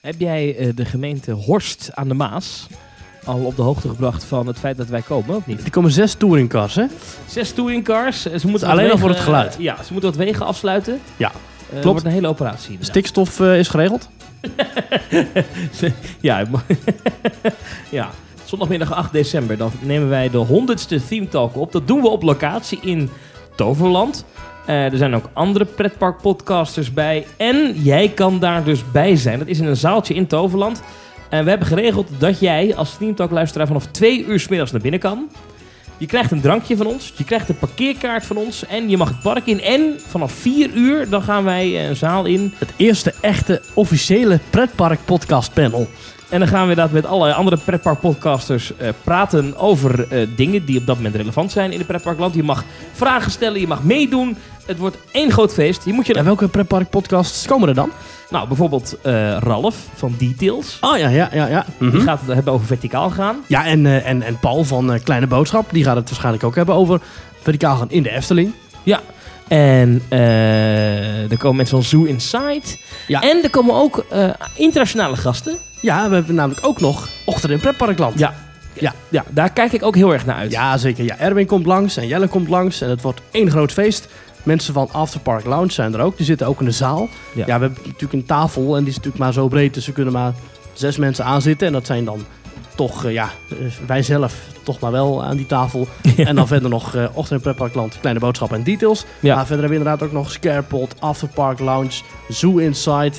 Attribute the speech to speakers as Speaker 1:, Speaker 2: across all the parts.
Speaker 1: Heb jij eh, de gemeente Horst aan de Maas al op de hoogte gebracht van het feit dat wij komen, of niet?
Speaker 2: Er komen zes touringcars, hè?
Speaker 1: Zes touringcars. eh, Ze moeten
Speaker 2: alleen
Speaker 1: wat
Speaker 2: al voor
Speaker 1: wegen,
Speaker 2: het geluid.
Speaker 1: eh, ja, ze moeten wat wegen afsluiten.
Speaker 2: Ja,
Speaker 1: Eh,
Speaker 2: klopt.
Speaker 1: wordt een hele operatie. inderdaad.
Speaker 2: Stikstof eh, is geregeld.
Speaker 1: ja, het mo- ja, zondagmiddag 8 december. Dan nemen wij de 100ste Theme Talk op. Dat doen we op locatie in Toverland. Eh, er zijn ook andere pretparkpodcasters bij. En jij kan daar dus bij zijn. Dat is in een zaaltje in Toverland. En we hebben geregeld dat jij als Theme Talk luisteraar vanaf 2 uur 's middags naar binnen kan. Je krijgt een drankje van ons, je krijgt een parkeerkaart van ons en je mag het park in. En vanaf 4 uur dan gaan wij eh, een zaal in
Speaker 2: Het eerste echte officiële pretpark podcast panel.
Speaker 1: En dan gaan we dat met allerlei andere pretparkpodcasters eh praten over eh, dingen die op dat moment relevant zijn in het pretparkland. Je mag vragen stellen, je mag meedoen. Het wordt één groot feest. Je moet je
Speaker 2: En welke pretpark podcasts komen er dan?
Speaker 1: Nou, bijvoorbeeld eh, Ralf van Details.
Speaker 2: Oh ja, ja, ja, ja. Mhm.
Speaker 1: Die gaat het hebben over verticaal gaan.
Speaker 2: Ja, en, eh, en, en Paul van eh, Kleine Boodschap, die gaat het waarschijnlijk ook hebben over verticaal gaan in de Efteling.
Speaker 1: En eh, er komen mensen van Zoo Inside.
Speaker 2: Ja.
Speaker 1: En er komen ook eh, internationale gasten.
Speaker 2: Ja, we hebben namelijk ook nog Ochtend in Pretparkland.
Speaker 1: Ja. Ja. ja, daar kijk ik ook heel erg naar uit.
Speaker 2: Ja, zeker. Ja, Erwin komt langs en Jelle komt langs en het wordt één groot feest. Mensen van Afterpark Lounge zijn er ook. Die zitten ook in de zaal.
Speaker 1: Ja.
Speaker 2: Ja, we hebben natuurlijk een tafel en die is natuurlijk maar zo breed. Dus er kunnen maar zes mensen aan zitten. En dat zijn dan toch, eh, ja, eh, wij zelf toch maar wel aan die tafel. En dan verder nog eh Ochtend in Pretparkland, Kleine Boodschap en Details.
Speaker 1: Ja.
Speaker 2: Maar verder hebben we inderdaad ook nog Scarepot, Afterpark Lounge, Zoo Inside.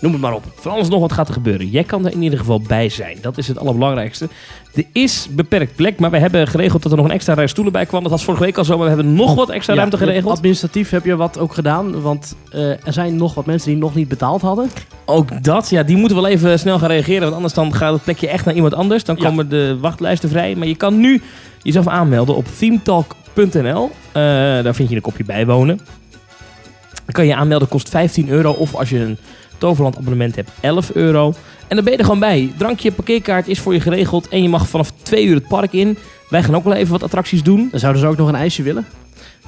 Speaker 2: Noem het maar op.
Speaker 1: Van alles nog wat gaat er gebeuren. Jij kan er in ieder geval bij zijn. Dat is het allerbelangrijkste. Er is beperkt plek, maar we hebben geregeld dat er nog een extra rij stoelen bij kwam. Dat was vorige week al zo, maar we hebben nog wat extra
Speaker 2: Ja,
Speaker 1: ruimte geregeld.
Speaker 2: Administratief heb je wat ook gedaan. Want eh, er zijn nog wat mensen die nog niet betaald hadden.
Speaker 1: Ook dat, ja, die moeten wel even snel gaan reageren. Want anders dan gaat het plekje echt naar iemand anders. Dan
Speaker 2: Ja.
Speaker 1: komen de wachtlijsten vrij. Maar je kan nu jezelf aanmelden op themetalk.nl. Eh, daar vind je een kopje bijwonen. Dan kan je je aanmelden, kost 15 euro. Of als je een Toverland abonnement hebt, 11 euro. En dan ben je er gewoon bij. Drankje, parkeerkaart is voor je geregeld. En je mag vanaf 2 uur het park in. Wij gaan ook wel even wat attracties doen.
Speaker 2: Dan zouden ze dus ook nog een ijsje willen.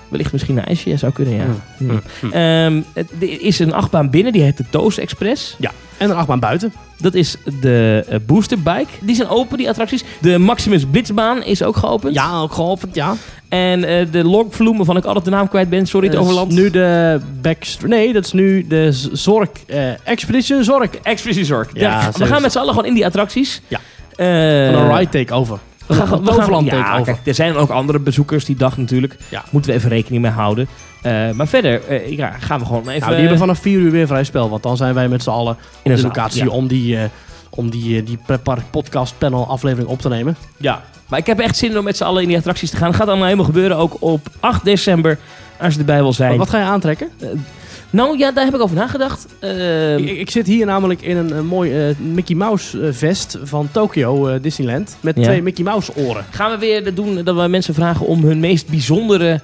Speaker 1: Wellicht misschien een ijsje, ja, zou kunnen, ja.
Speaker 2: Hm.
Speaker 1: Hm. Ehm, het- er is een achtbaan binnen, die heet de Toos Express.
Speaker 2: En een achtbaan buiten.
Speaker 1: Dat is de eh, Booster Bike. Die zijn open, die attracties. De Maximus Blitzbaan is ook geopend.
Speaker 2: Ja, ook geopend, ja.
Speaker 1: En eh, de Longvloem, waarvan ik altijd de naam kwijt ben. Sorry, het
Speaker 2: Dat is
Speaker 1: overland.
Speaker 2: Eh, dus Nu de Backstreet... Nee, dat is nu de Z- Zork... eh, Expedition Zork.
Speaker 1: Expeditie Zorg.
Speaker 2: Ja,
Speaker 1: Ja, we
Speaker 2: serieus.
Speaker 1: gaan met z'n allen gewoon in die attracties.
Speaker 2: Ja.
Speaker 1: Eh,
Speaker 2: Van een ride takeover. Nou,
Speaker 1: We gaan,
Speaker 2: Een
Speaker 1: we gaan,
Speaker 2: Toverland
Speaker 1: ja,
Speaker 2: takeover.
Speaker 1: kijk, er zijn ook andere bezoekers die dag natuurlijk.
Speaker 2: Ja.
Speaker 1: Moeten we even rekening mee houden. Eh, maar verder eh, ja, gaan we gewoon even
Speaker 2: Nou, die hebben vanaf 4 uur weer vrij spel. Want dan zijn wij met z'n allen
Speaker 1: in
Speaker 2: in
Speaker 1: een
Speaker 2: de
Speaker 1: zaal.
Speaker 2: locatie
Speaker 1: Ja.
Speaker 2: om die... eh, om die, eh, die pretpark podcast panel aflevering op te nemen.
Speaker 1: Ja, maar ik heb echt zin om met z'n allen in die attracties te gaan. Dat gaat allemaal helemaal gebeuren ook op 8 december. Als je erbij wil zijn.
Speaker 2: Wat, wat ga je aantrekken?
Speaker 1: Nou ja, daar heb ik over nagedacht. Ehm,
Speaker 2: ik, ik zit hier namelijk in een, eh, mooi eh, Mickey Mouse eh, vest van Tokyo eh, Disneyland. Met
Speaker 1: Ja.
Speaker 2: twee Mickey Mouse oren.
Speaker 1: Gaan we weer doen dat we mensen vragen om hun meest bijzondere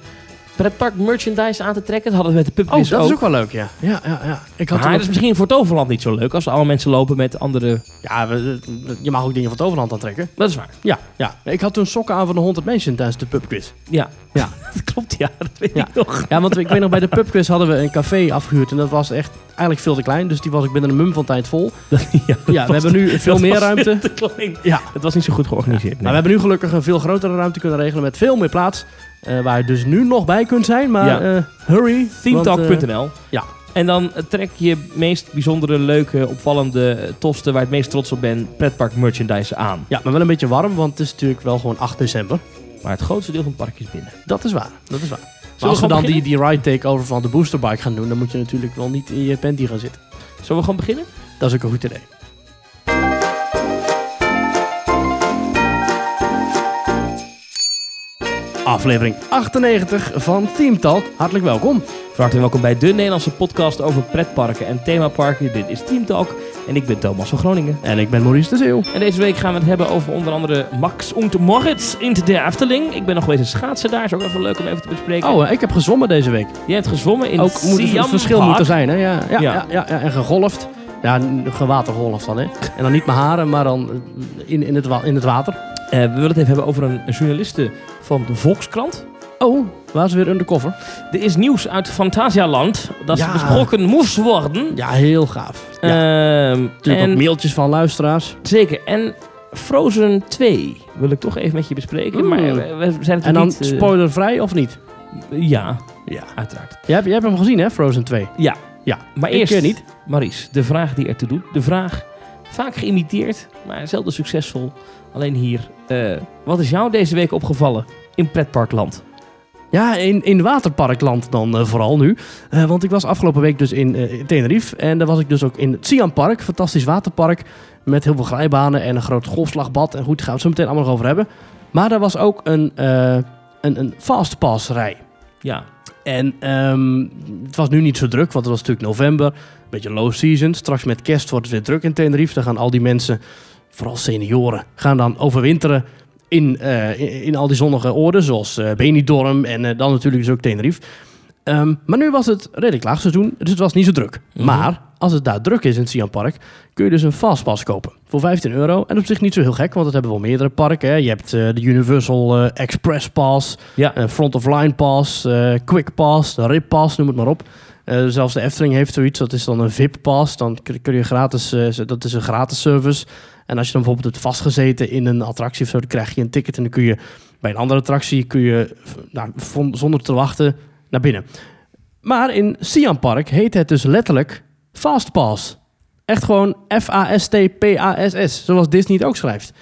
Speaker 1: pretpark merchandise aan te trekken? Dat hadden we met de
Speaker 2: Oh,
Speaker 1: pubquiz
Speaker 2: dat
Speaker 1: ook.
Speaker 2: is ook wel leuk, ja. Ja, ja, ja. Ik had
Speaker 1: Maar
Speaker 2: er
Speaker 1: dat is misschien voor Toverland niet zo leuk als alle mensen lopen met andere...
Speaker 2: Ja, we- we- je mag ook dingen van Toverland aantrekken.
Speaker 1: Dat is waar.
Speaker 2: Ja, ja. Ik had toen sokken aan van de Haunted Mansion tijdens de pubquiz.
Speaker 1: Ja.
Speaker 2: Ja.
Speaker 1: dat klopt, ja. Dat weet
Speaker 2: Ja.
Speaker 1: ik nog.
Speaker 2: Ja, want ik weet nog, bij de pubquiz hadden we een café afgehuurd. En dat was echt eigenlijk veel te klein. Dus die was ik binnen een mum van tijd vol.
Speaker 1: ja,
Speaker 2: Ja, we hebben nu veel
Speaker 1: dat
Speaker 2: meer
Speaker 1: was weer
Speaker 2: ruimte.
Speaker 1: te klein.
Speaker 2: Ja.
Speaker 1: Het was niet zo goed georganiseerd.
Speaker 2: Maar we hebben nu gelukkig een veel grotere ruimte kunnen regelen met veel meer plaats. eh, waar je dus nu nog bij kunt zijn. Maar
Speaker 1: Ja.
Speaker 2: eh, hurry. want, eh,
Speaker 1: Themetalk.nl.
Speaker 2: ja.
Speaker 1: En dan eh, trek je meest bijzondere, leuke, opvallende eh, tofste, waar je het meest trots op bent, pretpark merchandise aan.
Speaker 2: ja, maar wel een beetje warm, want het is natuurlijk wel gewoon 8 december.
Speaker 1: Maar het grootste deel van het park is binnen.
Speaker 2: Dat is waar, dat is waar. Maar
Speaker 1: Zullen
Speaker 2: als
Speaker 1: we
Speaker 2: we
Speaker 1: gewoon
Speaker 2: dan die, die ride takeover van de boosterbike gaan doen, dan moet je natuurlijk wel niet in je panty gaan zitten.
Speaker 1: Zullen we gewoon beginnen?
Speaker 2: Dat is ook een goed idee. Aflevering 98 van Team Talk. Hartelijk welkom.
Speaker 1: Van harte welkom bij de Nederlandse podcast over pretparken en themaparken. Dit is Team Talk en ik ben Thomas van Groningen.
Speaker 2: En ik ben Maurice de Zeeuw.
Speaker 1: En deze week gaan we het hebben over onder andere Max und Moritz in de Efteling. Ik ben nog geweest in schaatsen daar, is ook even leuk om even te bespreken.
Speaker 2: Oh, eh, ik heb gezwommen deze week.
Speaker 1: Jij hebt gezwommen in
Speaker 2: Ook moet het
Speaker 1: Siam
Speaker 2: een verschil
Speaker 1: Park.
Speaker 2: moeten zijn, hè? Ja, ja, ja.
Speaker 1: Ja.
Speaker 2: ja, ja. En gegolfd. Ja, n- gewatergolfd dan, hè? En dan niet mijn haren, maar dan eh, in, in, het, wa- in het water.
Speaker 1: Eh, we willen het even hebben over een journaliste van de Volkskrant.
Speaker 2: Oh, waar ze weer undercover?
Speaker 1: Er is nieuws uit Fantasialand dat
Speaker 2: Ja.
Speaker 1: besproken moest worden.
Speaker 2: Ja, heel gaaf. Ja,
Speaker 1: Ehm,
Speaker 2: natuurlijk
Speaker 1: en,
Speaker 2: ook mailtjes van luisteraars.
Speaker 1: zeker. En Frozen 2 wil ik toch even met je bespreken.
Speaker 2: Mm.
Speaker 1: Maar we, we zijn het
Speaker 2: En dan
Speaker 1: niet, eh,
Speaker 2: spoilervrij of niet?
Speaker 1: Ja,
Speaker 2: Ja.
Speaker 1: uiteraard.
Speaker 2: Jij hebt, jij hebt hem gezien, hè, Frozen 2?
Speaker 1: Ja.
Speaker 2: Ja,
Speaker 1: Maar
Speaker 2: ik
Speaker 1: eerst,
Speaker 2: eh, niet.
Speaker 1: Maries, de vraag die ertoe doet. De vraag, vaak geïmiteerd, maar zelden succesvol. Alleen hier. eh, wat is jou deze week opgevallen in pretparkland?
Speaker 2: Ja, in, in waterparkland dan eh, vooral nu. Eh, want ik was afgelopen week dus in, eh, in Tenerife. En daar was ik dus ook in het Sian Park. Fantastisch waterpark. Met heel veel glijbanen en een groot golfslagbad. En goed, daar gaan we het zo meteen allemaal nog over hebben. Maar daar was ook een, eh een, een fastpass rij.
Speaker 1: Ja,
Speaker 2: En ehm, het was nu niet zo druk, want het was natuurlijk november. Een beetje low season. Straks met kerst wordt het weer druk in Tenerife. Dan gaan al die mensen, vooral senioren, gaan dan overwinteren in, eh, in, in al die zonnige oorden. Zoals eh, Benidorm en eh, dan natuurlijk dus ook Tenerife. Ehm, maar nu was het redelijk laag seizoen, dus het was niet zo druk.
Speaker 1: Mhm.
Speaker 2: Maar als het daar druk is in het Sian Park, kun je dus een fastpass kopen. Voor 15 euro. En op zich niet zo heel gek, want dat hebben wel meerdere parken. Hè. Je hebt eh, de Universal eh, Express Pass.
Speaker 1: ja.
Speaker 2: Eh, front of line pass, eh, quick pass, rip pass, noem het maar op. Eh, zelfs de Efteling heeft zoiets, dat is dan een VIP pass. Dan kun- kun je gratis, eh, z- dat is een gratis service. En als je dan bijvoorbeeld hebt vastgezeten in een attractie of zo, dan krijg je een ticket en dan kun je bij een andere attractie kun je v- nou, von- zonder te wachten naar binnen. Maar in Siam Park heet het dus letterlijk Fast Pass. Echt gewoon F-A-S-T-P-A-S-S, zoals Disney het ook schrijft.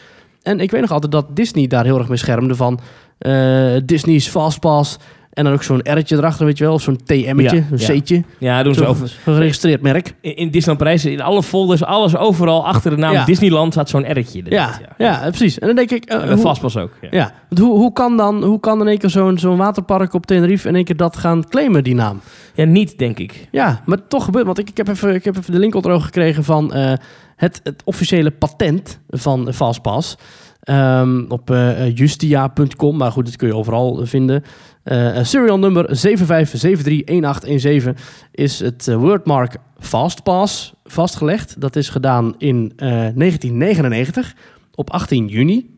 Speaker 2: En ik weet nog altijd dat Disney daar heel erg mee schermde van... eh, Disney's Fastpass. En dan ook zo'n R'tje erachter, weet je wel. Of zo'n TM'tje,
Speaker 1: Ja,
Speaker 2: een
Speaker 1: ja.
Speaker 2: C'tje.
Speaker 1: ja, doen ze
Speaker 2: Zo'n
Speaker 1: over.
Speaker 2: geregistreerd merk.
Speaker 1: In, in Disneyland Parijs, in alle folders, alles overal achter de naam
Speaker 2: Ja.
Speaker 1: Disneyland staat zo'n R'tje.
Speaker 2: Ja, ja. precies. En dan denk ik... eh,
Speaker 1: En
Speaker 2: hoe-
Speaker 1: bij Fastpass ook. Ja.
Speaker 2: Ja, want hoe, hoe kan dan hoe kan in één keer zo'n zo'n waterpark op Tenerife... in één keer dat gaan claimen, die naam?
Speaker 1: Ja, niet, denk ik.
Speaker 2: Ja, maar toch gebeurt. Want ik, ik, heb, even, ik heb even de link onder ogen gekregen van eh, het, het officiële patent van Fastpass. Ehm, op eh, eh, justia.com, maar goed, dat kun je overal eh, vinden. Eh, eh, serial nummer 75731817 is het eh, wordmark Fastpass vastgelegd. Dat is gedaan in eh, 1999 op 18 juni.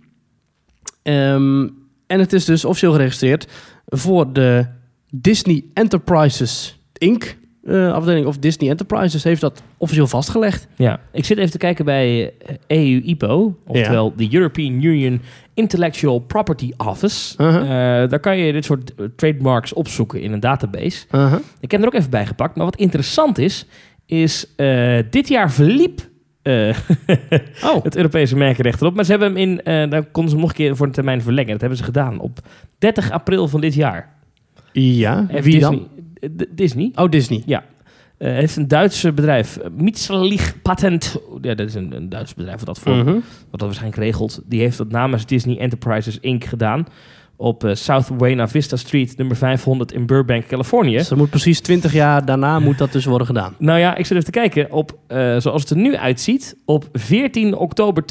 Speaker 2: Ehm, en het is dus officieel geregistreerd voor de Disney Enterprises Inc. eh, afdeling of Disney Enterprises heeft dat officieel vastgelegd.
Speaker 1: Ja. Ik zit even te kijken bij eh, EU-IPO, oftewel de European Union Intellectual Property Office.
Speaker 2: Uh-huh.
Speaker 1: Eh, daar kan je dit soort eh, trademarks opzoeken in een database.
Speaker 2: Uh-huh.
Speaker 1: Ik heb hem er ook even bij gepakt. Maar wat interessant is, is eh, dit jaar verliep eh,
Speaker 2: Oh,
Speaker 1: het Europese merkenrecht erop. Maar ze hebben hem in, eh, daar konden ze hem nog een keer voor een termijn verlengen. Dat hebben ze gedaan op 30 april van dit jaar.
Speaker 2: ja.
Speaker 1: Heeft
Speaker 2: Wie
Speaker 1: Disney,
Speaker 2: dan?
Speaker 1: eh, D- Disney.
Speaker 2: Oh, Disney.
Speaker 1: Eh, heeft een Duitse bedrijf, eh, Mitselig Patent. Ja, dat is een, een Duits bedrijf wat dat, voor,
Speaker 2: Mhm.
Speaker 1: wat dat waarschijnlijk regelt. Die heeft dat namens Disney Enterprises Inc. gedaan. Op eh, South Buena Vista Street, nummer 500 in Burbank, Californië.
Speaker 2: Dus dat moet precies 20 jaar daarna moet dat dus worden gedaan.
Speaker 1: Nou ja, ik zit even te kijken op, eh, zoals het er nu uitziet, op 14 oktober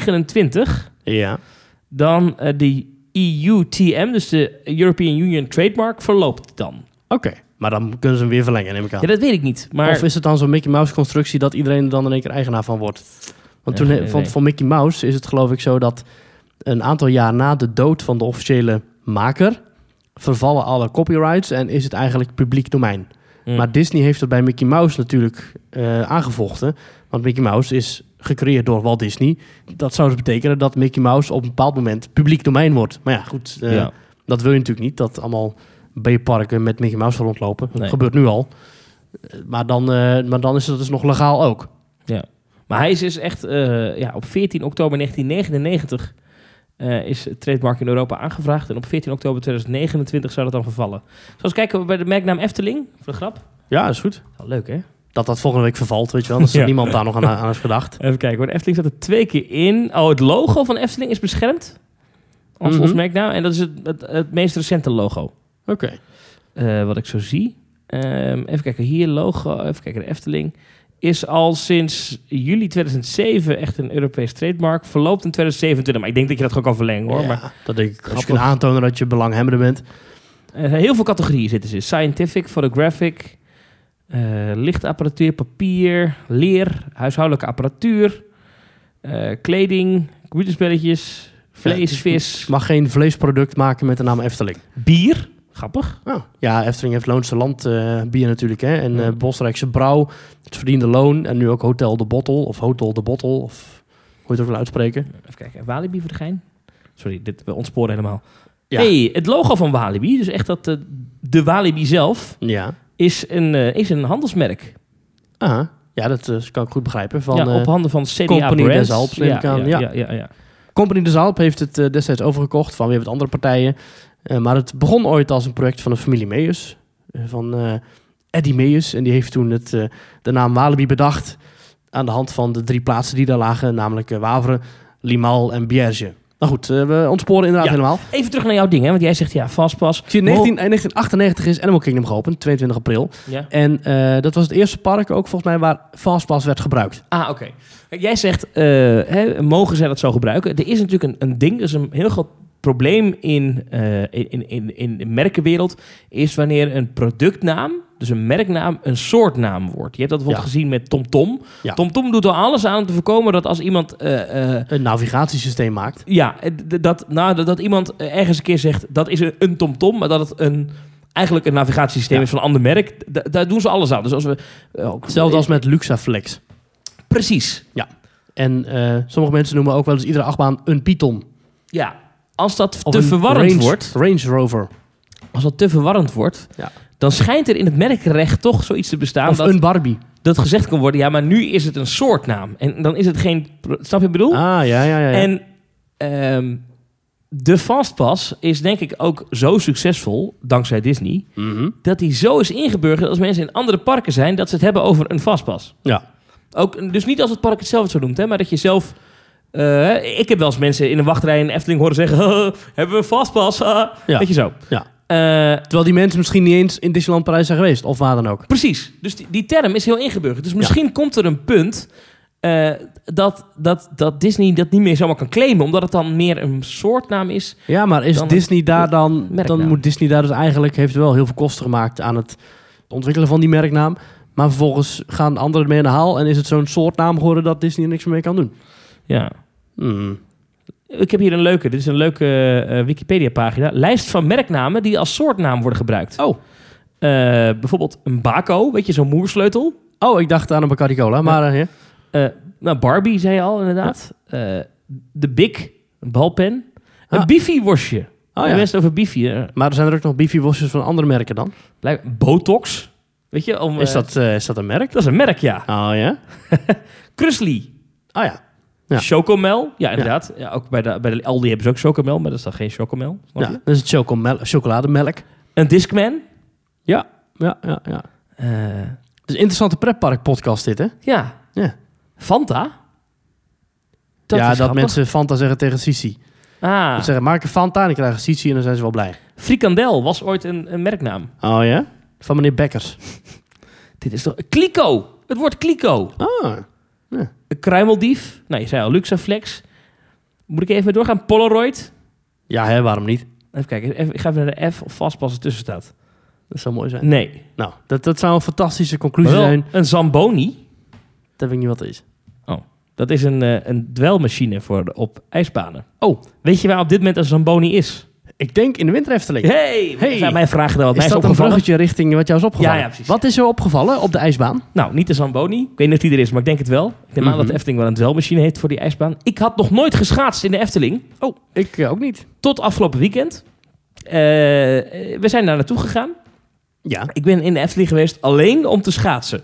Speaker 1: 2029,
Speaker 2: Ja.
Speaker 1: dan eh, de EUTM, dus de European Union Trademark, verloopt dan.
Speaker 2: Oké, maar dan kunnen ze hem weer verlengen, neem ik aan.
Speaker 1: Ja, dat weet ik niet. Maar
Speaker 2: Of is het dan zo'n Mickey Mouse constructie dat iedereen er dan in één keer eigenaar van wordt? Want
Speaker 1: Ja,
Speaker 2: toen,
Speaker 1: geen
Speaker 2: van,
Speaker 1: idee.
Speaker 2: van Mickey Mouse is het geloof ik zo dat een aantal jaar na de dood van de officiële maker vervallen alle copyrights en is het eigenlijk publiek domein.
Speaker 1: Mm.
Speaker 2: Maar Disney heeft dat bij Mickey Mouse natuurlijk eh, aangevochten. Want Mickey Mouse is gecreëerd door Walt Disney. Dat zou dus betekenen dat Mickey Mouse op een bepaald moment publiek domein wordt. Maar ja, goed, eh,
Speaker 1: ja.
Speaker 2: dat wil je natuurlijk niet, dat allemaal B-parken met Mickey Mouse rondlopen.
Speaker 1: Nee.
Speaker 2: Dat gebeurt nu al. Eh, Maar dan, eh, maar dan is dat dus nog legaal ook.
Speaker 1: maar hij is dus echt, eh, ja, op 14 oktober 1999 eh, is het trademark in Europa aangevraagd. En op 14 oktober 2029 zou dat dan vervallen. Zoals kijken we bij de merknaam Efteling, voor de grap.
Speaker 2: Ja, is goed.
Speaker 1: Wel leuk, hè?
Speaker 2: Dat dat volgende week vervalt, weet je wel. Dat is
Speaker 1: Ja.
Speaker 2: niemand daar nog aan, aan heeft gedacht.
Speaker 1: Even kijken hoor. De Efteling zat er twee keer in. Oh, het logo van Efteling is beschermd. Als
Speaker 2: Mhm.
Speaker 1: ons merknaam. En dat is het, het, het meest recente logo.
Speaker 2: Oké.
Speaker 1: eh, wat ik zo zie. Ehm, even kijken. Hier logo. Even kijken. De Efteling is al sinds juli 2007 echt een Europees trademark. Verloopt in 2027. Maar ik denk dat je dat gewoon kan verlengen hoor.
Speaker 2: Ja,
Speaker 1: Maar,
Speaker 2: dat denk ik. Als je
Speaker 1: Grappig.
Speaker 2: kunt aantonen dat je belanghebbende bent.
Speaker 1: eh, heel veel categorieën zitten ze. in. Scientific, photographic, eh, lichtapparatuur, papier, leer, huishoudelijke apparatuur, eh, kleding, computerspelletjes, Vlees,
Speaker 2: Ja,
Speaker 1: vis,
Speaker 2: Mag geen vleesproduct maken met de naam Efteling.
Speaker 1: bier. Grappig.
Speaker 2: Ja, Efteling heeft Loonse Land eh, bier natuurlijk. Hè? En
Speaker 1: Ja.
Speaker 2: eh Bosrijkse Brouw, het verdiende loon. En nu ook Hotel de Bottel of Hotel de Bottel. Of hoe je het ook wil uitspreken.
Speaker 1: Even kijken, Walibi voor de gein. Sorry, dit, we ontsporen helemaal.
Speaker 2: Ja.
Speaker 1: hey, het logo van Walibi, dus echt dat eh, de Walibi zelf,
Speaker 2: Ja.
Speaker 1: is een, eh, is een handelsmerk.
Speaker 2: Aha. Ja, dat eh, kan ik goed begrijpen. Van,
Speaker 1: ja, op
Speaker 2: eh,
Speaker 1: handen van CDA
Speaker 2: Company
Speaker 1: Brands.
Speaker 2: des Alps, neem ik aan.
Speaker 1: Ja,
Speaker 2: Ja.
Speaker 1: ja, ja, ja.
Speaker 2: Company de Zalp heeft het eh, destijds overgekocht van weer wat andere partijen. Eh, maar het begon ooit als een project van de familie Meijers. eh, van eh Eddie Meijers. En die heeft toen het, eh, de naam Walibi bedacht. Aan de hand van de drie plaatsen die daar lagen. Namelijk eh, Wavre, Limahl en Bierge. Nou goed, eh, we ontsporen inderdaad
Speaker 1: Ja.
Speaker 2: helemaal.
Speaker 1: Even terug naar jouw ding, hè, want jij zegt ja, vastpas.
Speaker 2: Zie je, 19, eh, 1998 is Animal Kingdom geopend, 22 april.
Speaker 1: Ja.
Speaker 2: En eh, dat was het eerste park ook volgens mij waar Fastpass werd gebruikt.
Speaker 1: Ah, oké. Jij zegt, eh, hè, mogen zij dat zo gebruiken? Er is natuurlijk een, een ding, dat is een heel groot probleem in, eh, in, in, in de merkenwereld, is wanneer een productnaam, dus een merknaam, een soortnaam wordt. Je hebt dat bijvoorbeeld gezien met TomTom.
Speaker 2: Ja.
Speaker 1: TomTom doet er alles aan om te voorkomen dat als iemand... eh, eh,
Speaker 2: Een navigatiesysteem maakt.
Speaker 1: ja, eh, d- dat, nou, dat, dat iemand eh, ergens een keer zegt dat is een- een TomTom, maar dat het een, eigenlijk een navigatiesysteem
Speaker 2: Ja.
Speaker 1: is van een ander merk. Da- daar doen ze alles aan. Dus als we, eh, ook- eh,
Speaker 2: Hetzelfde als met Luxaflex.
Speaker 1: Precies.
Speaker 2: En eh, sommige mensen noemen ook wel eens iedere achtbaan een Python.
Speaker 1: Ja. Als dat
Speaker 2: Of
Speaker 1: te
Speaker 2: een
Speaker 1: verwarrend
Speaker 2: Range-
Speaker 1: wordt,
Speaker 2: Range Rover.
Speaker 1: als dat te verwarrend wordt,
Speaker 2: Ja.
Speaker 1: dan schijnt er in het merkrecht toch zoiets te bestaan
Speaker 2: of
Speaker 1: dat,
Speaker 2: een Barbie.
Speaker 1: dat gezegd kan worden, ja, maar nu is het een soortnaam. En dan is het geen... pro- Snap je wat ik bedoel?
Speaker 2: Ah, ja, ja, ja. ja.
Speaker 1: En ehm, de Fastpass is denk ik ook zo succesvol, dankzij Disney,
Speaker 2: Mhm.
Speaker 1: dat die zo is ingeburgerd dat als mensen in andere parken zijn, dat ze het hebben over een Fastpass.
Speaker 2: Ja.
Speaker 1: Ook, dus niet als het park het zelf zo noemt, hè, maar dat je zelf... eh, ik heb wel eens mensen in een wachtrij in Efteling horen zeggen... hebben we een Fastpass? Ah."
Speaker 2: Ja.
Speaker 1: Weet je zo.
Speaker 2: Ja.
Speaker 1: Eh,
Speaker 2: Terwijl die mensen misschien niet eens in Disneyland Parijs zijn geweest. Of waar dan ook.
Speaker 1: Precies. Dus die, die term is heel ingeburgerd. Dus misschien komt er een punt eh, dat, dat, dat Disney dat niet meer zomaar kan claimen. Omdat het dan meer een soortnaam is.
Speaker 2: Ja, maar is
Speaker 1: Dan-
Speaker 2: Disney daar dan...
Speaker 1: merknaam.
Speaker 2: Dan moet Disney daar dus eigenlijk... Heeft wel heel veel kosten gemaakt aan het ontwikkelen van die merknaam. Maar vervolgens gaan anderen mee aan de haal. En is het zo'n soort naam geworden dat Disney er niks meer mee kan doen.
Speaker 1: Ja.
Speaker 2: Hmm.
Speaker 1: Ik heb hier een leuke. Dit is een leuke eh, Wikipedia-pagina. Lijst van merknamen die als soortnaam worden gebruikt.
Speaker 2: Oh.
Speaker 1: Eh, bijvoorbeeld een bako. Weet je, zo'n moersleutel.
Speaker 2: Oh, ik dacht aan een Bacardi Cola. Maar eh, ja.
Speaker 1: Eh, nou, Barbie zei je al, inderdaad. Eh, de Big, een balpen. Een
Speaker 2: Ah.
Speaker 1: bifi-worstje.
Speaker 2: Oh,
Speaker 1: Je
Speaker 2: ja.
Speaker 1: mensen over bifi. eh,
Speaker 2: Maar er zijn er ook nog Beefy Washers van andere merken dan.
Speaker 1: blijk- Botox. Weet je, om,
Speaker 2: Is
Speaker 1: eh,
Speaker 2: dat, eh, is dat een merk?
Speaker 1: dat is een merk, ja.
Speaker 2: Oh ja?
Speaker 1: Krusli.
Speaker 2: Oh ja. Ja.
Speaker 1: Chocomel. Ja, inderdaad. Ja. ook bij de, bij de Aldi hebben ze ook chocomel, maar dat is dan geen chocomel. snap
Speaker 2: ja.
Speaker 1: je?
Speaker 2: Dat is het chocomel- chocolademelk.
Speaker 1: Een Discman.
Speaker 2: Ja, ja, ja. ja.
Speaker 1: Eh,
Speaker 2: Het is een interessante pretpark podcast dit, hè?
Speaker 1: ja.
Speaker 2: Ja.
Speaker 1: Fanta.
Speaker 2: ja, dat
Speaker 1: is grappig.
Speaker 2: mensen Fanta zeggen tegen Sisi. Ze
Speaker 1: Ah,
Speaker 2: zeggen, maak een Fanta en ik krijg een Sisi en dan zijn ze wel blij.
Speaker 1: frikandel was ooit een, een merknaam.
Speaker 2: Oh ja? Van meneer Bekkers.
Speaker 1: Dit is toch... Kliko. Het woord kliko.
Speaker 2: Ah.
Speaker 1: Een kruimeldief. Nou, je zei al Luxaflex. Moet ik even mee doorgaan? Polaroid.
Speaker 2: Ja, hè, waarom niet?
Speaker 1: Even kijken. Even, ik ga even naar de F of vastpas ertussen staat.
Speaker 2: Dat zou mooi zijn.
Speaker 1: Nee.
Speaker 2: Nou, dat, dat zou een fantastische
Speaker 1: Maar
Speaker 2: conclusie
Speaker 1: wel
Speaker 2: zijn.
Speaker 1: een Zamboni.
Speaker 2: Dat weet ik niet wat het is.
Speaker 1: Dat is een, eh, een dwelmachine voor de- op ijsbanen.
Speaker 2: Oh.
Speaker 1: Weet je waar op dit moment een Zamboni is?
Speaker 2: Ik denk in de winter Efteling.
Speaker 1: Hey,
Speaker 2: Hey.
Speaker 1: dat zijn mijn vragen dan wat mij
Speaker 2: is
Speaker 1: is
Speaker 2: dat een
Speaker 1: opgevallen.
Speaker 2: bruggetje richting wat jou is opgevallen?
Speaker 1: Ja, ja, precies.
Speaker 2: Wat is er opgevallen op de ijsbaan?
Speaker 1: Nou, niet de Zamboni. Ik weet niet of die er is, maar ik denk het wel. Ik neem aan dat de
Speaker 2: Mhm.
Speaker 1: Efteling wel een dwelmachine heeft voor die ijsbaan. Ik had nog nooit geschaatst in de Efteling.
Speaker 2: Oh, ik eh, ook niet.
Speaker 1: Tot afgelopen weekend. Eh, we zijn daar naartoe gegaan.
Speaker 2: Ja, oké.
Speaker 1: Ik ben in de Efteling geweest alleen om te schaatsen.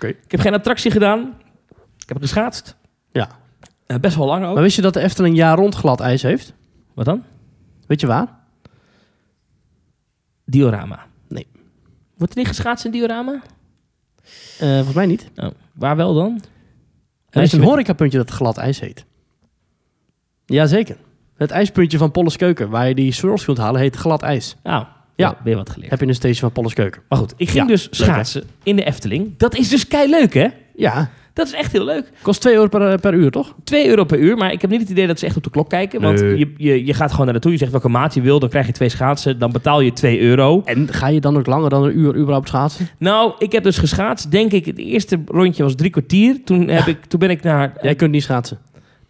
Speaker 1: Ik heb geen attractie gedaan. Ik heb geschaatst.
Speaker 2: Ja.
Speaker 1: Eh, best wel lang ook.
Speaker 2: Maar wist je dat de Efteling jaar rond glad ijs heeft?
Speaker 1: Wat dan?
Speaker 2: Weet je waar?
Speaker 1: Diorama.
Speaker 2: Nee.
Speaker 1: Wordt er niet geschaatst in Diorama?
Speaker 2: Eh, volgens mij niet.
Speaker 1: Oh, waar wel dan?
Speaker 2: Er is een
Speaker 1: Ijsje-
Speaker 2: horecapuntje dat glad ijs heet. Jazeker. Het ijspuntje van Polleskeuken, waar je die swirls kunt halen, heet glad ijs.
Speaker 1: Nou,
Speaker 2: Ja.
Speaker 1: ja. weer wat geleerd.
Speaker 2: Heb je in de station van Polleskeuken.
Speaker 1: Maar goed, ik ging
Speaker 2: Ja,
Speaker 1: dus
Speaker 2: leuk, hè?
Speaker 1: schaatsen in de Efteling. Dat is dus kei leuk, hè?
Speaker 2: Ja,
Speaker 1: Dat is echt heel leuk.
Speaker 2: kost 2 euro per, eh, per uur, toch?
Speaker 1: 2 euro per uur, maar ik heb niet het idee dat ze echt op de klok kijken. Want
Speaker 2: Nee.
Speaker 1: je, je, je gaat gewoon naar naartoe, je zegt welke maat je wil, dan krijg je twee schaatsen, dan betaal je 2 euro.
Speaker 2: En ga je dan ook langer dan een uur überhaupt schaatsen?
Speaker 1: Nou, ik heb dus geschaatst, denk ik, het eerste rondje was drie kwartier. Toen, heb ik, toen ben ik naar...
Speaker 2: Jij kunt niet schaatsen.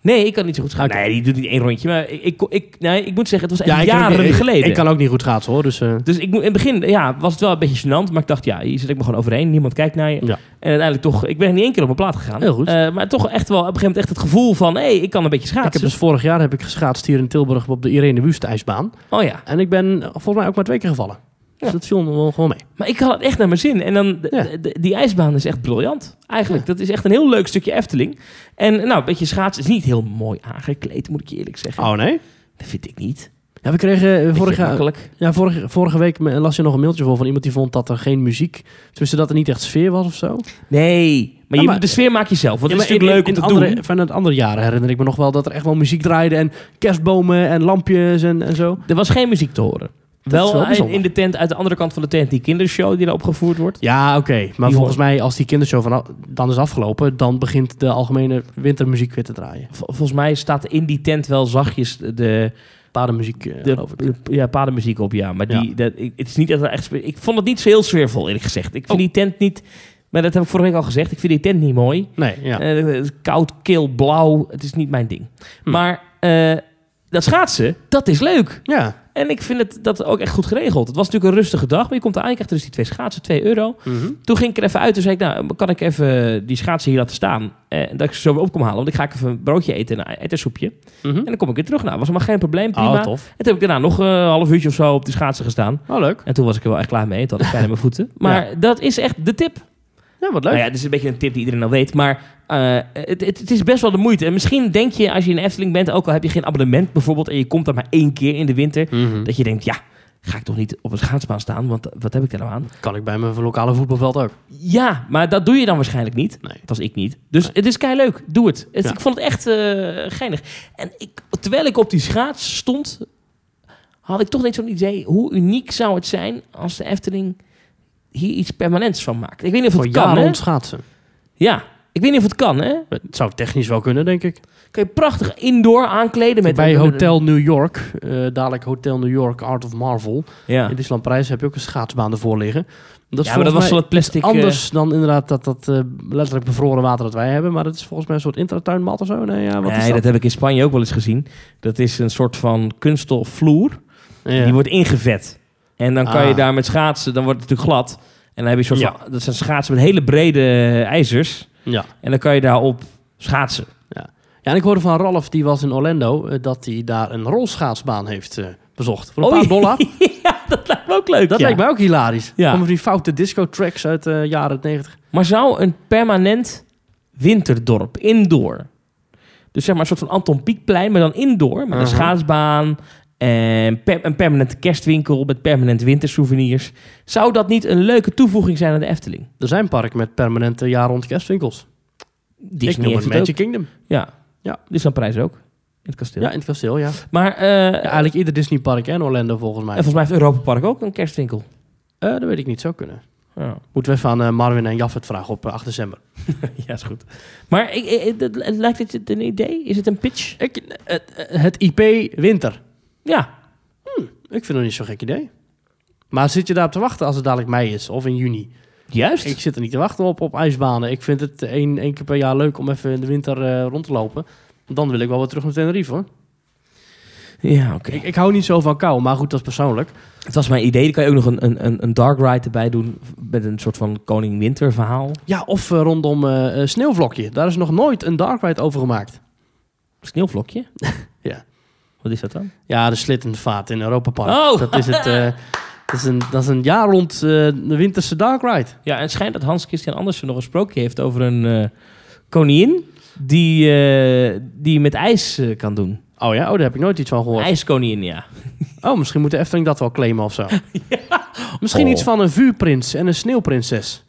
Speaker 1: Nee, ik kan niet zo goed schaatsen.
Speaker 2: Oké.
Speaker 1: Nee, die doet niet één rondje. Maar ik, ik, ik- nee, ik moet zeggen, het was echt
Speaker 2: ik kan ook
Speaker 1: jaren
Speaker 2: niet- ik-
Speaker 1: geleden.
Speaker 2: Ik kan ook niet goed schaatsen hoor. Dus, eh,
Speaker 1: Dus ik, moet- in het begin ja, was het wel een beetje gênant. Maar ik dacht, ja, hier zit ik me gewoon overheen. Niemand kijkt naar je.
Speaker 2: Ja.
Speaker 1: En uiteindelijk toch... Ik ben niet één keer op mijn plaat gegaan.
Speaker 2: Heel goed.
Speaker 1: Eh, maar toch echt wel op een gegeven moment echt het gevoel van... Hé, hey, ik kan een beetje
Speaker 2: ik heb
Speaker 1: schaatsen.
Speaker 2: dus vorig jaar heb ik geschaatst hier in Tilburg op de Irene Wust ijsbaan.
Speaker 1: Oh ja.
Speaker 2: En ik ben eh, volgens mij ook maar twee keer gevallen. Dus
Speaker 1: Ja.
Speaker 2: dat viel me wel gewoon mee.
Speaker 1: Maar ik had het echt naar mijn zin. En dan, d-
Speaker 2: Ja.
Speaker 1: d- d- die ijsbaan is echt briljant. Eigenlijk, dat is echt een heel leuk stukje Efteling. En nou, een beetje schaatsen is niet heel mooi aangekleed, moet ik je eerlijk zeggen.
Speaker 2: Oh nee?
Speaker 1: Dat vind ik niet.
Speaker 2: Ja, we kregen eh,
Speaker 1: Beetje
Speaker 2: vorig jaar,
Speaker 1: makkelijk.
Speaker 2: Ja, vorige, vorige week me- las je nog een mailtje voor van iemand die vond dat er geen muziek... Tussen dat er niet echt sfeer was of zo.
Speaker 1: Nee, maar, je,
Speaker 2: maar-
Speaker 1: de sfeer maak je zelf. Want
Speaker 2: Ja,
Speaker 1: het
Speaker 2: maar
Speaker 1: is natuurlijk leuk om te
Speaker 2: in, in andere,
Speaker 1: doen.
Speaker 2: Van het andere jaren herinner ik me nog wel dat er echt wel muziek draaide... en kerstbomen en lampjes en, en zo.
Speaker 1: Er was geen muziek te horen.
Speaker 2: is wel
Speaker 1: Wel, in-
Speaker 2: bijzonder.
Speaker 1: in de tent, uit de andere kant van de tent, die kindershow die daar opgevoerd wordt.
Speaker 2: Ja, oké. Maar
Speaker 1: Die
Speaker 2: volgens mij als die kindershow vanaf, dan is afgelopen... dan begint de algemene wintermuziek weer te draaien.
Speaker 1: Vol- volgens mij staat in die tent wel zachtjes de,
Speaker 2: Paardenmuziek, eh,
Speaker 1: de,
Speaker 2: geloof ik.
Speaker 1: ja, padenmuziek op, ja. Maar
Speaker 2: Ja.
Speaker 1: die, dat, ik, het is niet dat er echt... spe- Ik vond het niet zo heel sfeervol, eerlijk gezegd.
Speaker 2: Oh.
Speaker 1: Ik vind die tent niet... Maar dat heb ik vorige week al gezegd. Ik vind die tent niet mooi.
Speaker 2: Nee, ja.
Speaker 1: Eh, het is koud, kil, blauw. Het is niet mijn ding.
Speaker 2: Hm.
Speaker 1: Maar eh, dat schaatsen, dat is leuk.
Speaker 2: ja.
Speaker 1: En ik vind het, dat ook echt goed geregeld. Het was natuurlijk een rustige dag. Maar je komt aan, je krijgt dus die twee schaatsen, 2 euro.
Speaker 2: Mhm.
Speaker 1: Toen ging ik er even uit. Toen zei ik, nou, kan ik even die schaatsen hier laten staan? Eh, dat ik ze zo weer op kom halen. Want ik ga even een broodje eten en een ettersoepje.
Speaker 2: Mhm.
Speaker 1: En dan kom ik weer terug. Nou, was helemaal geen probleem. Prima.
Speaker 2: Oh, tof.
Speaker 1: En toen heb ik daarna nog eh, een half uurtje of zo op de schaatsen gestaan.
Speaker 2: Oh, leuk.
Speaker 1: En toen was ik er wel echt klaar mee. Toen had ik pijn aan mijn voeten. Maar dat is echt de tip.
Speaker 2: Ja, wat leuk.
Speaker 1: Nou ja, het is een beetje een tip die iedereen al weet. Maar eh, het, het, het is best wel de moeite. En misschien denk je, als je in Efteling bent, ook al heb je geen abonnement bijvoorbeeld... en je komt daar maar één keer in de winter,
Speaker 2: Mhm.
Speaker 1: dat je denkt, ja... Ga ik toch niet op een schaatsbaan staan, want wat heb ik daar nou aan?
Speaker 2: Kan ik bij mijn lokale voetbalveld ook.
Speaker 1: Ja, maar dat doe je dan waarschijnlijk niet.
Speaker 2: Nee.
Speaker 1: Dat was ik niet. Dus
Speaker 2: Nee.
Speaker 1: het is kei leuk. Doe het. Het-
Speaker 2: Ja.
Speaker 1: Ik vond het echt eh geinig. En ik, terwijl ik op die schaats stond, had ik toch net zo'n idee. Hoe uniek zou het zijn als de Efteling hier iets permanents van maakt? Ik weet niet of
Speaker 2: Voor
Speaker 1: het kan.
Speaker 2: jaren
Speaker 1: Hè?
Speaker 2: rond schaatsen.
Speaker 1: Ja, ik weet niet of het kan, hè?
Speaker 2: Het zou technisch wel kunnen, denk ik.
Speaker 1: Kun je prachtig indoor aankleden met
Speaker 2: Bij
Speaker 1: met- met-
Speaker 2: Hotel New York, eh, dadelijk Hotel New York Art of Marvel.
Speaker 1: Ja,
Speaker 2: In Disneyland Parijs heb je ook een schaatsbaan ervoor liggen. Dat is
Speaker 1: ja maar dat was wel
Speaker 2: volgens mij
Speaker 1: het plastic. eh,
Speaker 2: anders dan inderdaad dat, dat eh, letterlijk bevroren water dat wij hebben. Maar dat is volgens mij een soort intratuinmat of zo. Nee, ja, wat is
Speaker 1: nee,
Speaker 2: dat?
Speaker 1: dat heb ik in Spanje ook wel eens gezien. Dat is een soort van kunststof vloer.
Speaker 2: Ja.
Speaker 1: Die wordt ingevet. En dan kan
Speaker 2: Ah.
Speaker 1: je daar met schaatsen, dan wordt het natuurlijk glad. En dan heb je een soort
Speaker 2: Ja.
Speaker 1: van, dat zijn schaatsen met hele brede eh, ijzers.
Speaker 2: ja.
Speaker 1: En dan kan je daarop schaatsen.
Speaker 2: ja, en ik hoorde van Ralf, die was in Orlando, eh, dat hij daar een rolschaatsbaan heeft eh, bezocht. Voor een
Speaker 1: Oh,
Speaker 2: paar dollar.
Speaker 1: ja, dat lijkt me ook leuk.
Speaker 2: Dat
Speaker 1: ja.
Speaker 2: lijkt mij ook hilarisch.
Speaker 1: Ja.
Speaker 2: Allemaal van die foute disco tracks uit de jaren 90.
Speaker 1: Maar zou een permanent winterdorp, indoor. Dus zeg maar een soort van Anton Pieckplein, maar dan indoor. Met een
Speaker 2: Mhm.
Speaker 1: schaatsbaan en per- een permanente kerstwinkel met permanent wintersouvenirs. Zou dat niet een leuke toevoeging zijn aan de Efteling?
Speaker 2: Er zijn parken met permanente jaar rond kerstwinkels.
Speaker 1: Disney
Speaker 2: ik noem
Speaker 1: heeft
Speaker 2: het
Speaker 1: het ook.
Speaker 2: Magic Kingdom.
Speaker 1: Ja.
Speaker 2: Ja.
Speaker 1: Dus dan prijs ook. In het kasteel.
Speaker 2: Ja, in het kasteel, ja.
Speaker 1: Maar eh,
Speaker 2: Ja, eigenlijk ieder Disneypark en Orlando volgens mij.
Speaker 1: en volgens mij heeft Europa Park ook een kerstwinkel.
Speaker 2: Eh, dat weet ik niet, zou kunnen.
Speaker 1: Ja,
Speaker 2: Moeten we even aan eh, Marvin en Jaffet vragen op eh, 8 december.
Speaker 1: ja is goed. Maar ik, ik- dat- lijkt het je een idee? Is het een pitch?
Speaker 2: Ik, eh, het, het IP winter.
Speaker 1: Ja.
Speaker 2: Ik vind het niet zo'n gek idee. Maar zit je daarop te wachten als het dadelijk mei is of in juni?
Speaker 1: Juist.
Speaker 2: Ik zit er niet te wachten op, op ijsbanen. Ik vind het één, één keer per jaar leuk om even in de winter eh, rond te lopen. Dan wil ik wel weer terug naar Tenerife hoor.
Speaker 1: Ja, oké.
Speaker 2: Ik, ik hou niet zo van kou, maar goed, dat is persoonlijk.
Speaker 1: Het was mijn idee. Dan kan je ook nog een, een- een, een dark ride erbij doen. Met een soort van Koning Winter verhaal.
Speaker 2: Ja, of eh, rondom eh, eh, Sneeuwvlokje. Daar is nog nooit een dark ride over gemaakt.
Speaker 1: Sneeuwvlokje.
Speaker 2: Ja.
Speaker 1: Wat is dat dan?
Speaker 2: Ja, de slittenvaart in Europa Park.
Speaker 1: Oh!
Speaker 2: Dat is het. eh, dat, is een, dat is een jaar rond eh, de winterse dark ride.
Speaker 1: Ja, en het schijnt dat Hans Christian Andersen nog een sprookje heeft over een eh, koningin. Die, eh, die met ijs eh, kan doen.
Speaker 2: Oh ja, oh, daar heb ik nooit iets van gehoord.
Speaker 1: IJskoningin, ja.
Speaker 2: Oh, misschien moet de Efteling dat wel claimen of zo. Misschien
Speaker 1: Oh.
Speaker 2: iets van een vuurprins en een sneeuwprinses.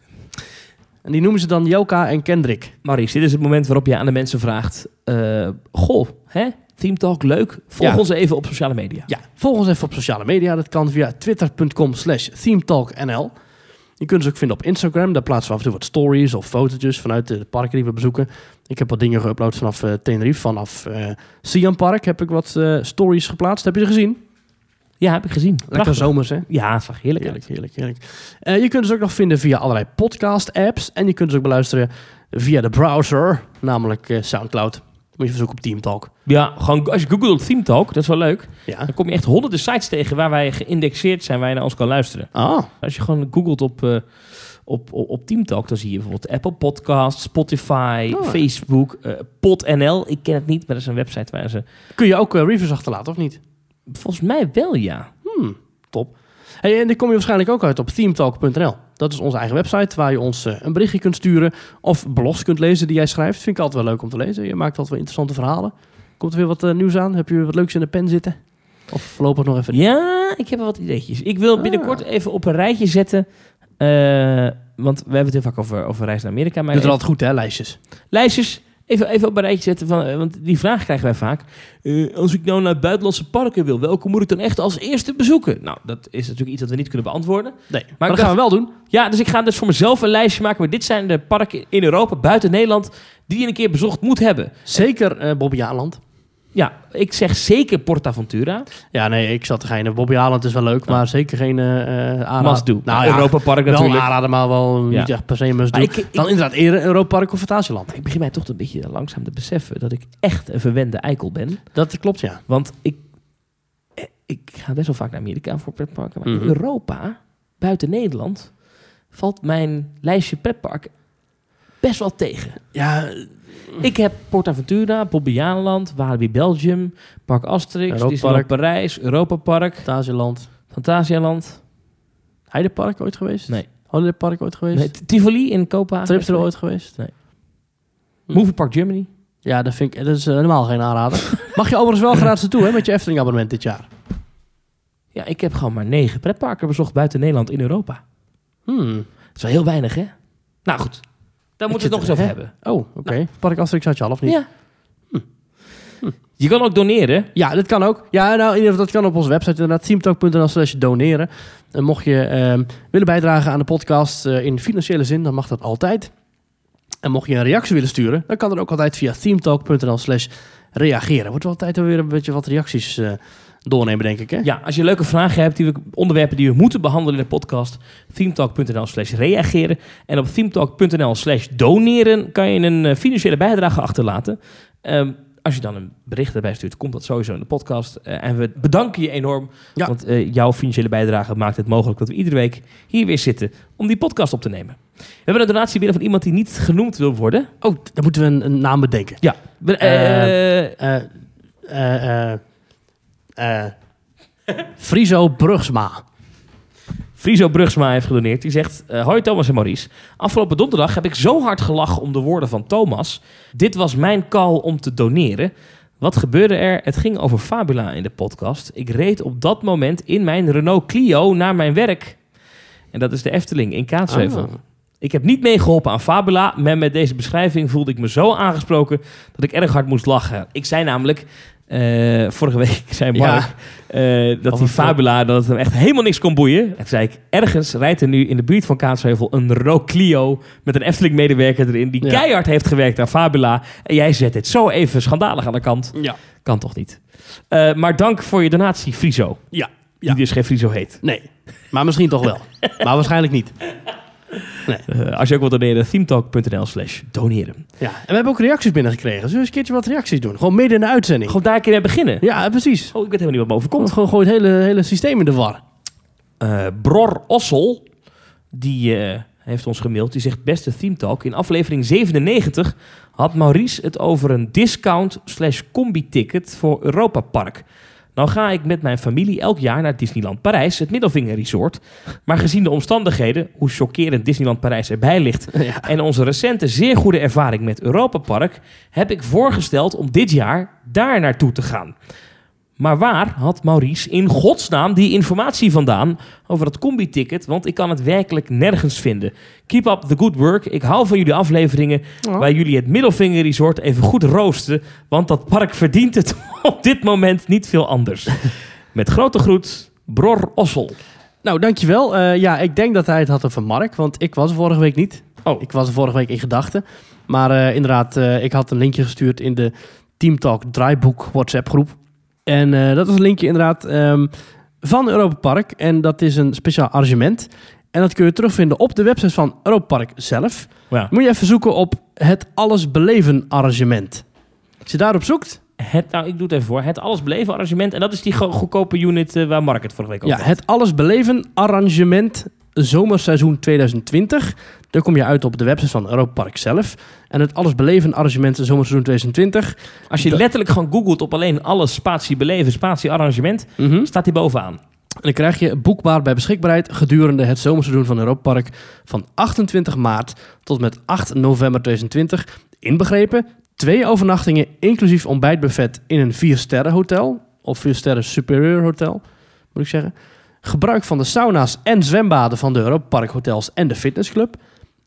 Speaker 2: En die noemen ze dan Joka en Kendrick.
Speaker 1: Maurice, dit is het moment waarop je aan de mensen vraagt... eh, goh, hè? Team Talk, leuk. Volg
Speaker 2: Ja.
Speaker 1: ons even op sociale media.
Speaker 2: Ja, volg ons even op sociale media. Dat kan via twitter.com slash themetalknl. Je kunt ons ook vinden op Instagram. Daar plaatsen we af en toe wat stories of fotootjes vanuit de parken die we bezoeken. Ik heb wat dingen geüpload vanaf eh, Tenerife, vanaf eh Siam Park heb ik wat eh, stories geplaatst. Heb je ze gezien?
Speaker 1: Ja, heb ik gezien.
Speaker 2: Lekker
Speaker 1: Prachtig.
Speaker 2: zomers, hè?
Speaker 1: Ja, het zag heerlijk uit.
Speaker 2: Heerlijk, heerlijk, heerlijk. Eh, je kunt ons ook nog vinden via allerlei podcast-apps. En je kunt ons ook beluisteren via de browser, namelijk eh, Soundcloud. moet je verzoeken op Team Talk.
Speaker 1: Ja, gewoon als je googelt Theme Talk, dat is wel leuk.
Speaker 2: Ja.
Speaker 1: Dan kom je echt honderden sites tegen waar wij geïndexeerd zijn, waar je naar ons kan luisteren.
Speaker 2: Ah,
Speaker 1: Als je gewoon googelt op, eh op, op, op Team Talk, dan zie je bijvoorbeeld Apple Podcasts, Spotify,
Speaker 2: Oh.
Speaker 1: Facebook, eh, PodNL. Ik ken het niet, maar dat is een website waar ze...
Speaker 2: kun je ook eh, reviews achterlaten, of niet?
Speaker 1: Volgens mij wel, ja.
Speaker 2: Hmm, top. Hey, en daar kom je waarschijnlijk ook uit op themetalk.nl. Dat is onze eigen website waar je ons eh, een berichtje kunt sturen of blogs kunt lezen die jij schrijft. Vind ik altijd wel leuk om te lezen. Je maakt altijd wel interessante verhalen. Komt er weer wat eh, nieuws aan? Heb je weer wat leuks in de pen zitten? Of voorlopig nog even...
Speaker 1: Ja, ik heb wel wat ideetjes. Ik wil binnenkort even op een rijtje zetten... eh, want we hebben het heel vaak over, over reis naar Amerika. Maar
Speaker 2: Doet er
Speaker 1: even-
Speaker 2: altijd goed, hè, lijstjes.
Speaker 1: lijstjes even, even op een rijtje zetten. Van, eh, want die vraag krijgen wij vaak. Eh, als ik nou naar buitenlandse parken wil, welke moet ik dan echt als eerste bezoeken? Nou, dat is natuurlijk iets dat we niet kunnen beantwoorden.
Speaker 2: Nee, maar,
Speaker 1: ik
Speaker 2: dat gaan we wel doen.
Speaker 1: Ja, dus ik ga dus voor mezelf een lijstje maken. Maar dit zijn de parken in Europa, buiten Nederland, die je een keer bezocht moet hebben.
Speaker 2: Zeker eh Bobby Aland.
Speaker 1: Ja, ik zeg zeker Portaventura.
Speaker 2: Ja, nee, ik zat te geinen. Bobby Aland is wel leuk, maar zeker geen eh eh, aanrader.
Speaker 1: must do.
Speaker 2: Nou ja,
Speaker 1: Europa Park
Speaker 2: wel een
Speaker 1: natuurlijk.
Speaker 2: aanrader, maar wel
Speaker 1: Ja.
Speaker 2: niet echt per se een must do.
Speaker 1: Maar ik- ik-
Speaker 2: Dan inderdaad eerder Europa Park of Fantasieland.
Speaker 1: ik begin mij toch een beetje langzaam te beseffen dat ik echt een verwende eikel ben.
Speaker 2: Dat klopt, ja.
Speaker 1: Want ik, eh, ik ga best wel vaak naar Amerika voor pretparken. Maar
Speaker 2: Mhm.
Speaker 1: in Europa, buiten Nederland, valt mijn lijstje pretparken best wel tegen.
Speaker 2: Ja, Mhm.
Speaker 1: Ik heb PortAventura, Bobbejaanland, Walibi Belgium, Park Asterix,
Speaker 2: Europa
Speaker 1: Disneyland Parijs, Europa Park,
Speaker 2: Fantasieland.
Speaker 1: Fantasialand,
Speaker 2: Heidepark ooit geweest?
Speaker 1: Nee.
Speaker 2: Holidaypark ooit geweest?
Speaker 1: nee, T- Tivoli in Kopenhagen.
Speaker 2: Tripsel ooit geweest?
Speaker 1: Movie Park Germany.
Speaker 2: Ja, dat, vind ik, dat is eh, helemaal geen aanrader. Mag je overigens wel gratis naartoe hè, met je Efteling abonnement dit jaar.
Speaker 1: Ja, ik heb gewoon maar negen pretparken bezocht buiten Nederland in Europa.
Speaker 2: Hmm.
Speaker 1: Dat is wel heel weinig, hè? Nou goed, daar moeten we het nog eens
Speaker 2: zit
Speaker 1: over
Speaker 2: er,
Speaker 1: hebben.
Speaker 2: Oh, oké. Park Asterix had je al of niet?
Speaker 1: Ja. Hm. Je kan ook doneren.
Speaker 2: Ja, dat kan ook. Ja, nou, in ieder geval, dat kan op onze website inderdaad. teamtalk.nl slash doneren. En mocht je ehm, willen bijdragen aan de podcast eh, in financiële zin, dan mag dat altijd. En mocht je een reactie willen sturen, dan kan dat ook altijd via teamtalk.nl slash reageren. Wordt wel altijd weer een beetje wat reacties eh, doornemen, denk ik, hè?
Speaker 1: Ja, als je leuke vragen hebt, die we, onderwerpen die we moeten behandelen in de podcast, themetalk.nl slash reageren. En op themetalk.nl slash doneren kan je een eh, financiële bijdrage achterlaten. Ehm, als je dan een bericht erbij stuurt, komt dat sowieso in de podcast. Eh, en we bedanken je enorm,
Speaker 2: Ja.
Speaker 1: want eh, jouw financiële bijdrage maakt het mogelijk dat we iedere week hier weer zitten om die podcast op te nemen. We hebben een donatie binnen van iemand die niet genoemd wil worden.
Speaker 2: Oh, dan moeten we een, een naam bedenken.
Speaker 1: Ja.
Speaker 2: Eh, Eh eh eh eh, Friso Brugsma.
Speaker 1: Friso Brugsma heeft gedoneerd. Die zegt: eh, Hoi Thomas en Maurice. Afgelopen donderdag heb ik zo hard gelachen om de woorden van Thomas. Dit was mijn call om te doneren. Wat gebeurde er? Het ging over Fabula in de podcast. Ik reed op dat moment in mijn Renault Clio naar mijn werk. En dat is de Efteling in Kaatsheuvel.
Speaker 2: Ah.
Speaker 1: Ik heb niet meegeholpen aan Fabula, maar met deze beschrijving voelde ik me zo aangesproken dat ik erg hard moest lachen. Ik zei namelijk, eh, vorige week zei Mark eh, dat
Speaker 2: Of
Speaker 1: die
Speaker 2: een film.
Speaker 1: Fabula dat het hem echt helemaal niks kon boeien. En zei ik, ergens rijdt er nu in de buurt van Kaatsheuvel een Renault Clio met een Efteling-medewerker erin die
Speaker 2: Ja.
Speaker 1: keihard heeft gewerkt aan Fabula. En jij zet dit zo even schandalig aan de kant.
Speaker 2: Ja.
Speaker 1: Kan toch niet? Eh, maar dank voor je donatie, Friso.
Speaker 2: Ja.
Speaker 1: Die dus geen Friso heet.
Speaker 2: Nee. Maar misschien toch wel. maar waarschijnlijk niet.
Speaker 1: Eh, als je ook wilt doneren, themetalk.nl slash doneren.
Speaker 2: Ja, en we hebben ook reacties binnengekregen. Zullen we eens een keertje wat reacties doen? Gewoon midden in de uitzending.
Speaker 1: Gewoon daar een keer mee beginnen.
Speaker 2: Ja, eh, precies.
Speaker 1: Oh, ik weet helemaal niet wat me overkomt.
Speaker 2: Komt gewoon, gewoon het hele, hele systeem in de war.
Speaker 1: Eh, Bror Ossel, die eh, heeft ons gemaild. Die zegt, beste Theme Talk, in aflevering 97 had Maurice het over een discount slash combi-ticket voor Europa Park. Nou ga ik met mijn familie elk jaar naar Disneyland Parijs, het Middelvinger Resort. Maar gezien de omstandigheden, hoe chockerend Disneyland Parijs erbij ligt...
Speaker 2: Ja.
Speaker 1: en onze recente zeer goede ervaring met Europa Park... heb ik voorgesteld om dit jaar daar naartoe te gaan. Maar waar had Maurice in godsnaam die informatie vandaan over dat combi-ticket? Want ik kan het werkelijk nergens vinden. Keep up the good work. Ik hou van jullie afleveringen
Speaker 2: Oh.
Speaker 1: waar jullie het Middelvinger Resort even goed roosten. Want dat park verdient het op dit moment niet veel anders. Met grote groet, Bror Ossel.
Speaker 2: Nou, dankjewel. Eh, ja, ik denk dat hij het had over Mark, want ik was er vorige week niet.
Speaker 1: Oh.
Speaker 2: Ik was er vorige week in gedachten. Maar eh, inderdaad, eh, ik had een linkje gestuurd in de Team Talk draaiboek WhatsApp groep. En eh, dat is een linkje inderdaad ehm, van Europa Park. En dat is een speciaal arrangement. En dat kun je terugvinden op de website van Europa Park zelf.
Speaker 1: Ja.
Speaker 2: Moet je even zoeken op het alles beleven arrangement. Als je daarop zoekt,
Speaker 1: Het, nou, ik doe het even voor. Het alles beleven arrangement. En dat is die go- goedkope unit eh, waar Mark het vorige week over
Speaker 2: ja,
Speaker 1: had.
Speaker 2: het Alles Beleven Arrangement Zomerseizoen 2020. Daar kom je uit op de website van Europa Park zelf. En het Alles Beleven Arrangement Zomerseizoen 2020.
Speaker 1: Als je
Speaker 2: dat-
Speaker 1: letterlijk gewoon googelt op alleen alles spatie beleven, spatie arrangement,
Speaker 2: Mhm.
Speaker 1: staat die bovenaan.
Speaker 2: En dan krijg je boekbaar bij beschikbaarheid gedurende het zomerseizoen van Europa Park van 28 maart tot met 8 november 2020. Inbegrepen twee overnachtingen inclusief ontbijtbuffet in een 4-sterren hotel of 4-sterren superieur hotel, moet ik zeggen. Gebruik van de sauna's en zwembaden van de Europa Park hotels en de fitnessclub.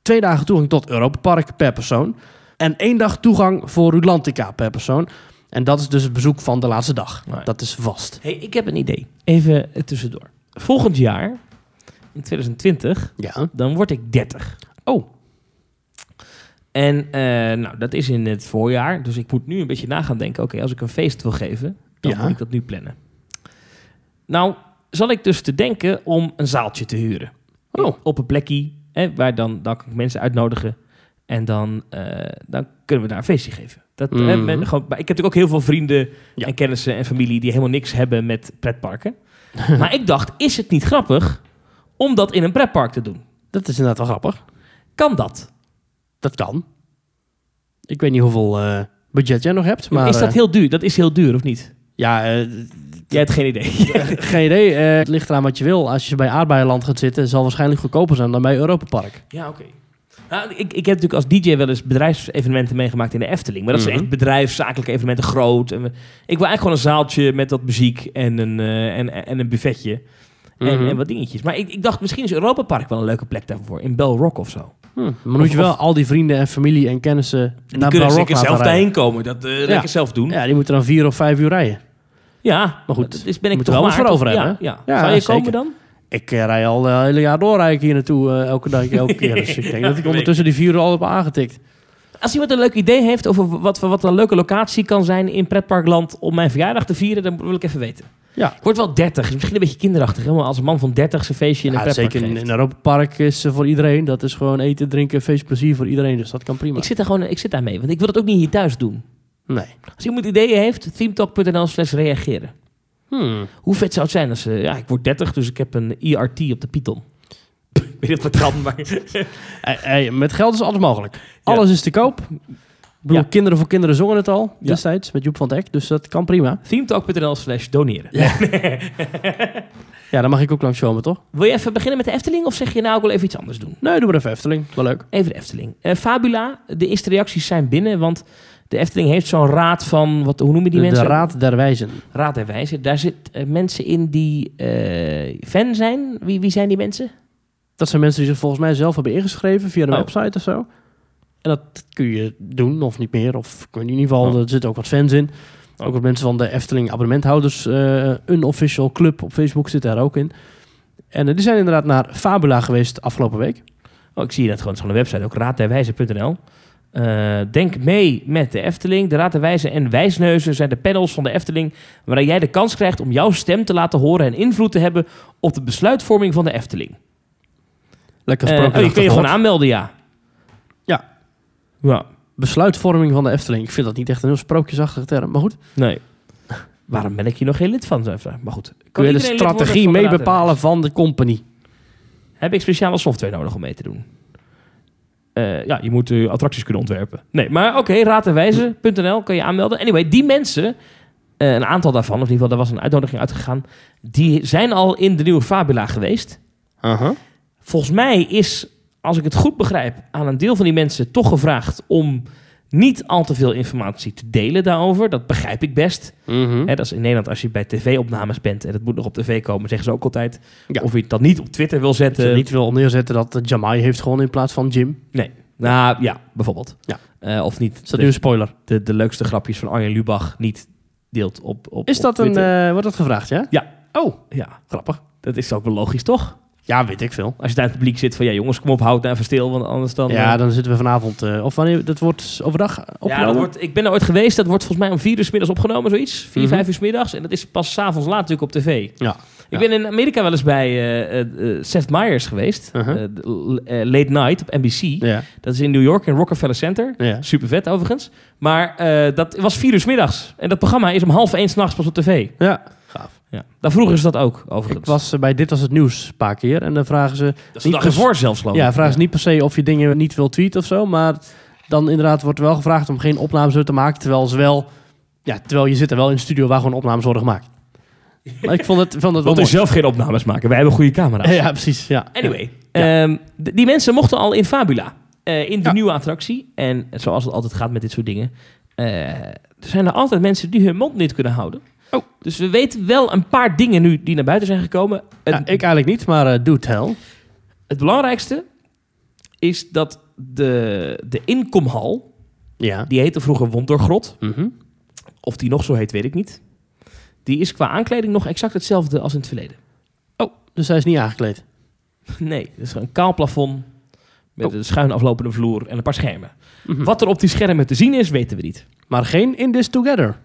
Speaker 2: Twee dagen toegang tot Europa Park per persoon. En één dag toegang voor Rulantica per persoon. En dat is dus het bezoek van de laatste dag.
Speaker 1: Nee.
Speaker 2: Dat is vast.
Speaker 1: Hey, ik heb een idee. Even eh, tussendoor. Volgend jaar, in 2020,
Speaker 2: Ja.
Speaker 1: dan word ik 30.
Speaker 2: Oh.
Speaker 1: En eh, nou, dat is in het voorjaar. Dus ik moet nu een beetje na gaan denken. Oké, als ik een feest wil geven, dan
Speaker 2: Ja.
Speaker 1: moet ik dat nu plannen. Nou, zal ik dus te denken om een zaaltje te huren.
Speaker 2: Oh.
Speaker 1: Op een plekje hè, waar dan, dan kan ik mensen uitnodigen. En dan, eh, dan kunnen we daar een feestje geven. Dat, hè,
Speaker 2: Mhm.
Speaker 1: men- gewoon, maar ik heb natuurlijk ook heel veel vrienden
Speaker 2: Ja.
Speaker 1: en kennissen en familie... die helemaal niks hebben met pretparken. maar ik dacht, is het niet grappig om dat in een pretpark te doen?
Speaker 2: Dat is inderdaad wel grappig.
Speaker 1: Kan dat?
Speaker 2: Dat kan. Ik weet niet hoeveel eh, budget jij nog hebt, maar...
Speaker 1: is dat
Speaker 2: eh,
Speaker 1: heel duur? Dat is heel duur, of niet?
Speaker 2: ja, eh,
Speaker 1: Jij hebt geen idee.
Speaker 2: geen idee. Eh, het ligt eraan wat je wil. Als je bij aardbeienland gaat zitten, zal waarschijnlijk goedkoper zijn dan bij Europa Park.
Speaker 1: Ja, oké. Nou, ik, ik heb natuurlijk als DJ wel eens bedrijfsevenementen meegemaakt in de Efteling. Maar dat
Speaker 2: Mhm.
Speaker 1: zijn echt bedrijfszakelijke evenementen, groot. En we- ik wil eigenlijk gewoon een zaaltje met wat muziek en een, eh, en, en een buffetje.
Speaker 2: Mhm.
Speaker 1: En, en wat dingetjes. Maar ik, ik dacht, misschien is Europa Park wel een leuke plek daarvoor. In Bell Rock of
Speaker 2: Nou,
Speaker 1: zo.
Speaker 2: Hm, Maar moet je
Speaker 1: Of-
Speaker 2: wel al die vrienden en familie en kennissen
Speaker 1: En die
Speaker 2: naar
Speaker 1: kunnen
Speaker 2: Barok
Speaker 1: zeker
Speaker 2: laten
Speaker 1: zelf
Speaker 2: rijden.
Speaker 1: daarheen komen. Dat eh lekker zelf doen. Ja,
Speaker 2: Ja, die moeten dan vier of vijf uur rijden. Maar goed,
Speaker 1: dat is, ben ik
Speaker 2: moet
Speaker 1: toch
Speaker 2: er wel wat
Speaker 1: waard,
Speaker 2: voor
Speaker 1: of-
Speaker 2: over
Speaker 1: ja,
Speaker 2: hebben,
Speaker 1: Ja,
Speaker 2: Ja,
Speaker 1: Zou je
Speaker 2: zeker.
Speaker 1: komen dan?
Speaker 2: Ik eh, rij al eh, het hele jaar door rij ik hier naartoe, eh, elke dag, elke keer. Dus ik denk dat ik ondertussen die vier uur al heb aangetikt.
Speaker 1: Als iemand een leuk idee heeft over wat, wat een leuke locatie kan zijn in pretparkland om mijn verjaardag te vieren, dan wil ik even weten.
Speaker 2: Ja.
Speaker 1: Ik word wel 30, is misschien een beetje kinderachtig, helemaal als een man van 30 zijn feestje in een
Speaker 2: Ja,
Speaker 1: pretpark
Speaker 2: zeker in,
Speaker 1: geeft.
Speaker 2: in Europa Park is eh, voor iedereen. Dat is gewoon eten, drinken, feest, plezier voor iedereen. Dus dat kan prima.
Speaker 1: Ik zit daar gewoon, ik zit daar mee, want ik wil dat ook niet hier thuis doen.
Speaker 2: Nee.
Speaker 1: Als iemand ideeën heeft, themetalk.nl slash reageren.
Speaker 2: Hmm.
Speaker 1: Hoe vet zou het zijn als, eh, ja, ik word 30, dus ik heb een IRT op de Python. ik weet niet of dat kan, maar...
Speaker 2: Hey, hey, met geld is alles mogelijk. Alles is te koop. Ik bedoel,
Speaker 1: Ja.
Speaker 2: kinderen voor kinderen zongen het al
Speaker 1: Ja.
Speaker 2: destijds met Joep van Dijk. Dus dat kan prima.
Speaker 1: themetalk.nl slash doneren.
Speaker 2: Ja, dan mag ik ook langs komen, toch?
Speaker 1: Wil je even beginnen met de Efteling of zeg je nou, ik wil even iets anders doen?
Speaker 2: Nee, doe maar even Efteling. Wel leuk.
Speaker 1: Even de Efteling. Eh, Fabula, de eerste reacties zijn binnen, want de Efteling heeft zo'n raad van, wat, hoe noemen die
Speaker 2: de
Speaker 1: mensen?
Speaker 2: Raad der Wijzen.
Speaker 1: Raad der Wijzen. Daar zitten mensen in die eh, fan zijn. Wie, wie zijn die mensen?
Speaker 2: Dat zijn mensen die zich volgens mij zelf hebben ingeschreven via de
Speaker 1: Oh.
Speaker 2: website of zo. En dat kun je doen of niet meer. Of kun je in ieder geval,
Speaker 1: Oh.
Speaker 2: er zitten ook wat fans in. Ook wat mensen van de Efteling abonnementhouders. eh unofficial club op Facebook zit daar ook in. En eh, die zijn inderdaad naar Fabula geweest afgelopen week.
Speaker 1: Oh, ik zie dat gewoon. Het is gewoon een website, ook raadderwijzen.nl. Eh, denk mee met de Efteling. De Raad der Wijzen en Wijsneuzen zijn de panels van de Efteling... waarin jij de kans krijgt om jouw stem te laten horen... en invloed te hebben op de besluitvorming van de Efteling.
Speaker 2: Lekker
Speaker 1: Eh,
Speaker 2: gesproken.
Speaker 1: oh, je kun je
Speaker 2: achtergrond.
Speaker 1: gewoon aanmelden, ja.
Speaker 2: Ja.
Speaker 1: Ja,
Speaker 2: Besluitvorming van de Efteling. Ik vind dat niet echt een heel sprookjesachtige term. Maar goed,
Speaker 1: nee. Waarom ben ik hier nog geen lid van? zou ik vragen. Maar goed.
Speaker 2: kun je de
Speaker 1: iedereen lid worden
Speaker 2: strategie
Speaker 1: van de
Speaker 2: mee
Speaker 1: Raad der
Speaker 2: bepalen van de company.
Speaker 1: Heb ik speciale software nodig om mee te doen? Eh, ja, je moet eh, attracties kunnen ontwerpen. Nee, maar oké, raaderwijzen.nl kan je aanmelden. Anyway, die mensen, eh, een aantal daarvan, of in ieder geval, daar was een uitnodiging uitgegaan, die zijn al in de nieuwe Fabula geweest. Volgens mij is, als ik het goed begrijp, aan een deel van die mensen toch gevraagd om niet al te veel informatie te delen daarover. Dat begrijp ik best.
Speaker 2: Mhm. Hm?
Speaker 1: Hè, dat is in Nederland als je bij tv-opnames bent en het moet nog op tv komen, zeggen ze ook altijd.
Speaker 2: Ja.
Speaker 1: Of je dat niet op Twitter wil
Speaker 2: Dat je
Speaker 1: zetten.
Speaker 2: niet wil neerzetten dat eh, Jamai heeft gewonnen in plaats van Jim.
Speaker 1: Nee. Nou ja, bijvoorbeeld.
Speaker 2: Ja.
Speaker 1: Eh, of
Speaker 2: Is
Speaker 1: niet
Speaker 2: dat nu
Speaker 1: de,
Speaker 2: een spoiler?
Speaker 1: de, de leukste grapjes van Arjen Lubach niet deelt op, op
Speaker 2: Is
Speaker 1: op
Speaker 2: dat een,
Speaker 1: Twitter.
Speaker 2: eh, wordt dat gevraagd, ja?
Speaker 1: Ja.
Speaker 2: Oh,
Speaker 1: Ja,
Speaker 2: grappig.
Speaker 1: dat is ook wel logisch, toch?
Speaker 2: Ja, weet ik veel.
Speaker 1: Als je daar in het publiek zit van... Ja, jongens, kom op, houd nou even stil, want anders dan... eh,
Speaker 2: Ja, dan zitten we vanavond. eh, of wanneer? Dat wordt overdag opgenomen?
Speaker 1: ja, dat wordt, ik ben er ooit geweest. Dat wordt volgens mij om vier uur 's middags opgenomen, zoiets. Vier,
Speaker 2: Mhm.
Speaker 1: vijf uur 's middags. En dat is pas s'avonds laat natuurlijk op tv.
Speaker 2: Ja.
Speaker 1: Ik ben in Amerika wel eens bij eh, eh, eh, Seth Meyers geweest.
Speaker 2: Uh-huh.
Speaker 1: Eh, de- l- eh, late Night op NBC.
Speaker 2: Ja.
Speaker 1: Dat is in New York, in Rockefeller Center.
Speaker 2: Ja.
Speaker 1: Super vet overigens. Maar eh, dat was vier uur 's middags. En dat programma is om half één s'nachts pas op tv.
Speaker 2: ja. Gaaf.
Speaker 1: Ja. Daar vroegen ze dat ook
Speaker 2: Ik
Speaker 1: overigens.
Speaker 2: was eh, bij Dit Was Het Nieuws een paar keer. En dan vragen ze...
Speaker 1: dat is de
Speaker 2: niet
Speaker 1: dag
Speaker 2: pers-
Speaker 1: ervoor zelfs geloof ik.
Speaker 2: Ja, vragen ze niet per se of je dingen niet wil tweeten of zo. Maar dan inderdaad wordt wel gevraagd om geen opnames zo te maken. Terwijl ze wel... Ja, terwijl je zit er wel in een studio waar gewoon opnames worden gemaakt. Maar ik vond het, vond het wel
Speaker 1: Want we
Speaker 2: mooi.
Speaker 1: zelf geen opnames maken. Wij hebben goede camera's.
Speaker 2: Ja, precies. Ja.
Speaker 1: Anyway, ehm, d- die mensen mochten al in Fabula. eh, in de
Speaker 2: Ja.
Speaker 1: nieuwe attractie. En zoals het altijd gaat met dit soort dingen. eh, er zijn er altijd mensen die hun mond niet kunnen houden.
Speaker 2: Oh.
Speaker 1: Dus we weten wel een paar dingen nu die naar buiten zijn gekomen.
Speaker 2: Ja,
Speaker 1: Het-
Speaker 2: ik eigenlijk niet, maar eh do tell.
Speaker 1: Het belangrijkste is dat de, de inkomhal,
Speaker 2: Ja.
Speaker 1: die heette vroeger Wondergrot,
Speaker 2: Mhm.
Speaker 1: of die nog zo heet, weet ik niet. Die is qua aankleding nog exact hetzelfde als in het verleden.
Speaker 2: Dus hij is niet aangekleed.
Speaker 1: Nee, het is een kaal plafond met
Speaker 2: Oh.
Speaker 1: een schuin aflopende vloer en een paar schermen.
Speaker 2: Mhm.
Speaker 1: Wat er op die schermen te zien is, weten we niet.
Speaker 2: Maar geen In This Together.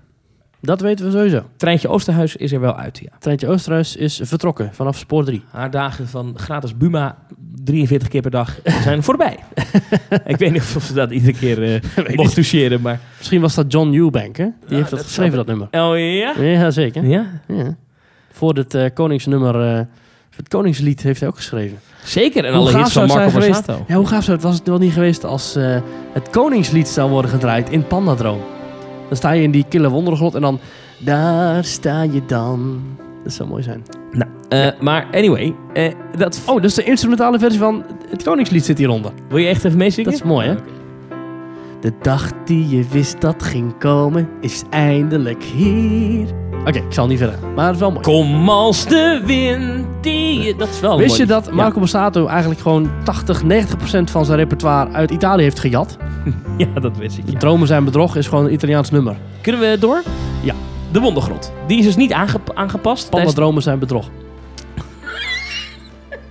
Speaker 2: Dat weten we sowieso.
Speaker 1: Treintje Oosterhuis is er wel uit, ja.
Speaker 2: Treintje Oosterhuis is vertrokken vanaf spoor 3.
Speaker 1: Haar dagen van gratis Buma, 43 keer per dag, zijn voorbij. ik weet niet of ze dat iedere keer eh mocht toucheren, maar...
Speaker 2: Misschien was dat John Eubank, hè? Die
Speaker 1: Ja,
Speaker 2: heeft dat,
Speaker 1: dat
Speaker 2: geschreven,
Speaker 1: zou-
Speaker 2: dat nummer.
Speaker 1: Oh ja?
Speaker 2: Ja, zeker.
Speaker 1: Ja,
Speaker 2: Ja. Voor dit eh, koningsnummer, eh, het koningslied heeft hij ook geschreven.
Speaker 1: zeker. En
Speaker 2: Hoe
Speaker 1: alle
Speaker 2: gaaf
Speaker 1: hits van
Speaker 2: zou het
Speaker 1: Marco
Speaker 2: zijn geweest?
Speaker 1: Borsato.
Speaker 2: Ja, hoe gaaf zou het, was het wel niet geweest als eh, het koningslied zou worden gedraaid in Pandadroom. Dan sta je in die kille wondergrot en dan... Daar sta je dan. Dat zou mooi zijn.
Speaker 1: Nou, eh, maar anyway, eh, dat v-
Speaker 2: Oh, dus de instrumentale versie van het koningslied zit hieronder.
Speaker 1: wil je echt even meezingen?
Speaker 2: Dat is mooi, hè? De dag die je wist dat ging komen, is eindelijk hier. Oké, ik zal niet verder. Maar het is wel mooi.
Speaker 1: Kom als de wind die je... Dat is wel een
Speaker 2: Wist je
Speaker 1: mooi
Speaker 2: dat Marco Borsato eigenlijk gewoon 80, 90 procent van zijn repertoire uit Italië heeft gejat?
Speaker 1: lied. Ja, dat wist ik, ja.
Speaker 2: Dromen zijn bedrog is gewoon een Italiaans nummer.
Speaker 1: Kunnen we door?
Speaker 2: Ja.
Speaker 1: De Wondergrot. Die is dus niet aange- aangepast.
Speaker 2: Alle
Speaker 1: tijdens-
Speaker 2: dromen zijn bedrog.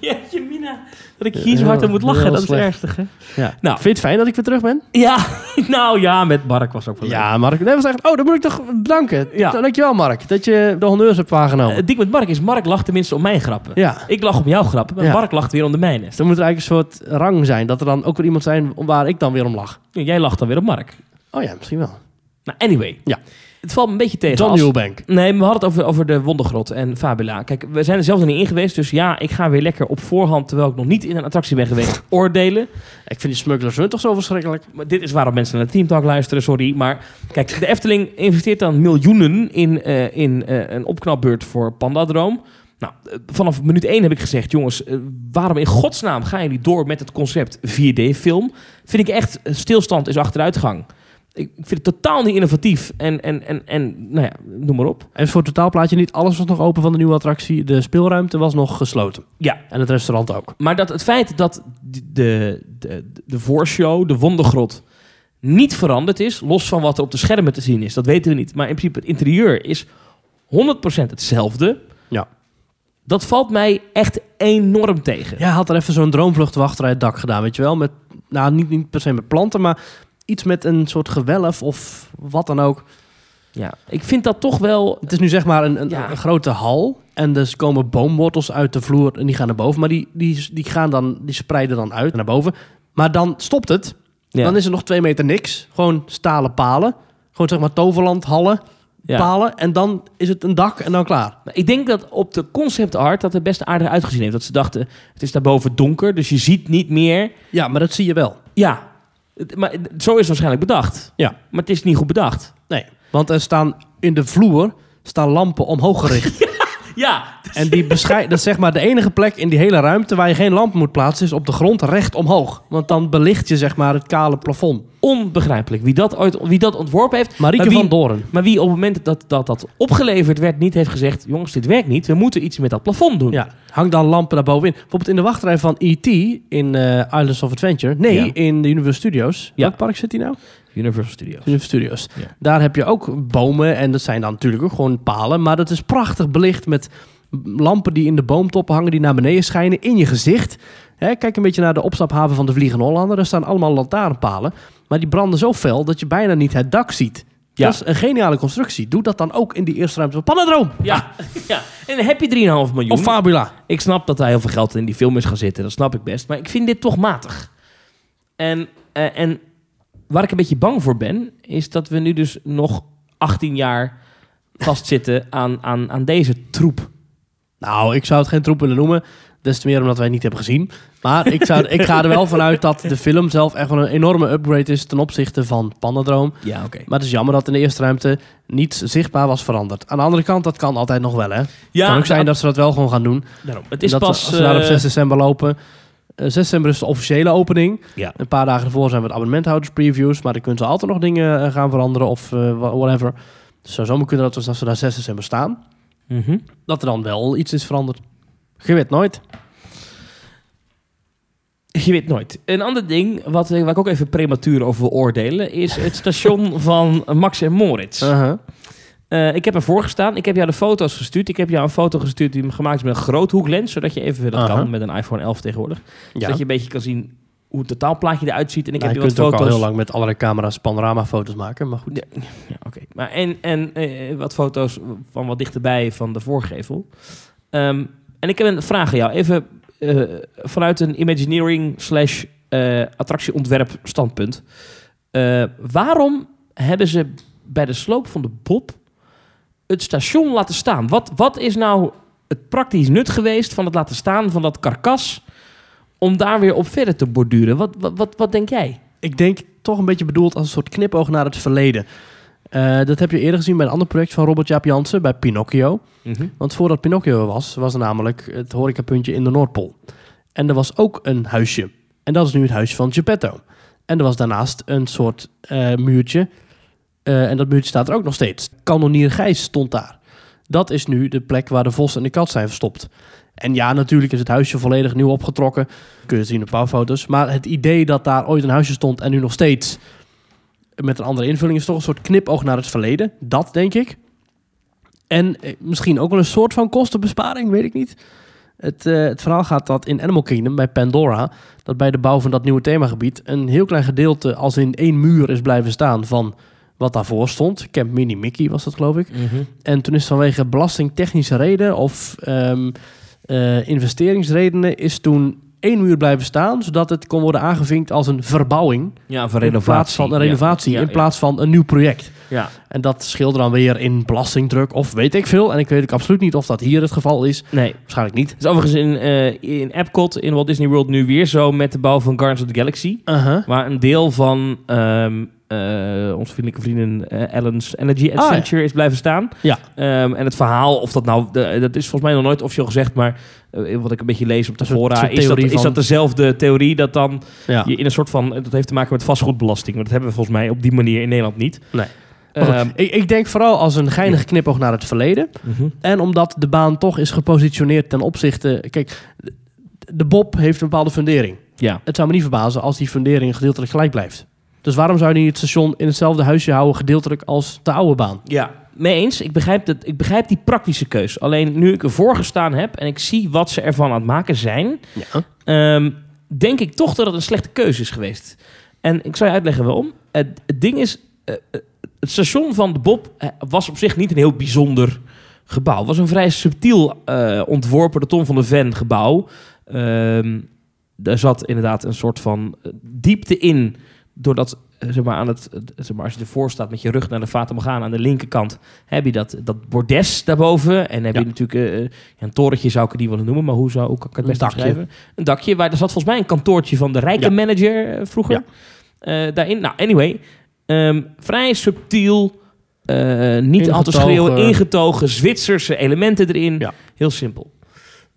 Speaker 1: Jeetje, Mina. Dat ik hier zo hard aan moet lachen,
Speaker 2: Heel
Speaker 1: dat is het
Speaker 2: slecht.
Speaker 1: ergste, hè?
Speaker 2: Ja.
Speaker 1: Nou.
Speaker 2: Vind je het fijn dat ik weer terug ben?
Speaker 1: Ja, nou ja, met Bark was ook wel leuk.
Speaker 2: Ja, Mark. Nee, was echt, oh, dan moet ik toch bedanken.
Speaker 1: Ja.
Speaker 2: Ja. Eh, Dankjewel, Mark, dat je de honneurs hebt waargenomen.
Speaker 1: Het ding Eh, met Mark is, Mark lacht tenminste om mijn grappen.
Speaker 2: ja. Dus
Speaker 1: Ik lach om jouw grappen, maar
Speaker 2: Ja.
Speaker 1: Mark lacht weer om de mijne.
Speaker 2: dan moet er eigenlijk een soort rang zijn. Dat er dan ook weer iemand zijn waar ik dan weer om lach.
Speaker 1: Jij lacht dan weer om Mark.
Speaker 2: Oh ja, misschien wel.
Speaker 1: Nou, anyway.
Speaker 2: Ja.
Speaker 1: Het valt me een beetje tegen.
Speaker 2: John
Speaker 1: als-
Speaker 2: Newbank.
Speaker 1: Nee, maar we hadden het over, over de Wondergrot en Fabula. Kijk, we zijn er zelf nog niet in geweest. Dus ja, ik ga weer lekker op voorhand, terwijl ik nog niet in een attractie ben geweest, oordelen.
Speaker 2: Ik vind die Smugglers Run toch zo verschrikkelijk.
Speaker 1: Maar dit is waarom mensen naar Team Talk luisteren, sorry. Maar kijk, de Efteling investeert dan miljoenen in, eh, in eh, een opknapbeurt voor Pandadroom. Nou, eh, vanaf minuut 1 heb ik gezegd, jongens, eh, waarom in godsnaam gaan jullie door met het concept 4D-film? Vind ik echt, eh, stilstand is achteruitgang. Ik ik vind het totaal niet innovatief. En, en, en, en nou ja, noem maar op.
Speaker 2: En voor het totaalplaatje niet. Alles was nog open van de nieuwe attractie. De speelruimte was nog gesloten.
Speaker 1: Ja.
Speaker 2: En het restaurant ook.
Speaker 1: Maar dat het feit dat de, de, de voorshow, de wondergrot, niet veranderd is, los van wat er op de schermen te zien is, dat weten we niet. Maar in principe, het interieur is 100% hetzelfde.
Speaker 2: Ja.
Speaker 1: Dat valt mij echt enorm tegen.
Speaker 2: Jij had er even zo'n droomvluchtwachter uit het dak gedaan, weet je wel. Met, nou, niet, niet per se met planten, maar iets met een soort gewelf of wat dan ook.
Speaker 1: Ja. Ik vind dat toch wel.
Speaker 2: Het is nu zeg maar een, een,
Speaker 1: Ja.
Speaker 2: een grote hal. En dus komen boomwortels uit de vloer en die gaan naar boven. Maar die, die, die, gaan dan, die spreiden dan uit naar boven. Maar dan stopt het.
Speaker 1: Ja.
Speaker 2: Dan is er nog twee meter niks. Gewoon stalen palen. Gewoon zeg maar toverland, hallen,
Speaker 1: Ja.
Speaker 2: palen. En dan is het een dak en dan klaar.
Speaker 1: Maar Ik denk dat op de concept art dat er best aardig uitgezien heeft. Dat ze dachten, het is daarboven donker, dus je ziet niet meer.
Speaker 2: Ja, maar dat zie je wel.
Speaker 1: Ja, Het- maar het- zo is het waarschijnlijk bedacht.
Speaker 2: Ja.
Speaker 1: Maar het is niet goed bedacht.
Speaker 2: Nee, want er staan in de vloer staan lampen omhoog gericht.
Speaker 1: Ja,
Speaker 2: En die beschij- dat is zeg maar de enige plek in die hele ruimte waar je geen lamp moet plaatsen, is op de grond recht omhoog. Want dan belicht je zeg maar het kale plafond.
Speaker 1: onbegrijpelijk. Wie dat, ooit, wie dat ontworpen heeft.
Speaker 2: Marieke
Speaker 1: Maar wie-
Speaker 2: van Doren.
Speaker 1: Maar wie op het moment dat dat, dat opgeleverd werd niet heeft gezegd... jongens, dit werkt niet, we moeten iets met dat plafond doen.
Speaker 2: Ja, hang dan lampen daar bovenin. Bijvoorbeeld in de wachtrij van E.T. in eh, Islands of Adventure. Nee,
Speaker 1: Ja.
Speaker 2: in de Universal Studios.
Speaker 1: Ja.
Speaker 2: Welk park zit die nou?
Speaker 1: Universal Studios.
Speaker 2: Universal Studios.
Speaker 1: Ja.
Speaker 2: Daar heb je ook bomen en dat zijn dan natuurlijk ook gewoon palen. Maar dat is prachtig belicht met lampen die in de boomtoppen hangen, die naar beneden schijnen, in je gezicht. Hè, kijk een beetje naar de opstaphaven van de Vliegende Hollander. Daar staan allemaal lantaarnpalen. Maar die branden zo fel dat je bijna niet het dak ziet.
Speaker 1: Ja.
Speaker 2: Dat is een geniale constructie. Doe dat dan ook in die eerste ruimte van Panadroom.
Speaker 1: Ja, ja. en dan heb je 3,5 miljoen.
Speaker 2: Of Fabula.
Speaker 1: Ik snap dat daar heel veel geld in die film is gaan zitten. Dat snap ik best. Maar ik vind dit toch matig. En, eh, en waar ik een beetje bang voor ben, is dat we nu dus nog 18 jaar vastzitten aan, aan, aan deze troep.
Speaker 2: Nou, ik zou het geen troep willen noemen. Des te meer omdat wij het niet hebben gezien. Maar ik, zou, ik ga er wel vanuit dat de film zelf echt wel een enorme upgrade is ten opzichte van Panadroom.
Speaker 1: Ja, oké.
Speaker 2: Maar het is jammer dat in de eerste ruimte niets zichtbaar was veranderd. Aan de andere kant, dat kan altijd nog wel, hè?
Speaker 1: Ja,
Speaker 2: kan ook zijn
Speaker 1: nou,
Speaker 2: dat ze dat wel gewoon gaan doen.
Speaker 1: daarom. Het is
Speaker 2: dat
Speaker 1: pas...
Speaker 2: als we daar op
Speaker 1: eh,
Speaker 2: 6 december lopen. Eh, 6 december is de officiële opening.
Speaker 1: Ja.
Speaker 2: Een paar dagen ervoor zijn we het abonnementhouders previews. Maar dan kunnen ze altijd nog dingen eh, gaan veranderen of eh, wha- whatever. Dus zou zomaar kunnen dat we, als we daar 6 december staan,
Speaker 1: Mhm.
Speaker 2: dat er dan wel iets is veranderd. Je weet nooit.
Speaker 1: Je weet nooit. Een ander ding wat, eh, waar ik ook even prematuur over wil oordelen... is het station van Max en Moritz.
Speaker 2: Uh-huh.
Speaker 1: Eh, ik heb ervoor gestaan. Ik heb jou de foto's gestuurd. Ik heb jou een foto gestuurd die gemaakt is met een groothoeklens. Zodat je even, dat
Speaker 2: Aha.
Speaker 1: kan met een iPhone 11 tegenwoordig.
Speaker 2: Ja.
Speaker 1: Zodat je een beetje kan zien hoe het totaalplaatje eruit ziet. En ik
Speaker 2: Nou,
Speaker 1: heb
Speaker 2: je
Speaker 1: je
Speaker 2: kunt
Speaker 1: wat
Speaker 2: ook al heel
Speaker 1: foto's...
Speaker 2: lang met allerlei camera's panoramafoto's maken. Maar goed.
Speaker 1: Ja, oké. maar en en eh, wat foto's van wat dichterbij van de voorgevel. Ehm, en ik heb een vraag aan jou. Even eh, vanuit een Imagineering slash eh, attractieontwerp standpunt. Eh, waarom hebben ze bij de sloop van de Bob het station laten staan? Wat, wat is nou het praktisch nut geweest van het laten staan van dat karkas... om daar weer op verder te borduren? Wat, wat, wat, wat denk jij?
Speaker 2: Ik denk toch een beetje bedoeld als een soort knipoog naar het verleden. Eh, dat heb je eerder gezien bij een ander project van Robert Jaap Jansen, bij Pinocchio. Want voordat Pinocchio er was, was er namelijk het horecapuntje in de Noordpool. En er was ook een huisje. En dat is nu het huisje van Geppetto. En er was daarnaast een soort eh, muurtje. Eh, en dat muurtje staat er ook nog steeds. Kanonier Gijs stond daar. Dat is nu de plek waar de vos en de kat zijn verstopt. En ja, natuurlijk is het huisje volledig nieuw opgetrokken. Kun je zien op een paar foto's. Maar het idee dat daar ooit een huisje stond en nu nog steeds... met een andere invulling is toch een soort knipoog naar het verleden. Dat denk ik. En eh, misschien ook wel een soort van kostenbesparing, weet ik niet. Het, eh, het verhaal gaat dat in Animal Kingdom bij Pandora, dat bij de bouw van dat nieuwe themagebied een heel klein gedeelte als in één muur is blijven staan van wat daarvoor stond. Camp Mini Mickey was dat geloof ik. En toen is vanwege belastingtechnische reden of ehm, eh, investeringsredenen is toen één muur blijven staan, zodat het kon worden aangevinkt als een verbouwing
Speaker 1: Ja, van
Speaker 2: in plaats van een renovatie, in plaats van een nieuw project.
Speaker 1: ja.
Speaker 2: En dat scheelt dan weer in belastingdruk of weet ik veel. En ik weet ook absoluut niet of dat hier het geval is.
Speaker 1: Nee,
Speaker 2: Waarschijnlijk niet.
Speaker 1: Het is overigens in, eh, in Epcot, in Walt Disney World, nu weer zo met de bouw van Guardians of the Galaxy.
Speaker 2: Uh-huh.
Speaker 1: Waar een deel van ehm, eh, onze vriendelijke vrienden eh, Ellen's Energy
Speaker 2: Ah, ja.
Speaker 1: Adventure is blijven staan.
Speaker 2: Ja.
Speaker 1: Ehm, en het verhaal, of dat nou, de- dat is volgens mij nog nooit officieel gezegd, maar eh, wat ik een beetje lees op de
Speaker 2: Een soort-
Speaker 1: fora,
Speaker 2: soort
Speaker 1: is dat,
Speaker 2: theorie
Speaker 1: is
Speaker 2: van-
Speaker 1: dat dezelfde theorie dat dan
Speaker 2: Ja.
Speaker 1: je in een soort van, dat heeft te maken met vastgoedbelasting, maar dat hebben we volgens mij op die manier in Nederland niet.
Speaker 2: Nee.
Speaker 1: Ehm,
Speaker 2: Eh, ik, ik denk vooral als een geinige knipoog naar het verleden.
Speaker 1: mhm.
Speaker 2: En omdat de baan toch is gepositioneerd ten opzichte... Kijk, de- de Bob heeft een bepaalde fundering.
Speaker 1: Ja.
Speaker 2: Het zou me niet verbazen als die fundering gedeeltelijk gelijk blijft. Dus waarom zou je niet het station in hetzelfde huisje houden gedeeltelijk als de oude baan?
Speaker 1: Ja, mee eens. Ik begrijp, dat, ik begrijp die praktische keus. Alleen nu ik ervoor gestaan heb en ik zie wat ze ervan aan het maken zijn,
Speaker 2: Ja.
Speaker 1: ehm, denk ik toch dat het een slechte keuze is geweest. En ik zal je uitleggen waarom. Het, het ding is, eh, eh, het station van de Bob eh, was op zich niet een heel bijzonder gebouw. Het was een vrij subtiel eh, ontworpen, de Tom van de Ven gebouw. Ehm daar zat inderdaad een soort van eh, diepte in, doordat eh, zeg maar, aan het, eh, zeg maar, als je ervoor staat met je rug naar de Fata Morgana aan de linkerkant, heb je dat, dat bordes daarboven. En heb
Speaker 2: Ja.
Speaker 1: je natuurlijk eh, ja, een torentje, zou ik het niet willen noemen, maar hoe, zou, hoe kan ik het
Speaker 2: Een
Speaker 1: best
Speaker 2: dakje.
Speaker 1: beschrijven? Een dakje, waar er zat volgens mij een kantoortje van de rijke
Speaker 2: Ja.
Speaker 1: manager eh, vroeger.
Speaker 2: Ja.
Speaker 1: Eh, daarin, nou, anyway, ehm, vrij subtiel, eh, niet al te
Speaker 2: Ingetogen.
Speaker 1: schreeuwen, ingetogen, Zwitserse elementen erin.
Speaker 2: Ja.
Speaker 1: Heel simpel.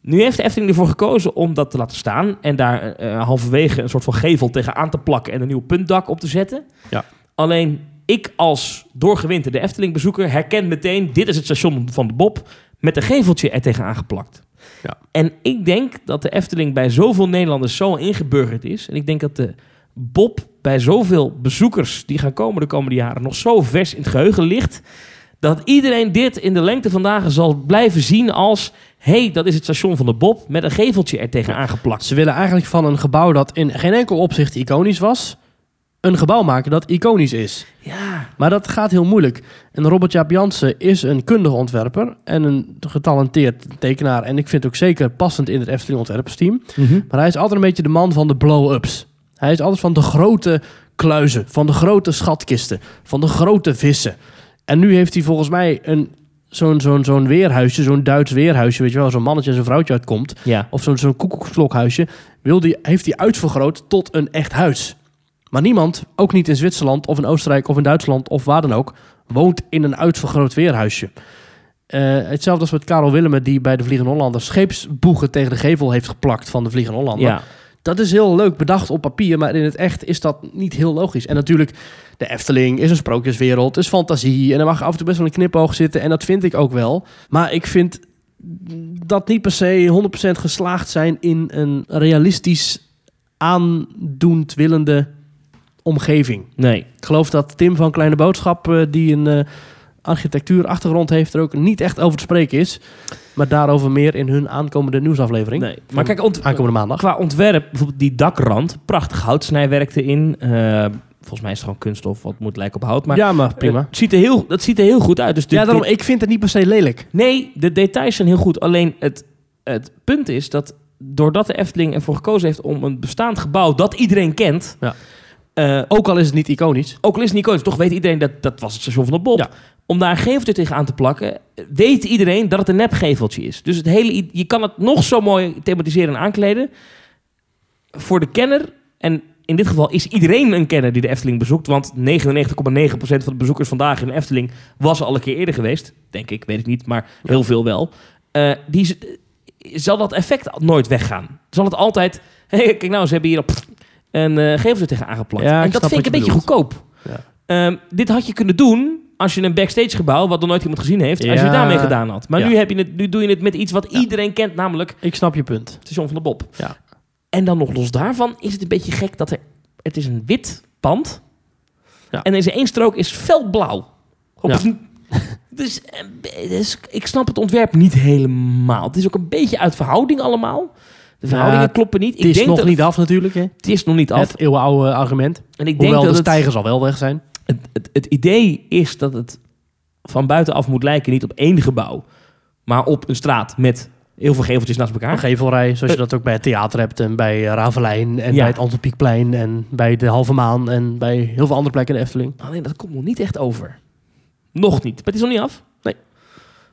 Speaker 1: Nu heeft de Efteling ervoor gekozen om dat te laten staan en daar eh, halverwege een soort van gevel tegen aan te plakken en een nieuw puntdak op te zetten.
Speaker 2: Ja.
Speaker 1: Alleen ik als doorgewinterde Efteling bezoeker herken meteen, dit is het station van de Bob, met een geveltje er tegen aangeplakt.
Speaker 2: Ja.
Speaker 1: En ik denk dat de Efteling bij zoveel Nederlanders zo ingeburgerd is. En ik denk dat de Bob bij zoveel bezoekers die gaan komen de komende jaren nog zo vers in het geheugen ligt. Dat iedereen dit in de lengte van dagen zal blijven zien als... hé, hey, dat is het station van de Bob met een geveltje er tegen aangeplakt.
Speaker 2: Ze willen eigenlijk van een gebouw dat in geen enkel opzicht iconisch was... een gebouw maken dat iconisch is.
Speaker 1: Ja.
Speaker 2: Maar dat gaat heel moeilijk. En Robert Jaap Jansen is een kundig ontwerper en een getalenteerd tekenaar. En ik vind het ook zeker passend in het Efteling ontwerpersteam.
Speaker 1: Mhm.
Speaker 2: Maar hij is altijd een beetje de man van de blow-ups. Hij is altijd van de grote kluizen, van de grote schatkisten, van de grote vissen. En nu heeft hij volgens mij een, zo'n, zo'n, zo'n weerhuisje, zo'n Duits weerhuisje, weet je wel, zo'n mannetje en zo'n vrouwtje uitkomt.
Speaker 1: Ja.
Speaker 2: Of zo'n zo'n koekoeksklokhuisje, wil die, heeft hij uitvergroot tot een echt huis. Maar niemand, ook niet in Zwitserland of in Oostenrijk of in Duitsland of waar dan ook, woont in een uitvergroot weerhuisje. Eh, hetzelfde als met Karel Willemen, die bij de Vliegende Hollander scheepsboegen tegen de gevel heeft geplakt van de Vliegende Hollander.
Speaker 1: ja.
Speaker 2: Dat is heel leuk bedacht op papier, maar in het echt is dat niet heel logisch. En natuurlijk, de Efteling is een sprookjeswereld, is fantasie. En er mag af en toe best wel een knipoog zitten. En dat vind ik ook wel. Maar ik vind dat niet per se 100% geslaagd zijn in een realistisch aandoend willende omgeving.
Speaker 1: Nee.
Speaker 2: Ik geloof dat Tim van Kleine Boodschap, eh, die een eh, architectuurachtergrond heeft, er ook niet echt over te spreken is. Maar daarover meer in hun aankomende nieuwsaflevering.
Speaker 1: nee. Maar kijk, ont-
Speaker 2: Aankomende maandag.
Speaker 1: qua ontwerp, bijvoorbeeld die dakrand, prachtig houtsnijwerk erin. Eh, volgens mij is het gewoon kunststof, wat moet lijken op hout. Maar
Speaker 2: ja, maar prima.
Speaker 1: Het ziet er heel, dat ziet er heel goed uit. Dus de-
Speaker 2: ja, daarom, ik vind het niet per se lelijk.
Speaker 1: Nee, de details zijn heel goed. Alleen het, het punt is dat doordat de Efteling ervoor gekozen heeft om een bestaand gebouw dat iedereen kent.
Speaker 2: Ja.
Speaker 1: eh,
Speaker 2: Ook al is het niet iconisch.
Speaker 1: ook al is het niet iconisch, toch weet iedereen dat dat was het station van de Bob.
Speaker 2: Ja.
Speaker 1: Om daar een geveltje tegen aan te plakken, weet iedereen dat het een nepgeveltje is. Dus het hele, i- je kan het nog zo mooi thematiseren en aankleden. Voor de kenner, en in dit geval is iedereen een kenner die de Efteling bezoekt. Want 99,9% van de bezoekers vandaag in de Efteling was al een keer eerder geweest. Denk ik, weet ik niet, maar heel veel wel. Eh, die, z- zal dat effect nooit weggaan? Zal het altijd... Hey, kijk nou, ze hebben hier op, een eh geveltje tegen aangeplakt.
Speaker 2: Ja, ik
Speaker 1: en dat
Speaker 2: snap
Speaker 1: vind ik een
Speaker 2: wat je
Speaker 1: beetje goedkoop. Ehm, dit had je kunnen doen als je een backstage gebouw, wat nog nooit iemand gezien heeft, als je
Speaker 2: Ja.
Speaker 1: het daarmee gedaan had. Maar
Speaker 2: Ja.
Speaker 1: nu, heb je het, nu doe je het met iets wat
Speaker 2: Ja.
Speaker 1: iedereen kent, namelijk het
Speaker 2: Ik snap je punt.
Speaker 1: station van de Bob.
Speaker 2: Ja.
Speaker 1: En dan nog los daarvan is het een beetje gek dat er, het is een wit pand
Speaker 2: Ja.
Speaker 1: en deze één strook is felblauw. Op
Speaker 2: Ja.
Speaker 1: een- dus, eh, dus ik snap het ontwerp niet helemaal. Het is ook een beetje uit verhouding allemaal. De verhoudingen
Speaker 2: Ja,
Speaker 1: kloppen niet.
Speaker 2: Nou, Het is nog
Speaker 1: dat
Speaker 2: niet af natuurlijk. Hè?
Speaker 1: het is nog niet af.
Speaker 2: Het eeuwenoude argument.
Speaker 1: en ik denk
Speaker 2: Hoewel
Speaker 1: dat
Speaker 2: de
Speaker 1: het-
Speaker 2: stijgers al wel weg zijn.
Speaker 1: het, het, het idee is dat het van buitenaf moet lijken, niet op één gebouw, maar op een straat met heel veel geveltjes naast
Speaker 2: Een
Speaker 1: elkaar.
Speaker 2: gevelrij, zoals je dat ook bij het theater hebt. En bij eh, Ravelijn. En
Speaker 1: Eh. Ja.
Speaker 2: bij het Antropiekplein. En bij de Halve Maan. En bij heel veel andere plekken in de Efteling.
Speaker 1: Alleen dat komt nog niet echt over. Nog niet. Maar het is nog niet af.
Speaker 2: Nee.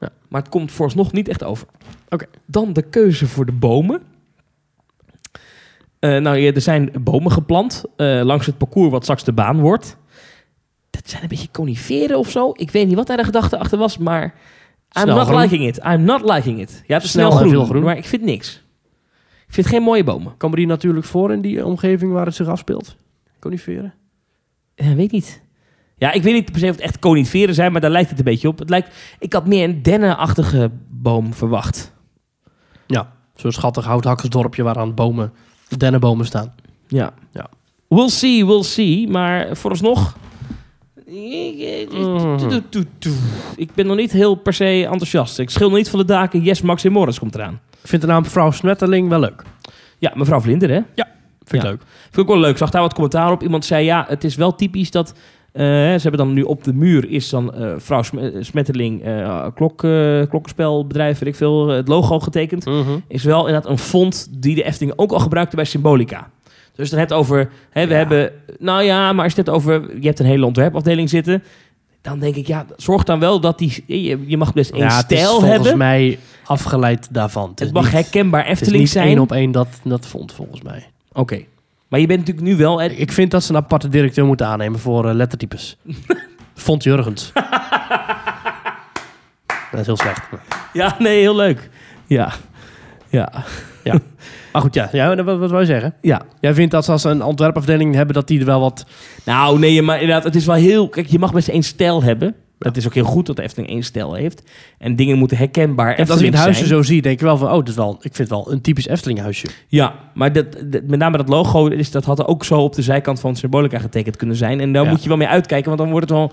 Speaker 1: Ja. Maar het komt vooralsnog niet echt over.
Speaker 2: Oké.
Speaker 1: Dan de keuze voor de bomen. Eh, nou, ja, er zijn bomen geplant eh, langs het parcours wat straks de baan wordt. Dat zijn een beetje coniferen of zo. Ik weet niet wat daar de gedachte achter was, maar... I'm
Speaker 2: Snel
Speaker 1: not
Speaker 2: groen.
Speaker 1: liking it. I'm not liking it. Ja, het is snel,
Speaker 2: Snel en
Speaker 1: groen,
Speaker 2: veel groen.
Speaker 1: maar ik vind niks. Ik vind geen mooie bomen.
Speaker 2: Komen die natuurlijk voor in die eh, omgeving waar het zich afspeelt? Coniferen?
Speaker 1: Ja, weet niet. Ja, ik weet niet per se of het echt coniferen zijn, maar daar lijkt het een beetje op. Het lijkt, ik had meer een dennenachtige boom verwacht.
Speaker 2: Zo'n schattig houthakkersdorpje waaraan bomen, dennenbomen staan.
Speaker 1: Ja.
Speaker 2: Ja.
Speaker 1: We'll see, we'll see. Maar vooralsnog... Ik-
Speaker 2: Mhm.
Speaker 1: Mm. Ik ben nog niet heel per se enthousiast. Ik schil nog niet van de daken. Yes, Max en Morris komt eraan.
Speaker 2: Ik vind de naam Vrouw Smetterling wel leuk.
Speaker 1: Ja, mevrouw Vlinder, hè?
Speaker 2: Vind ik
Speaker 1: Ja.
Speaker 2: leuk.
Speaker 1: Vind ik ook wel leuk. Zag daar wat commentaar op. Iemand zei, ja, het is wel typisch dat... eh, ze hebben dan nu op de muur is dan eh, vrouw Sm- eh, Smetterling, eh, klok, eh, klokkenspelbedrijf, weet ik veel, eh, het logo getekend. Is wel inderdaad een font die de Efteling ook al gebruikte bij Symbolica. Dus dan heb je het over, hè, we
Speaker 2: Ja.
Speaker 1: hebben, nou ja, maar als je het hebt over, je hebt een hele ontwerpafdeling zitten. Dan denk ik, ja, zorg dan wel dat die, je, je mag best één
Speaker 2: ja, het is
Speaker 1: stijl
Speaker 2: volgens
Speaker 1: hebben.
Speaker 2: mij afgeleid daarvan. Het, is
Speaker 1: het mag
Speaker 2: niet-
Speaker 1: herkenbaar
Speaker 2: Het is
Speaker 1: Efteling
Speaker 2: niet één
Speaker 1: zijn.
Speaker 2: op één dat, dat vond, volgens mij.
Speaker 1: Oké. Maar je bent natuurlijk nu wel, hè,
Speaker 2: Ik vind dat ze een aparte directeur moeten aannemen voor eh, lettertypes. Vond Jurgens. dat is heel slecht.
Speaker 1: Ja, nee, heel leuk. Ja. Ja.
Speaker 2: Maar goed, ja. ja wat, wat wou je zeggen?
Speaker 1: Ja.
Speaker 2: Jij vindt dat ze als ze een ontwerpafdeling hebben, dat die er wel wat...
Speaker 1: Nou, nee, maar inderdaad, het is wel heel... Kijk, je mag best één stijl hebben. Dat is ook heel goed dat de Efteling één stijl heeft. En dingen moeten herkenbaar
Speaker 2: En als ik
Speaker 1: Efteling
Speaker 2: het dus huisje
Speaker 1: zijn.
Speaker 2: zo zie, denk ik wel van... Oh, dat is wel, ik vind het wel een typisch Efteling huisje.
Speaker 1: Ja, maar dat, dat- met name dat logo, is, dat had ook zo op de zijkant van Symbolica getekend kunnen zijn. En daar
Speaker 2: Ja.
Speaker 1: moet je wel mee uitkijken, want dan wordt het wel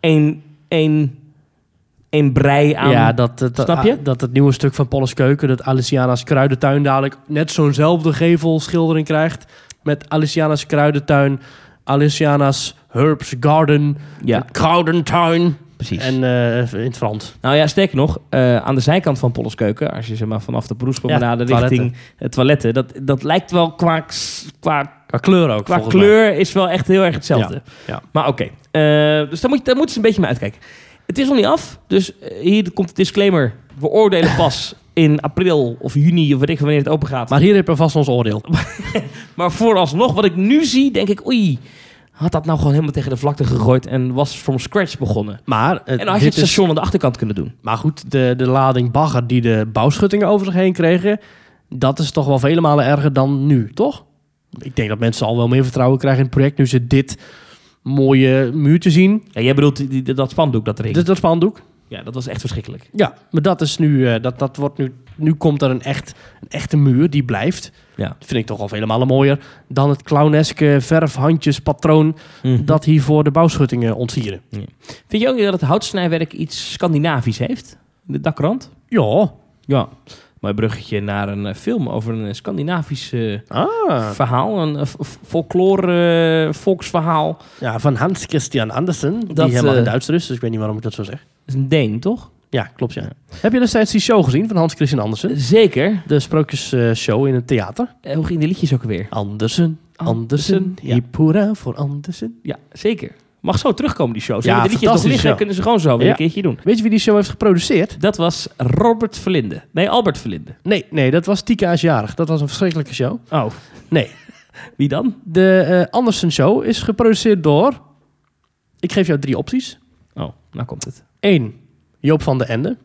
Speaker 1: één, één, één brei aan...
Speaker 2: ja, dat, dat, dat-
Speaker 1: Snap je?
Speaker 2: ah, dat het nieuwe stuk van Polles Keuken, dat Aliciana's Kruidentuin dadelijk net zo'nzelfde gevelschildering krijgt. Met Aliciana's Kruidentuin, Aliciana's Herbs Garden,
Speaker 1: Ja,
Speaker 2: Kruidentuin
Speaker 1: precies.
Speaker 2: en eh, in het Frans.
Speaker 1: Nou ja, sterker nog, eh, aan de zijkant van Polleskeuken, als je zeg maar, vanaf de Broespromenade
Speaker 2: Ja, toiletten.
Speaker 1: richting het toiletten, dat, dat lijkt wel qua, s- qua,
Speaker 2: Qua kleur ook,
Speaker 1: qua
Speaker 2: volgens mij.
Speaker 1: kleur is wel echt heel erg hetzelfde.
Speaker 2: ja.
Speaker 1: Maar oké, Eh, dus daar moet, je, daar moet je een beetje mee uitkijken. Het is nog niet af, dus eh, hier komt de disclaimer. We oordelen pas in april of juni of weet ik veel wanneer het open gaat. Maar,
Speaker 2: Maar hier hebben we vast ons oordeel.
Speaker 1: vooralsnog, wat ik nu zie, denk ik, oei, had dat nou gewoon helemaal tegen de vlakte gegooid en was from scratch begonnen.
Speaker 2: Maar, eh,
Speaker 1: En dan had je
Speaker 2: dit
Speaker 1: het
Speaker 2: is,
Speaker 1: station aan de achterkant kunnen doen.
Speaker 2: maar goed, de, de lading bagger die de bouwschuttingen over zich heen kregen... dat is toch wel vele malen erger dan nu, toch? Ik denk dat mensen al wel meer vertrouwen krijgen in het project... nu ze dit mooie muurtje zien.
Speaker 1: Ja, jij bedoelt die, die- dat spandoek dat erin.
Speaker 2: Dit dat spandoek.
Speaker 1: Ja, dat was echt verschrikkelijk.
Speaker 2: Ja, maar dat is nu... eh, dat, dat wordt nu, nu komt er een, echt, een echte muur, die blijft.
Speaker 1: Ja.
Speaker 2: Dat vind ik toch al vele malen mooier... dan het clowneske verfhandjespatroon... dat hier voor de bouwschuttingen ontvieren.
Speaker 1: Vind je ook niet dat het houtsnijwerk iets Scandinavisch heeft? De dakrand?
Speaker 2: Ja.
Speaker 1: Ja. Mooi bruggetje naar een eh, film over een eh, Scandinavisch eh,
Speaker 2: Ah.
Speaker 1: verhaal. Een eh, f- folklore eh, volksverhaal.
Speaker 2: Ja, van Hans Christian Andersen.
Speaker 1: Dat,
Speaker 2: die helemaal
Speaker 1: eh,
Speaker 2: geen Duitser is, dus ik weet niet waarom ik dat zo zeg.
Speaker 1: Dat is een Deen, toch?
Speaker 2: Ja, klopt ja. Heb je destijds die show gezien van Hans Christian Andersen?
Speaker 1: Zeker.
Speaker 2: De sprookjesshow in het theater.
Speaker 1: Eh, hoe ging die liedjes ook weer?
Speaker 2: Andersen, Andersen,
Speaker 1: Ja.
Speaker 2: hip hoera voor Andersen.
Speaker 1: Ja, zeker. Mag zo terugkomen, die show. Ze
Speaker 2: Ja,
Speaker 1: hebben de liedjes nog
Speaker 2: fantastisch,
Speaker 1: liggen,
Speaker 2: ja.
Speaker 1: kunnen ze gewoon zo weer
Speaker 2: Ja.
Speaker 1: een keertje doen.
Speaker 2: Weet je wie die show heeft geproduceerd?
Speaker 1: Dat was Robert Verlinde. Nee, Albert Verlinde.
Speaker 2: Nee, nee, dat was Tika is jarig. Dat was een verschrikkelijke show.
Speaker 1: Oh,
Speaker 2: Nee,
Speaker 1: wie dan?
Speaker 2: de eh, Andersen show is geproduceerd door... Ik geef jou drie opties.
Speaker 1: Oh, nou komt het.
Speaker 2: Eén, Joop van den Ende.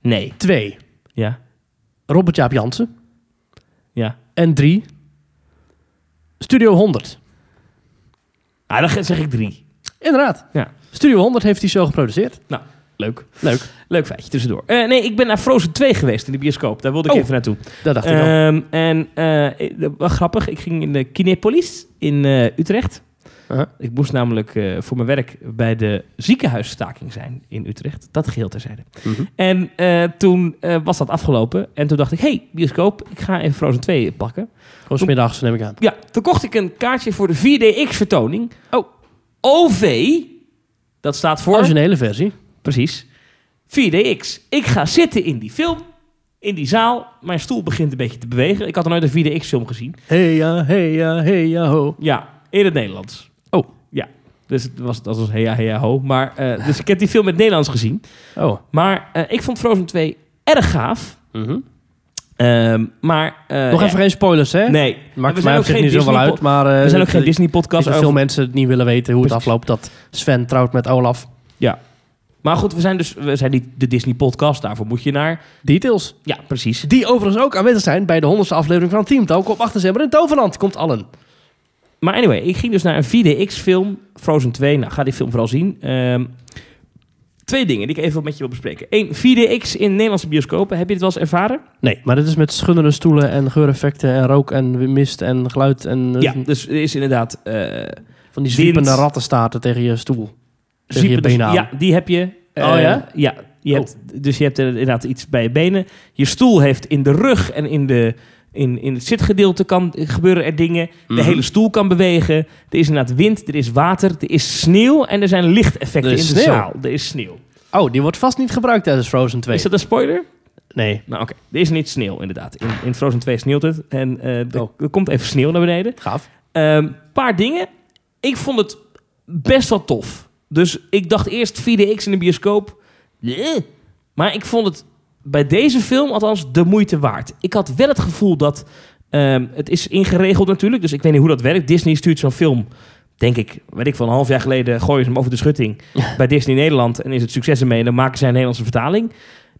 Speaker 1: Nee.
Speaker 2: Twee,
Speaker 1: Ja,
Speaker 2: Robert Jaap Jansen.
Speaker 1: ja.
Speaker 2: En drie, Studio 100.
Speaker 1: Ah, dan zeg ik drie.
Speaker 2: Inderdaad.
Speaker 1: Ja.
Speaker 2: Studio 100 heeft die show geproduceerd.
Speaker 1: Leuk.
Speaker 2: Leuk.
Speaker 1: Leuk feitje tussendoor. Eh, nee, ik ben naar Frozen 2 geweest in de bioscoop. Daar wilde ik
Speaker 2: Oh,
Speaker 1: even naartoe.
Speaker 2: Dat dacht ik al.
Speaker 1: Ehm, en eh, eh, wel grappig, ik ging in de Kinepolis in eh, Utrecht.
Speaker 2: Uh-huh.
Speaker 1: Ik moest namelijk eh, voor mijn werk bij de ziekenhuisstaking zijn in Utrecht. Dat geheel terzijde.
Speaker 2: Mhm.
Speaker 1: En eh, toen eh, was dat afgelopen. En toen dacht ik, hey, bioscoop, ik ga even Frozen 2 pakken.
Speaker 2: Gewoon 's middags neem ik aan.
Speaker 1: Ja, toen kocht ik een kaartje voor de 4DX-vertoning.
Speaker 2: Oh.
Speaker 1: OV, dat staat voor...
Speaker 2: Originele versie.
Speaker 1: Precies. 4DX. Ik ga zitten in die film, in die zaal. Mijn stoel begint een beetje te bewegen. Ik had nog nooit een 4DX-film gezien.
Speaker 2: Hey ja, hey ja, hey ja ho.
Speaker 1: Ja, in het Nederlands.
Speaker 2: Oh.
Speaker 1: Ja. Dus het was, dat was hea hea ho. Maar, eh, dus ik heb die film in het Nederlands gezien.
Speaker 2: Oh.
Speaker 1: Maar eh, ik vond Frozen 2 erg gaaf. Ehm, maar... eh,
Speaker 2: Mhm. Nog
Speaker 1: ja,
Speaker 2: even geen spoilers, hè?
Speaker 1: Nee. En
Speaker 2: Maakt mij op zich niet
Speaker 1: Disney
Speaker 2: zoveel
Speaker 1: po-
Speaker 2: uit, maar... eh,
Speaker 1: We zijn ook geen
Speaker 2: er-
Speaker 1: Disney-podcast.
Speaker 2: er
Speaker 1: over-
Speaker 2: veel mensen het niet willen weten hoe het
Speaker 1: Precies.
Speaker 2: afloopt dat Sven trouwt met Olaf.
Speaker 1: Maar goed, we zijn dus we zijn niet de Disney-podcast. Daarvoor moet je naar...
Speaker 2: Details.
Speaker 1: Ja, precies.
Speaker 2: Die overigens ook aanwezig zijn bij de honderdste aflevering van Team Talk op 8 december in Toverland. Komt allen.
Speaker 1: Maar anyway, ik ging dus naar een 4DX-film, Frozen 2. Nou, ga die film vooral zien. Ehm, twee dingen die ik even met je wil bespreken. Eén, 4DX in Nederlandse bioscopen. Heb je dit wel eens ervaren?
Speaker 2: Nee, maar dit is met schuddende stoelen en geureffecten en rook en mist en geluid en eh,
Speaker 1: Ja, dus er is inderdaad... eh
Speaker 2: van die
Speaker 1: wind.
Speaker 2: zwiepende rattenstaarten tegen je stoel. Tegen je
Speaker 1: super- dus-
Speaker 2: benen aan.
Speaker 1: Ja, die heb je. Eh,
Speaker 2: Oh ja?
Speaker 1: Ja. Je
Speaker 2: Oh.
Speaker 1: hebt, dus je hebt er inderdaad iets bij je benen. Je stoel heeft in de rug en in, de, in, in het zitgedeelte kan, gebeuren er dingen. De
Speaker 2: Mhm.
Speaker 1: hele stoel kan bewegen. Er is inderdaad wind, er is water, er is sneeuw en er zijn lichteffecten
Speaker 2: Er
Speaker 1: in
Speaker 2: is
Speaker 1: de
Speaker 2: sneeuw.
Speaker 1: zaal. Er is sneeuw.
Speaker 2: Oh, die wordt vast niet gebruikt tijdens Frozen 2.
Speaker 1: Is dat een spoiler?
Speaker 2: Nee.
Speaker 1: Nou oké, er is niet sneeuw inderdaad. In, in Frozen 2 sneeuwt het en eh, er,
Speaker 2: Oh.
Speaker 1: er komt even sneeuw naar beneden.
Speaker 2: Gaaf.
Speaker 1: Een paar dingen. Ik vond het best wel tof. Dus ik dacht eerst 4DX in de bioscoop. Eh. Maar ik vond het bij deze film althans de moeite waard. Ik had wel het gevoel dat... ehm, het is ingeregeld natuurlijk, dus ik weet niet hoe dat werkt. Disney stuurt zo'n film, denk ik, weet ik van een half jaar geleden... gooien ze hem over de schutting bij Disney Nederland... en is het succes ermee en dan maken zij een Nederlandse vertaling.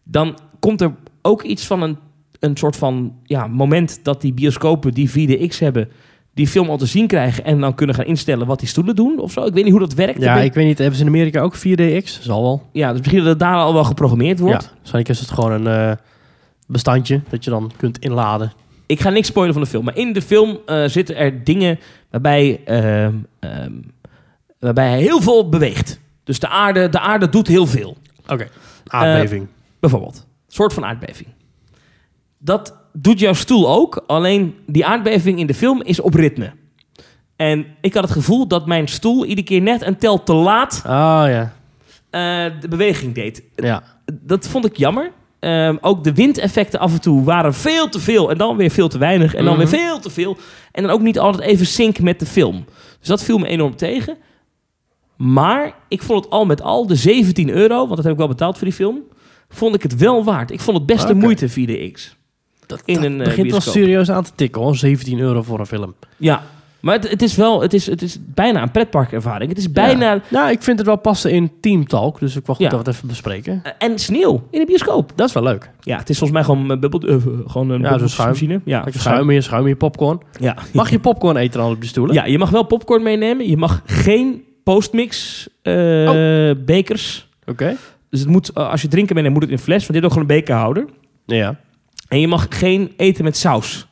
Speaker 1: Dan komt er ook iets van een, een soort van ja, moment... dat die bioscopen die 4DX hebben die film al te zien krijgen en dan kunnen gaan instellen wat die stoelen doen of zo. Ik weet niet hoe dat werkt.
Speaker 2: Ja,
Speaker 1: Ben-
Speaker 2: ik weet niet. Hebben ze in Amerika ook 4DX? Zal wel.
Speaker 1: ja dus misschien dat het daar al wel geprogrammeerd wordt.
Speaker 2: Ja. Waarschijnlijk is het gewoon een eh, bestandje dat je dan kunt inladen.
Speaker 1: Ik ga niks spoilen van de film, maar in de film eh, zitten er dingen waarbij, ehm, ehm, waarbij hij heel veel beweegt. Dus de aarde, de aarde doet heel veel,
Speaker 2: Oké. Aardbeving.
Speaker 1: bijvoorbeeld. Een soort van aardbeving. Dat doet jouw stoel ook, alleen die aardbeving in de film is op ritme. En ik had het gevoel dat mijn stoel iedere keer net een tel te laat
Speaker 2: Oh ja.
Speaker 1: eh, de beweging deed.
Speaker 2: Ja.
Speaker 1: Dat vond ik jammer. Ehm, ook de windeffecten af en toe waren veel te veel. En dan weer veel te weinig. En dan
Speaker 2: Mhm.
Speaker 1: weer veel te veel. En dan ook niet altijd even sync met de film. Dus dat viel me enorm tegen. Maar ik vond het al met al, de 17 euro, want dat heb ik wel betaald voor die film, vond ik het wel waard. Ik vond het best de
Speaker 2: Oké.
Speaker 1: moeite via de X.
Speaker 2: Dat,
Speaker 1: In
Speaker 2: dat
Speaker 1: een, eh,
Speaker 2: begint wel
Speaker 1: bioscoop.
Speaker 2: serieus aan te tikken hoor. 17 euro voor een film.
Speaker 1: Ja, maar het, het is wel, het is, het is bijna een pretparkervaring. Het is bijna.
Speaker 2: Ja. Nou, ik vind het wel passen in Team Talk. Dus ik wil goed
Speaker 1: Ja.
Speaker 2: dat we het even bespreken.
Speaker 1: eh, En sneeuw in de bioscoop.
Speaker 2: Dat is wel leuk.
Speaker 1: Ja, het is volgens mij gewoon een bubbel, eh, gewoon een
Speaker 2: Ja, zo'n schuim.
Speaker 1: bubbelmachine. Ja,
Speaker 2: Lekker schuim hier, schuim hier, popcorn.
Speaker 1: Ja.
Speaker 2: Mag je popcorn eten dan op je stoelen?
Speaker 1: ja, je mag wel popcorn meenemen. Je mag geen postmix eh,
Speaker 2: Oh.
Speaker 1: bekers.
Speaker 2: Oké.
Speaker 1: Dus het moet, eh, als je drinken meeneemt, moet het in een fles. Want dit ook gewoon een bekerhouder.
Speaker 2: Ja.
Speaker 1: En je mag geen eten met saus.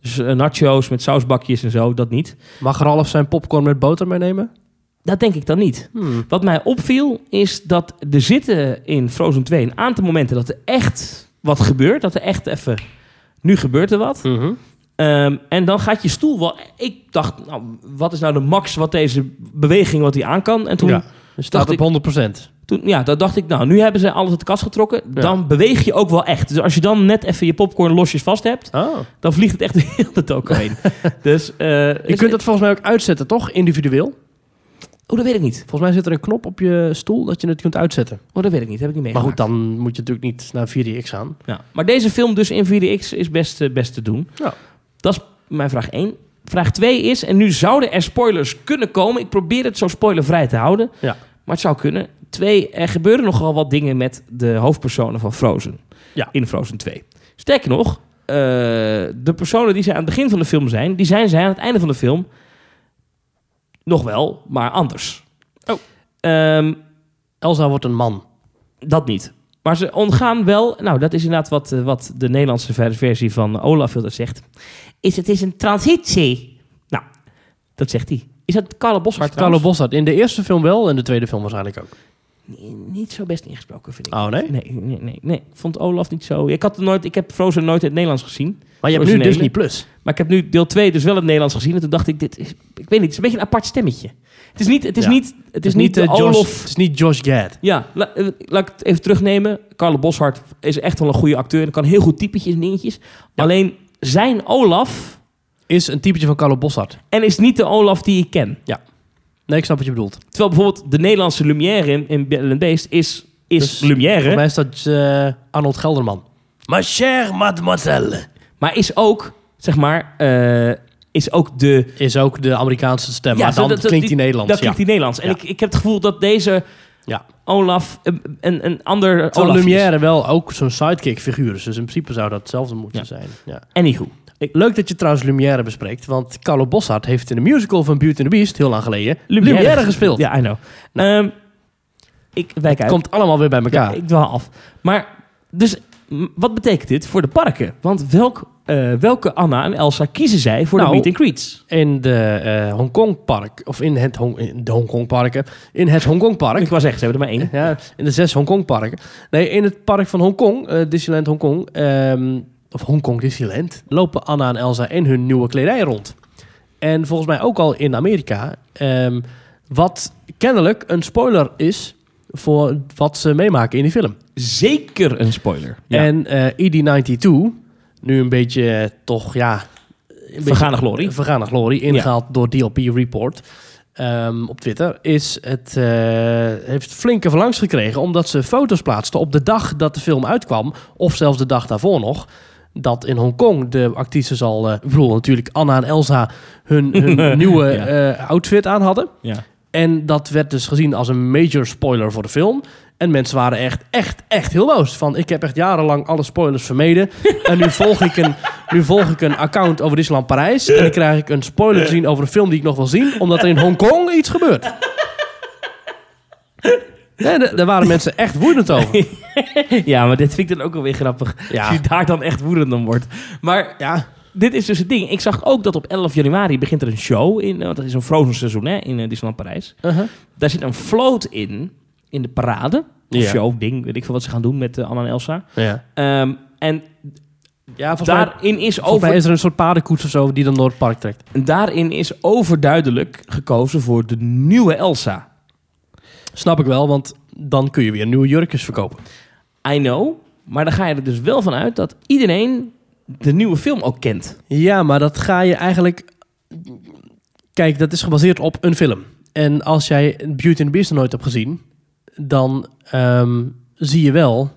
Speaker 1: Dus eh, nachos met sausbakjes en zo, dat niet.
Speaker 2: Mag Ralf zijn popcorn met boter meenemen?
Speaker 1: Dat denk ik dan niet.
Speaker 2: Hmm.
Speaker 1: Wat mij opviel is dat er zitten in Frozen 2 een aantal momenten dat er echt wat gebeurt. Dat er echt even, nu gebeurt er wat.
Speaker 2: Mhm.
Speaker 1: Ehm, en dan gaat je stoel wel... Ik dacht, nou, wat is nou de max wat deze beweging wat die aan kan? En toen,
Speaker 2: ja.
Speaker 1: ja.
Speaker 2: Dus staat
Speaker 1: dacht ik-
Speaker 2: op 100%.
Speaker 1: toen ja, dat dacht ik, nou, nu hebben ze alles uit de kast getrokken.
Speaker 2: Ja.
Speaker 1: Dan beweeg je ook wel echt. Dus als je dan net even je popcorn losjes vast hebt,
Speaker 2: Oh.
Speaker 1: dan vliegt het echt de hele toko heen. dus, eh,
Speaker 2: Je
Speaker 1: is-
Speaker 2: kunt dat volgens mij ook uitzetten, toch? Individueel.
Speaker 1: Oh, dat weet ik niet.
Speaker 2: Volgens mij zit er een knop op je stoel dat je het kunt uitzetten.
Speaker 1: Oh, dat weet ik niet. Heb ik niet
Speaker 2: Maar goed,
Speaker 1: meegemaakt.
Speaker 2: dan moet je natuurlijk niet naar 4DX gaan.
Speaker 1: Ja. Maar deze film dus in 4DX is best, eh, best te doen.
Speaker 2: Ja.
Speaker 1: Dat is mijn vraag 1. Vraag 2 is, en nu zouden er spoilers kunnen komen. Ik probeer het zo spoilervrij te houden.
Speaker 2: Ja.
Speaker 1: Maar het zou kunnen. Twee, er gebeuren nogal wat dingen met de hoofdpersonen van Frozen.
Speaker 2: Ja.
Speaker 1: In Frozen 2. Sterker nog, eh, de personen die ze aan het begin van de film zijn... die zijn zij aan het einde van de film nog wel, maar anders.
Speaker 2: Oh.
Speaker 1: Ehm,
Speaker 2: Elsa wordt een man.
Speaker 1: dat niet. Maar ze ontgaan wel, nou dat is inderdaad wat, eh, wat de Nederlandse ver- versie van Olaf wil dat zegt. Is het is een transitie. Nou, dat zegt hij. Is dat Carlo Boshart
Speaker 2: Carlo
Speaker 1: trouwens?
Speaker 2: Bossard. In de eerste film wel en de tweede film waarschijnlijk ook.
Speaker 1: N- Niet zo best ingesproken vind ik.
Speaker 2: Oh nee?
Speaker 1: Nee, nee, nee, nee. Ik vond Olaf niet zo... Ik, had het nooit, ik heb Frozen nooit in het Nederlands gezien.
Speaker 2: Maar je hebt nu
Speaker 1: Originele.
Speaker 2: Disney Plus.
Speaker 1: Maar ik heb nu deel 2 dus wel in het Nederlands gezien. En toen dacht ik, dit is, ik weet niet, het is een beetje een apart stemmetje. Het is niet, het is
Speaker 2: Ja.
Speaker 1: niet, het is niet de
Speaker 2: eh, Josh,
Speaker 1: Olaf...
Speaker 2: het is niet Josh Gad.
Speaker 1: Ja, la- eh, laat ik het even terugnemen. Carlo Boshart is echt wel een goede acteur. En kan heel goed typetjes en dingetjes. Alleen zijn Olaf...
Speaker 2: Is een typetje van Carlo Bossard.
Speaker 1: En is niet de Olaf die ik ken.
Speaker 2: Nee, ik snap wat je bedoelt.
Speaker 1: Terwijl bijvoorbeeld de Nederlandse Lumière in, in Belle and Beast is, is
Speaker 2: Dus Voor
Speaker 1: Lumière.
Speaker 2: mij is dat eh, Arnold Gelderman. Ma chère mademoiselle.
Speaker 1: Maar is ook, zeg maar... eh, is ook de...
Speaker 2: Is ook de Amerikaanse stem.
Speaker 1: Ja,
Speaker 2: maar
Speaker 1: zo
Speaker 2: dan
Speaker 1: dat- dat-
Speaker 2: klinkt die
Speaker 1: Dat
Speaker 2: Nederlands.
Speaker 1: klinkt die Nederlands. En
Speaker 2: Ja.
Speaker 1: ik, ik heb het gevoel dat deze
Speaker 2: Ja.
Speaker 1: Olaf een, een, een ander
Speaker 2: Terwijl
Speaker 1: Olaf is.
Speaker 2: Lumière wel ook zo'n sidekick figuur is. Dus in principe zou dat hetzelfde moeten
Speaker 1: Ja.
Speaker 2: zijn. Ja.
Speaker 1: Anywho.
Speaker 2: Leuk dat je trouwens Lumière bespreekt. Want Carlo Bossard heeft in de musical van Beauty and the Beast, heel lang geleden, Lumière, gespeeld. Nou.
Speaker 1: Ja, I know. Ehm, ik wijk uit.
Speaker 2: Komt allemaal weer bij elkaar.
Speaker 1: Ja, ik dwaal af. Maar, dus, m- wat betekent dit voor de parken? Want welk, eh, welke Anna en Elsa kiezen zij voor
Speaker 2: Nou,
Speaker 1: de meet and greets?
Speaker 2: In de eh, Hongkongpark, of in, het Hong in de Hongkongparken, in het
Speaker 1: Ik
Speaker 2: Hongkongpark.
Speaker 1: wou zeggen, ze hebben er maar één.
Speaker 2: Ja, in de zes Hongkongparken. Nee, in het park van Hongkong, eh, Disneyland Hongkong, ehm, of Hongkong Disneyland, lopen Anna en Elsa in hun nieuwe kledij rond. En volgens mij ook al in Amerika. ehm, wat kennelijk een spoiler is voor wat ze meemaken in die film.
Speaker 1: Zeker een spoiler. Ja.
Speaker 2: En eh ED92, nu een beetje eh, toch ja... Een
Speaker 1: Vergane
Speaker 2: beetje-
Speaker 1: glorie.
Speaker 2: Vergane glorie, ingehaald door DLP Report ehm, op Twitter, is het, eh, heeft flinke verlangs gekregen omdat ze foto's plaatsten op de dag dat de film uitkwam, of zelfs de dag daarvoor nog, dat in Hongkong de actrices al, eh, ik bedoel natuurlijk Anna en Elsa, hun, hun nieuwe
Speaker 1: Ja.
Speaker 2: eh, outfit aan hadden.
Speaker 1: ja.
Speaker 2: En dat werd dus gezien als een major spoiler voor de film. En mensen waren echt, echt, echt heel boos. Van, ik heb echt jarenlang alle spoilers vermeden. En nu volg ik een, nu volg ik een account over Disneyland Parijs. En dan krijg ik een spoiler te zien over een film die ik nog wil zien. Omdat er in Hongkong iets gebeurt. Nee, daar daar waren mensen echt woedend over.
Speaker 1: ja, maar dit vind ik dan ook alweer grappig.
Speaker 2: Ja.
Speaker 1: Als je daar dan echt woedend om wordt. Maar
Speaker 2: Ja,
Speaker 1: dit is dus het ding. Ik zag ook dat op 11 januari begint er een show. In, eh, want dat is een Frozen seizoen hè, in eh, Disneyland Parijs.
Speaker 2: uh-huh.
Speaker 1: Daar zit een float in, in de parade. Of
Speaker 2: Ja.
Speaker 1: show, ding, weet ik veel wat ze gaan doen met eh, Anna en Elsa.
Speaker 2: ja.
Speaker 1: Ehm, en
Speaker 2: Ja, volgens mij,
Speaker 1: Daarin is,
Speaker 2: volgens mij
Speaker 1: over,
Speaker 2: is er een soort paardenkoets of zo die dan door het park trekt.
Speaker 1: daarin is overduidelijk gekozen voor de nieuwe Elsa.
Speaker 2: Snap ik wel, want dan kun je weer nieuwe jurkjes verkopen.
Speaker 1: I know, maar dan ga je er dus wel van uit dat iedereen de nieuwe film ook kent.
Speaker 2: Ja, maar dat ga je eigenlijk... Kijk, dat is gebaseerd op een film. En als jij Beauty and the Beast nog nooit hebt gezien... dan ehm, zie je wel...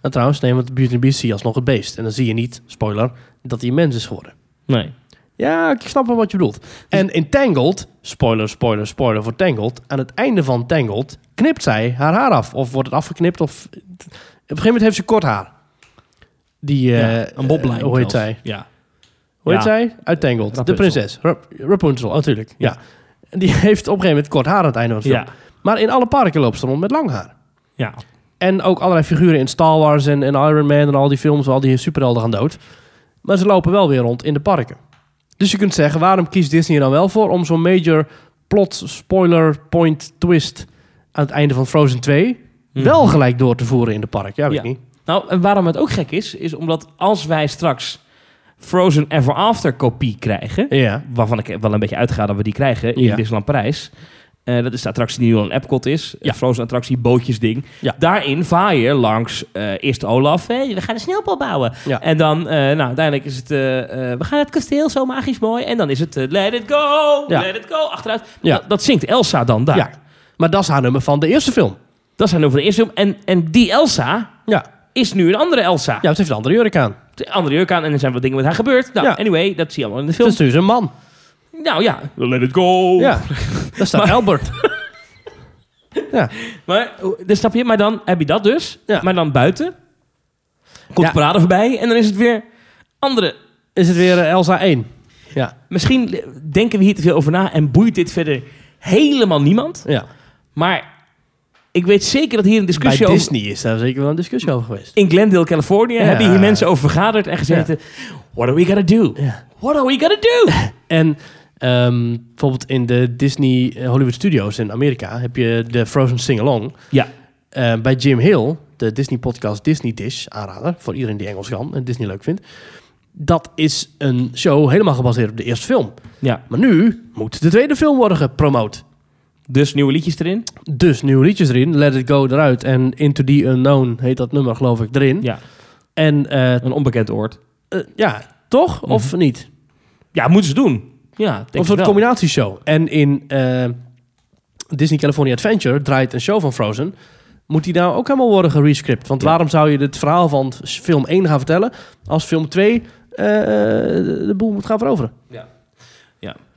Speaker 2: En trouwens, nee, want Beauty and the Beast zie je alsnog het beest. En dan zie je niet, spoiler, dat hij een mens is geworden.
Speaker 1: Nee.
Speaker 2: Ja, ik snap wel wat je bedoelt. En in Tangled, spoiler, spoiler, spoiler voor Tangled... aan het einde van Tangled knipt zij haar haar af. Of wordt het afgeknipt, of... Op een gegeven moment heeft ze kort haar. Die, eh
Speaker 1: Ja, een boblijn.
Speaker 2: eh, hoe heet
Speaker 1: zelfs.
Speaker 2: zij?
Speaker 1: Ja.
Speaker 2: Hoe heet
Speaker 1: Ja.
Speaker 2: zij? Uit Tangled. De
Speaker 1: Rapunzel.
Speaker 2: prinses. Rap Rapunzel, natuurlijk. Ja.
Speaker 1: Ja.
Speaker 2: En Die heeft op een gegeven moment kort haar aan het einde van de film.
Speaker 1: Ja.
Speaker 2: Maar in alle parken loopt ze rond met lang haar.
Speaker 1: ja.
Speaker 2: En ook allerlei figuren in Star Wars en, en Iron Man en al die films... waar al die superhelden gaan dood. Maar ze lopen wel weer rond in de parken. Dus je kunt zeggen, waarom kiest Disney er dan wel voor... om zo'n major plot spoiler point twist... aan het einde van Frozen 2...
Speaker 1: Mhm.
Speaker 2: wel gelijk door te voeren in de park? Ja, weet
Speaker 1: Ja.
Speaker 2: ik niet.
Speaker 1: Nou, en waarom het ook gek is, is omdat als wij straks Frozen Ever After kopie krijgen,
Speaker 2: Ja.
Speaker 1: waarvan ik wel een beetje uitga dat we die krijgen in
Speaker 2: Ja.
Speaker 1: Disneyland Parijs, eh, dat is de attractie die nu al in Epcot is,
Speaker 2: Ja.
Speaker 1: ja. Frozen attractie, bootjesding.
Speaker 2: Ja.
Speaker 1: Daarin vaar je langs eh, eerst Olaf, hé, we gaan een sneeuwpop bouwen.
Speaker 2: Ja.
Speaker 1: En dan, eh, nou, uiteindelijk is het, eh, eh, we gaan het kasteel zo magisch mooi. En dan is het, eh, let it go,
Speaker 2: Ja.
Speaker 1: let it go, achteruit.
Speaker 2: Ja.
Speaker 1: Dat, dat zingt Elsa dan daar.
Speaker 2: ja. Maar dat is haar nummer van de eerste film.
Speaker 1: Dat zijn over de eerste film. En, en die Elsa
Speaker 2: Ja.
Speaker 1: is nu een andere Elsa.
Speaker 2: Ja, het heeft een andere jurk aan.
Speaker 1: de andere jurk aan en er zijn wat dingen met haar gebeurd. Nou,
Speaker 2: Ja.
Speaker 1: anyway, dat zie je allemaal in de
Speaker 2: Het
Speaker 1: film.
Speaker 2: is dus een man.
Speaker 1: Nou ja, let it go.
Speaker 2: Ja, daar staat
Speaker 1: Maar-
Speaker 2: Albert. ja.
Speaker 1: Maar, dus snap je, maar dan heb je dat dus.
Speaker 2: Ja.
Speaker 1: Maar dan buiten komt
Speaker 2: Ja.
Speaker 1: de parade voorbij en dan is het weer andere.
Speaker 2: Is het weer eh, Elsa 1? Ja.
Speaker 1: Misschien denken we hier te veel over na en boeit dit verder helemaal niemand.
Speaker 2: ja.
Speaker 1: Maar ik weet zeker dat hier een
Speaker 2: Bij
Speaker 1: discussie over...
Speaker 2: Disney is daar zeker wel een discussie over geweest.
Speaker 1: In Glendale, Californië hebben hier mensen over vergaderd en gezeten... What are we gonna do?
Speaker 2: Ja.
Speaker 1: What are we gonna do?
Speaker 2: En ehm, bijvoorbeeld in de Disney eh, Hollywood Studios in Amerika heb je de Frozen Sing-Along.
Speaker 1: ja,
Speaker 2: Eh, bij Jim Hill, de Disney-podcast Disney Dish, aanrader voor iedereen die Engels kan en Disney leuk vindt. Dat is een show helemaal gebaseerd op de eerste film.
Speaker 1: ja.
Speaker 2: Maar nu moet de tweede film worden gepromoot.
Speaker 1: Dus nieuwe liedjes erin.
Speaker 2: Dus nieuwe liedjes erin. Let It Go eruit. En Into the Unknown heet dat nummer, geloof ik, erin.
Speaker 1: Ja,
Speaker 2: En eh,
Speaker 1: een onbekend oord.
Speaker 2: eh, ja, toch? Of niet?
Speaker 1: Ja, moeten ze doen. Ja, denk
Speaker 2: Of een
Speaker 1: Mhm. ik
Speaker 2: soort
Speaker 1: wel.
Speaker 2: combinatieshow. En in eh, Disney California Adventure draait een show van Frozen. Moet die nou ook helemaal worden gerescript? Want
Speaker 1: Ja.
Speaker 2: waarom zou je het verhaal van film 1 gaan vertellen... als film 2 eh, de boel moet gaan veroveren?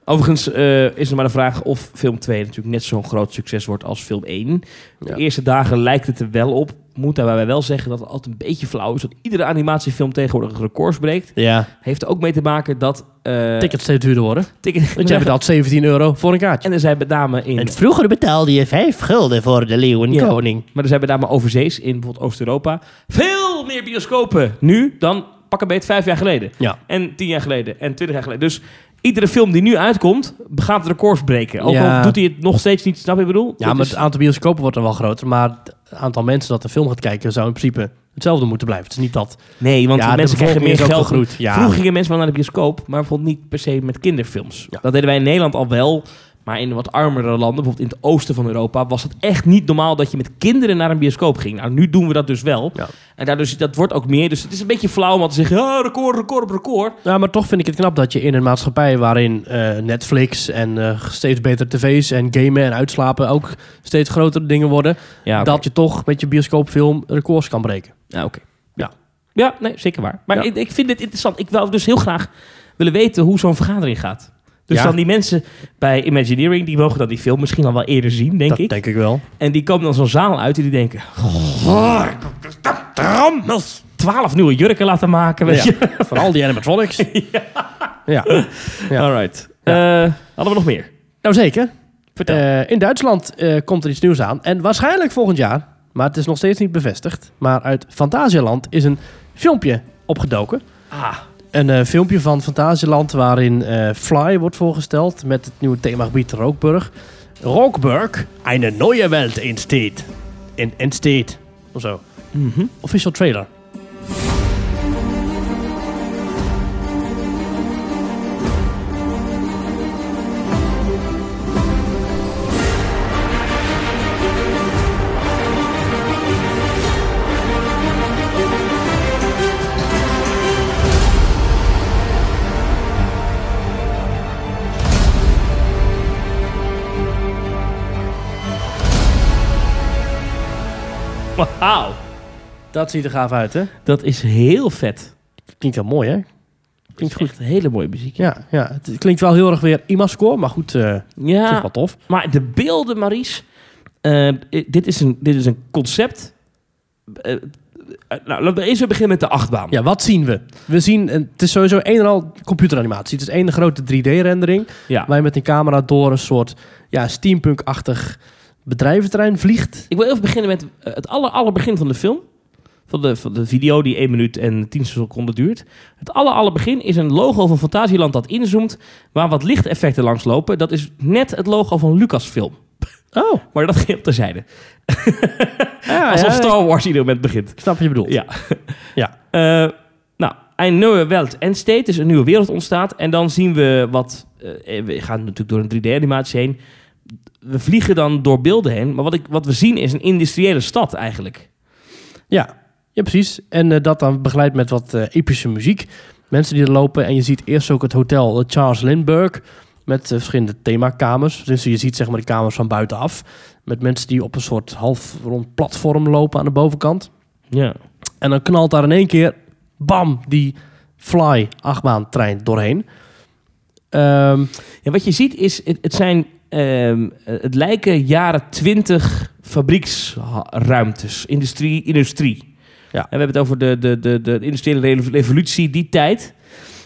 Speaker 1: Overigens eh, is er maar de vraag of film 2 natuurlijk net zo'n groot succes wordt als film 1. De
Speaker 2: Ja.
Speaker 1: eerste dagen lijkt het er wel op. Moet daarbij wel zeggen dat het altijd een beetje flauw is. Dat iedere animatiefilm tegenwoordig records breekt.
Speaker 2: Ja.
Speaker 1: Heeft er ook mee te maken dat... eh,
Speaker 2: Tickets steeds duurder worden.
Speaker 1: ticket-
Speaker 2: Want jij betaalt 17 euro voor een kaartje.
Speaker 1: En er zijn met name in...
Speaker 2: vroeger betaalde je 5 gulden voor de leeuwenkoning.
Speaker 1: Maar er zijn met name overzees in bijvoorbeeld Oost-Europa. Veel meer bioscopen nu dan pak een beet vijf jaar geleden.
Speaker 2: Ja.
Speaker 1: En tien jaar geleden. En twintig jaar geleden. Dus iedere film die nu uitkomt, gaat records breken. Ook
Speaker 2: Ja.
Speaker 1: al doet hij het nog steeds niet, snap je wat ik bedoel?
Speaker 2: Ja,
Speaker 1: Dat
Speaker 2: maar
Speaker 1: is-
Speaker 2: het aantal bioscopen wordt dan wel groter. Maar het aantal mensen dat de film gaat kijken zou in principe hetzelfde moeten blijven. Het is niet dat.
Speaker 1: Nee, want
Speaker 2: ja, de
Speaker 1: mensen krijgen meer
Speaker 2: bevolking is ook
Speaker 1: geld.
Speaker 2: gegroeid. Ja.
Speaker 1: Vroeger gingen mensen wel naar de bioscoop, maar bijvoorbeeld niet per se met kinderfilms.
Speaker 2: Ja.
Speaker 1: Dat deden wij in Nederland al wel. Maar in wat armere landen, bijvoorbeeld in het oosten van Europa, was het echt niet normaal dat je met kinderen naar een bioscoop ging. Nou, nu doen we dat dus wel.
Speaker 2: Ja.
Speaker 1: En daardoor is- dat wordt ook meer. Dus het is een beetje flauw om al te zeggen: oh, record, record op record.
Speaker 2: Ja, Nou, maar toch vind ik het knap dat je in een maatschappij waarin eh, Netflix en eh, steeds beter tv's en gamen en uitslapen ook steeds grotere dingen worden.
Speaker 1: Ja,
Speaker 2: Dat je toch met je bioscoopfilm records kan breken.
Speaker 1: Ja, oké.
Speaker 2: Ja.
Speaker 1: Ja, nee, zeker waar. Maar
Speaker 2: Ja.
Speaker 1: ik, ik vind dit interessant. Ik wil dus heel graag willen weten hoe zo'n vergadering gaat. Dus
Speaker 2: Ja.
Speaker 1: dan die mensen bij Imagineering, die mogen dan die film misschien al wel eerder zien, denk
Speaker 2: dat
Speaker 1: ik.
Speaker 2: denk ik wel.
Speaker 1: En die komen dan zo'n zaal uit en die denken... "Goh, Trammels. Twaalf nieuwe jurken laten maken, weet
Speaker 2: Ja.
Speaker 1: je.
Speaker 2: Vooral die animatronics. ja. Ja.
Speaker 1: Alright. Eh, hadden we nog meer?
Speaker 2: Nou zeker.
Speaker 1: Vertel.
Speaker 2: Eh, in Duitsland eh, komt er iets nieuws aan. En waarschijnlijk volgend jaar, maar het is nog steeds niet bevestigd. Maar uit Fantasialand is een filmpje opgedoken.
Speaker 1: ah,
Speaker 2: Een eh, filmpje van Fantasieland waarin eh, Fly wordt voorgesteld met het nieuwe themagebied Rookburg. Rookburg, een nieuwe wereld entsteht. Mhm. In entsteht. Of zo. Official trailer.
Speaker 1: Wauw.
Speaker 2: Dat ziet er gaaf uit, hè?
Speaker 1: Dat is heel vet.
Speaker 2: Klinkt wel mooi, hè? Klinkt goed.
Speaker 1: Echt hele mooie muziek.
Speaker 2: Ja, ja, het klinkt wel heel erg weer IMA-score, maar goed, eh het is
Speaker 1: Ja,
Speaker 2: wel tof.
Speaker 1: maar de beelden, Maries. eh, dit, is een, dit is een concept. Eh, eh, nou, laten we eerst weer beginnen met de achtbaan.
Speaker 2: Ja, wat zien we? We zien, en het is sowieso een en al computeranimatie. Het is één grote 3D-rendering,
Speaker 1: Ja.
Speaker 2: waar je met een camera door een soort ja, steampunk-achtig bedrijventerrein vliegt.
Speaker 1: Ik wil even beginnen met eh, het aller, aller begin van de film. Van de, van de video die 1 minuut en 10 seconden duurt. Het aller, aller begin is een logo van Fantasieland dat inzoomt. Waar wat lichteffecten langs lopen. Dat is net het logo van Lucasfilm.
Speaker 2: Oh,
Speaker 1: Maar dat ging op terzijde.
Speaker 2: ja,
Speaker 1: Alsof
Speaker 2: Ah, ja,
Speaker 1: Star Wars ieder moment begint.
Speaker 2: Ik snap wat je bedoelt.
Speaker 1: Ja.
Speaker 2: Ja.
Speaker 1: Eh, nou, een nieuwe wereld entsteed. Dus een nieuwe wereld ontstaat. En dan zien we wat... eh, we gaan natuurlijk door een 3D-animatie heen. We vliegen dan door beelden heen. Maar wat, ik, wat we zien is een industriële stad eigenlijk.
Speaker 2: Ja, ja precies. En eh, dat dan begeleid met wat eh, epische muziek. Mensen die er lopen en je ziet eerst ook het hotel eh, Charles Lindbergh met eh, verschillende themakamers. Dus je ziet zeg maar de kamers van buitenaf met mensen die op een soort half rond platform lopen aan de bovenkant.
Speaker 1: Ja.
Speaker 2: En dan knalt daar in één keer, bam, die fly achtbaantrein doorheen. Ehm,
Speaker 1: Ja, wat je ziet is, het, het zijn, ehm, het lijken jaren 20 fabrieksruimtes, industrie. industrie.
Speaker 2: Ja.
Speaker 1: En we hebben het over de, de, de, de industriële revo- revolutie, die tijd.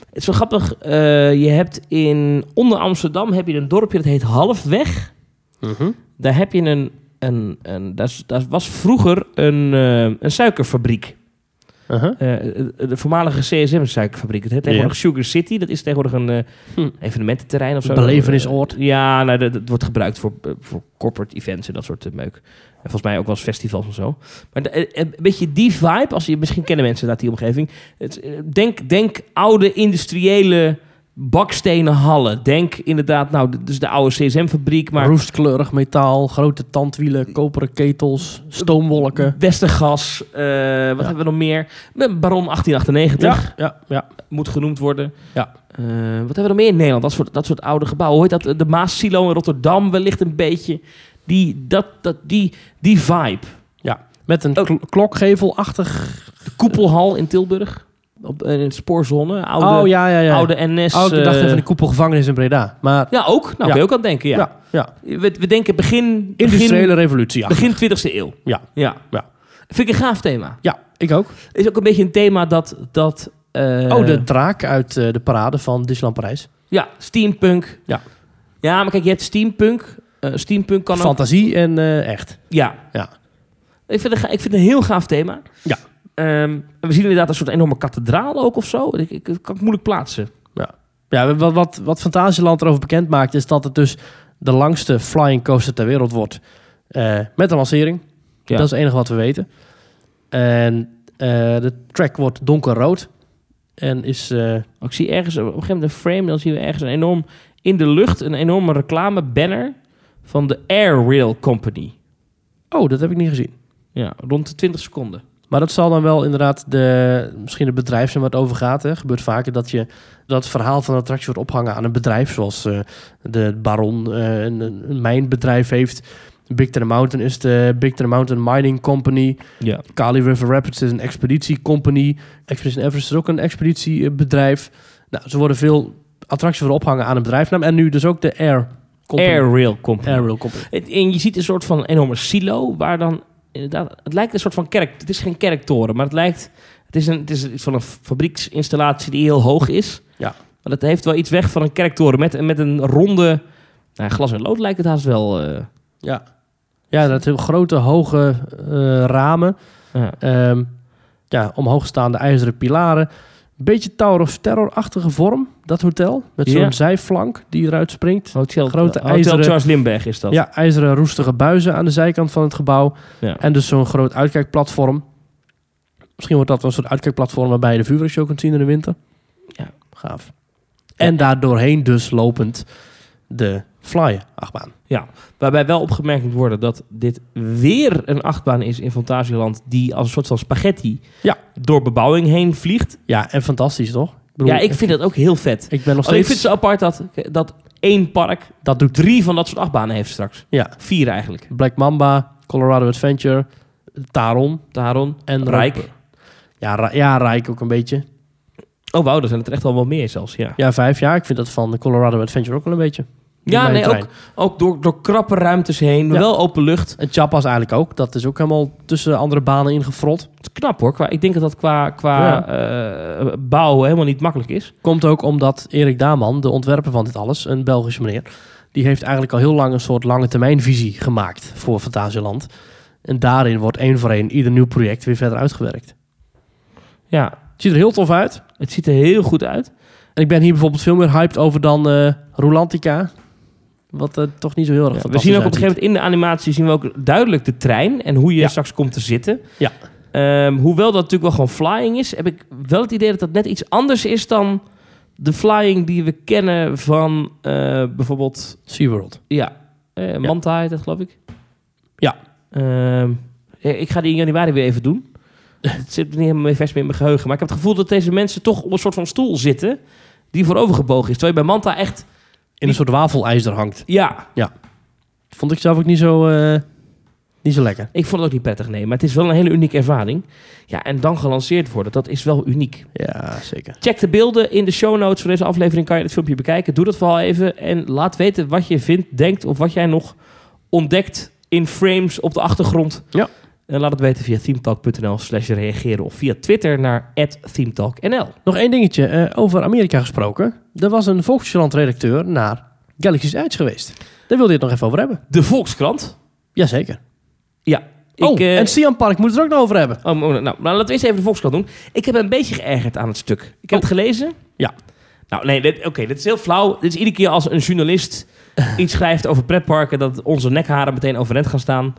Speaker 1: Het is wel grappig, eh, je hebt in, onder Amsterdam heb je een dorpje dat heet Halfweg. Mhm. Daar heb je een, een, een daar, is- daar was vroeger een, eh, een suikerfabriek.
Speaker 2: Uh-huh.
Speaker 1: Eh, de voormalige CSM-suikerfabriek. Het heet tegenwoordig Sugar City. Dat is tegenwoordig een eh,
Speaker 2: Hm.
Speaker 1: evenemententerrein of zo.
Speaker 2: Belevenisoord.
Speaker 1: Ja, nou, dat, dat wordt gebruikt voor, eh, voor corporate events en dat soort eh, meuk. En volgens mij ook wel eens festivals en zo. Maar de- eh, een beetje die vibe, als je, misschien kennen mensen dat die omgeving. Het, eh, denk, denk oude industriële bakstenen hallen. Denk inderdaad, nou, d- dus de oude CSM-fabriek, maar
Speaker 2: Roestkleurig metaal, grote tandwielen, koperen ketels, stoomwolken.
Speaker 1: Westergas. eh, wat hebben we nog meer? Baron 1898.
Speaker 2: ja, ja.
Speaker 1: moet genoemd worden.
Speaker 2: Ja.
Speaker 1: Eh, wat hebben we nog meer in Nederland? Dat soort, dat soort oude gebouwen. Hoe heet dat? De Maas-silo in Rotterdam wellicht een beetje. Die, dat, dat, die, die vibe.
Speaker 2: Ja, met een
Speaker 1: Oh.
Speaker 2: kl- klokgevelachtig.
Speaker 1: De koepelhal in Tilburg. Op, eh, in het spoorzone. Oude,
Speaker 2: oh ja, ja, ja.
Speaker 1: oude NS.
Speaker 2: oh, ik dacht
Speaker 1: eh,
Speaker 2: even de koepelgevangenis in Breda. Maar
Speaker 1: Ja, ook. Nou,
Speaker 2: Ja.
Speaker 1: kun je ook aan denken,
Speaker 2: ja,
Speaker 1: ja.
Speaker 2: ja.
Speaker 1: We, we denken begin...
Speaker 2: Industriële revolutie. Ja.
Speaker 1: Begin, begin 20e eeuw.
Speaker 2: Ja.
Speaker 1: ja.
Speaker 2: Ja.
Speaker 1: Vind ik een gaaf thema.
Speaker 2: ja, ik ook.
Speaker 1: Is ook een beetje een thema dat... dat eh,
Speaker 2: oh, de draak uit eh, de parade van Disneyland Parijs.
Speaker 1: Ja, steampunk.
Speaker 2: Ja.
Speaker 1: Ja, maar kijk, je hebt steampunk. Eh, steampunk kan ook...
Speaker 2: Fantasie en eh, echt.
Speaker 1: Ja.
Speaker 2: Ja.
Speaker 1: Ik vind, het, ga- ik vind het een heel gaaf thema.
Speaker 2: Ja.
Speaker 1: Ehm, en we zien inderdaad een soort enorme kathedraal ook of zo. Ik, ik, dat kan ik moeilijk plaatsen.
Speaker 2: Ja, wat, wat, wat Fantasieland erover bekend maakt is dat het dus de langste flying coaster ter wereld wordt. Eh, met een lancering.
Speaker 1: Ja.
Speaker 2: Dat is het enige wat we weten. En eh, de track wordt donkerrood. En is... eh,
Speaker 1: Ik zie ergens op een gegeven moment een frame. Dan zien we ergens een enorm in de lucht een enorme reclamebanner van de Air Rail Company.
Speaker 2: oh, dat heb ik niet gezien.
Speaker 1: Ja, rond de 20 seconden.
Speaker 2: Maar dat zal dan wel inderdaad de, misschien het bedrijf zijn waar het over gaat. Hè. Gebeurt vaker dat je dat het verhaal van een attractie wordt ophangen aan een bedrijf. Zoals eh, de Baron eh, een, een mijnbedrijf heeft. Big Ten Mountain is de Big Ten Mountain Mining Company.
Speaker 1: Ja.
Speaker 2: Kali River Rapids is een expeditiecompany. Expedition Everest is ook een expeditiebedrijf. Nou, ze worden veel attracties voor ophangen aan een bedrijfnaam. En nu dus ook de Air Company.
Speaker 1: Air Rail Company.
Speaker 2: Air Rail Company.
Speaker 1: Het- En je ziet een soort van enorme silo waar dan inderdaad, het lijkt een soort van kerk. Het is geen kerktoren, maar het lijkt, het is, een, het is iets van een fabrieksinstallatie die heel hoog is.
Speaker 2: Ja.
Speaker 1: Maar dat heeft wel iets weg van een kerktoren met, met een ronde, nou, glas en lood lijkt het haast wel. eh,
Speaker 2: Ja. Ja, dat heel grote, hoge eh, ramen.
Speaker 1: ja.
Speaker 2: Ehm, ja, omhoogstaande ijzeren pilaren. Beetje Tower of Terror-achtige vorm, dat hotel. Met zo'n
Speaker 1: Ja.
Speaker 2: zijflank die eruit springt.
Speaker 1: Hotel,
Speaker 2: Grote
Speaker 1: Hotel
Speaker 2: ijzeren-
Speaker 1: Charles Lindbergh is dat.
Speaker 2: Ja, ijzeren roestige buizen aan de zijkant van het gebouw.
Speaker 1: Ja.
Speaker 2: En dus zo'n groot uitkijkplatform. Misschien wordt dat wel een soort uitkijkplatform waarbij je de vuurwerkshow kunt zien in de winter.
Speaker 1: Ja.
Speaker 2: gaaf. En daar doorheen dus lopend de flyer achtbaan.
Speaker 1: Waarbij wel opgemerkt moet worden dat dit weer een achtbaan is in Fantasieland die als een soort van spaghetti
Speaker 2: Ja.
Speaker 1: door bebouwing heen vliegt.
Speaker 2: Ja, en fantastisch toch? bedoel,
Speaker 1: Ja, ik vind dat ook heel vet.
Speaker 2: ik ben nog
Speaker 1: Alleen
Speaker 2: steeds...
Speaker 1: ik vind het zo apart dat, dat één park
Speaker 2: Dat doet
Speaker 1: drie van dat soort achtbanen heeft straks.
Speaker 2: Ja.
Speaker 1: Vier eigenlijk.
Speaker 2: Black Mamba, Colorado Adventure, Taron
Speaker 1: Taron
Speaker 2: en
Speaker 1: Rijk.
Speaker 2: Rob- Ja, Ra- ja, Rijk ook een beetje.
Speaker 1: Oh wauw, er zijn het er echt al wel meer zelfs, ja.
Speaker 2: Ja, vijf jaar. Ik vind dat van de Colorado Adventure ook wel een beetje. Die
Speaker 1: Ja,
Speaker 2: bij
Speaker 1: nee,
Speaker 2: een trein.
Speaker 1: ook, ook door, door krappe ruimtes heen,
Speaker 2: Ja.
Speaker 1: wel open lucht.
Speaker 2: En Chiapas eigenlijk ook. Dat is ook helemaal tussen andere banen ingefrot.
Speaker 1: Het is knap hoor. Qua, ik denk dat dat qua, qua eh, bouwen helemaal niet makkelijk is.
Speaker 2: Komt ook omdat Erik Daman, de ontwerper van dit alles, een Belgische meneer, die heeft eigenlijk al heel lang een soort lange termijnvisie gemaakt voor Fantasieland. En daarin wordt één voor één ieder nieuw project weer verder uitgewerkt.
Speaker 1: Ja,
Speaker 2: Het ziet er heel tof uit.
Speaker 1: het ziet er heel goed uit.
Speaker 2: En ik ben hier bijvoorbeeld veel meer hyped over dan eh Rolantica. Wat eh, toch niet zo heel erg
Speaker 1: we
Speaker 2: fantastisch
Speaker 1: zien ook op een
Speaker 2: uitziet.
Speaker 1: gegeven moment in de animatie zien we ook duidelijk de trein en hoe je
Speaker 2: Ja.
Speaker 1: straks komt te zitten.
Speaker 2: Ja.
Speaker 1: Ehm, hoewel dat natuurlijk wel gewoon flying is, heb ik wel het idee dat dat net iets anders is dan de flying die we kennen van eh, bijvoorbeeld
Speaker 2: SeaWorld.
Speaker 1: Ja, eh Manta heet dat geloof ik.
Speaker 2: Ja.
Speaker 1: Ehm, eh, ik ga die in januari weer even doen. het zit niet helemaal meer vers meer in mijn geheugen. Maar ik heb het gevoel dat deze mensen toch op een soort van stoel zitten... die voorovergebogen is. Terwijl je bij Manta echt...
Speaker 2: In een soort wafelijzer hangt.
Speaker 1: Ja,
Speaker 2: Vond ik zelf ook niet zo, eh, niet zo lekker.
Speaker 1: ik vond het ook niet prettig, nee. Maar het is wel een hele unieke ervaring. Ja, en dan gelanceerd worden, dat is wel uniek.
Speaker 2: Ja, zeker.
Speaker 1: Check de beelden in de show notes van deze aflevering. Kan je het filmpje bekijken. Doe dat vooral even. En laat weten wat je vindt, denkt of wat jij nog ontdekt in frames op de achtergrond.
Speaker 2: Ja.
Speaker 1: En laat het weten via themetalk.nl slash reageren of via Twitter naar themetalknl.
Speaker 2: Nog één dingetje eh, over Amerika gesproken. Er was een Volkskrant-redacteur naar Galaxy's Edge geweest. Daar wilde je het nog even over hebben.
Speaker 1: De Volkskrant.
Speaker 2: Jazeker.
Speaker 1: Ik,
Speaker 2: oh,
Speaker 1: eh,
Speaker 2: en Siam Park moet het er ook nog over hebben.
Speaker 1: oh, nou, nou, laten we eerst even de Volkskrant doen. Ik heb een beetje geërgerd aan het stuk. Ik heb
Speaker 2: Oh.
Speaker 1: het gelezen.
Speaker 2: Ja.
Speaker 1: Nou, nee, dit- oké, dit is heel flauw. Dit is iedere keer als een journalist iets schrijft over pretparken... dat onze nekharen meteen overeind gaan staan.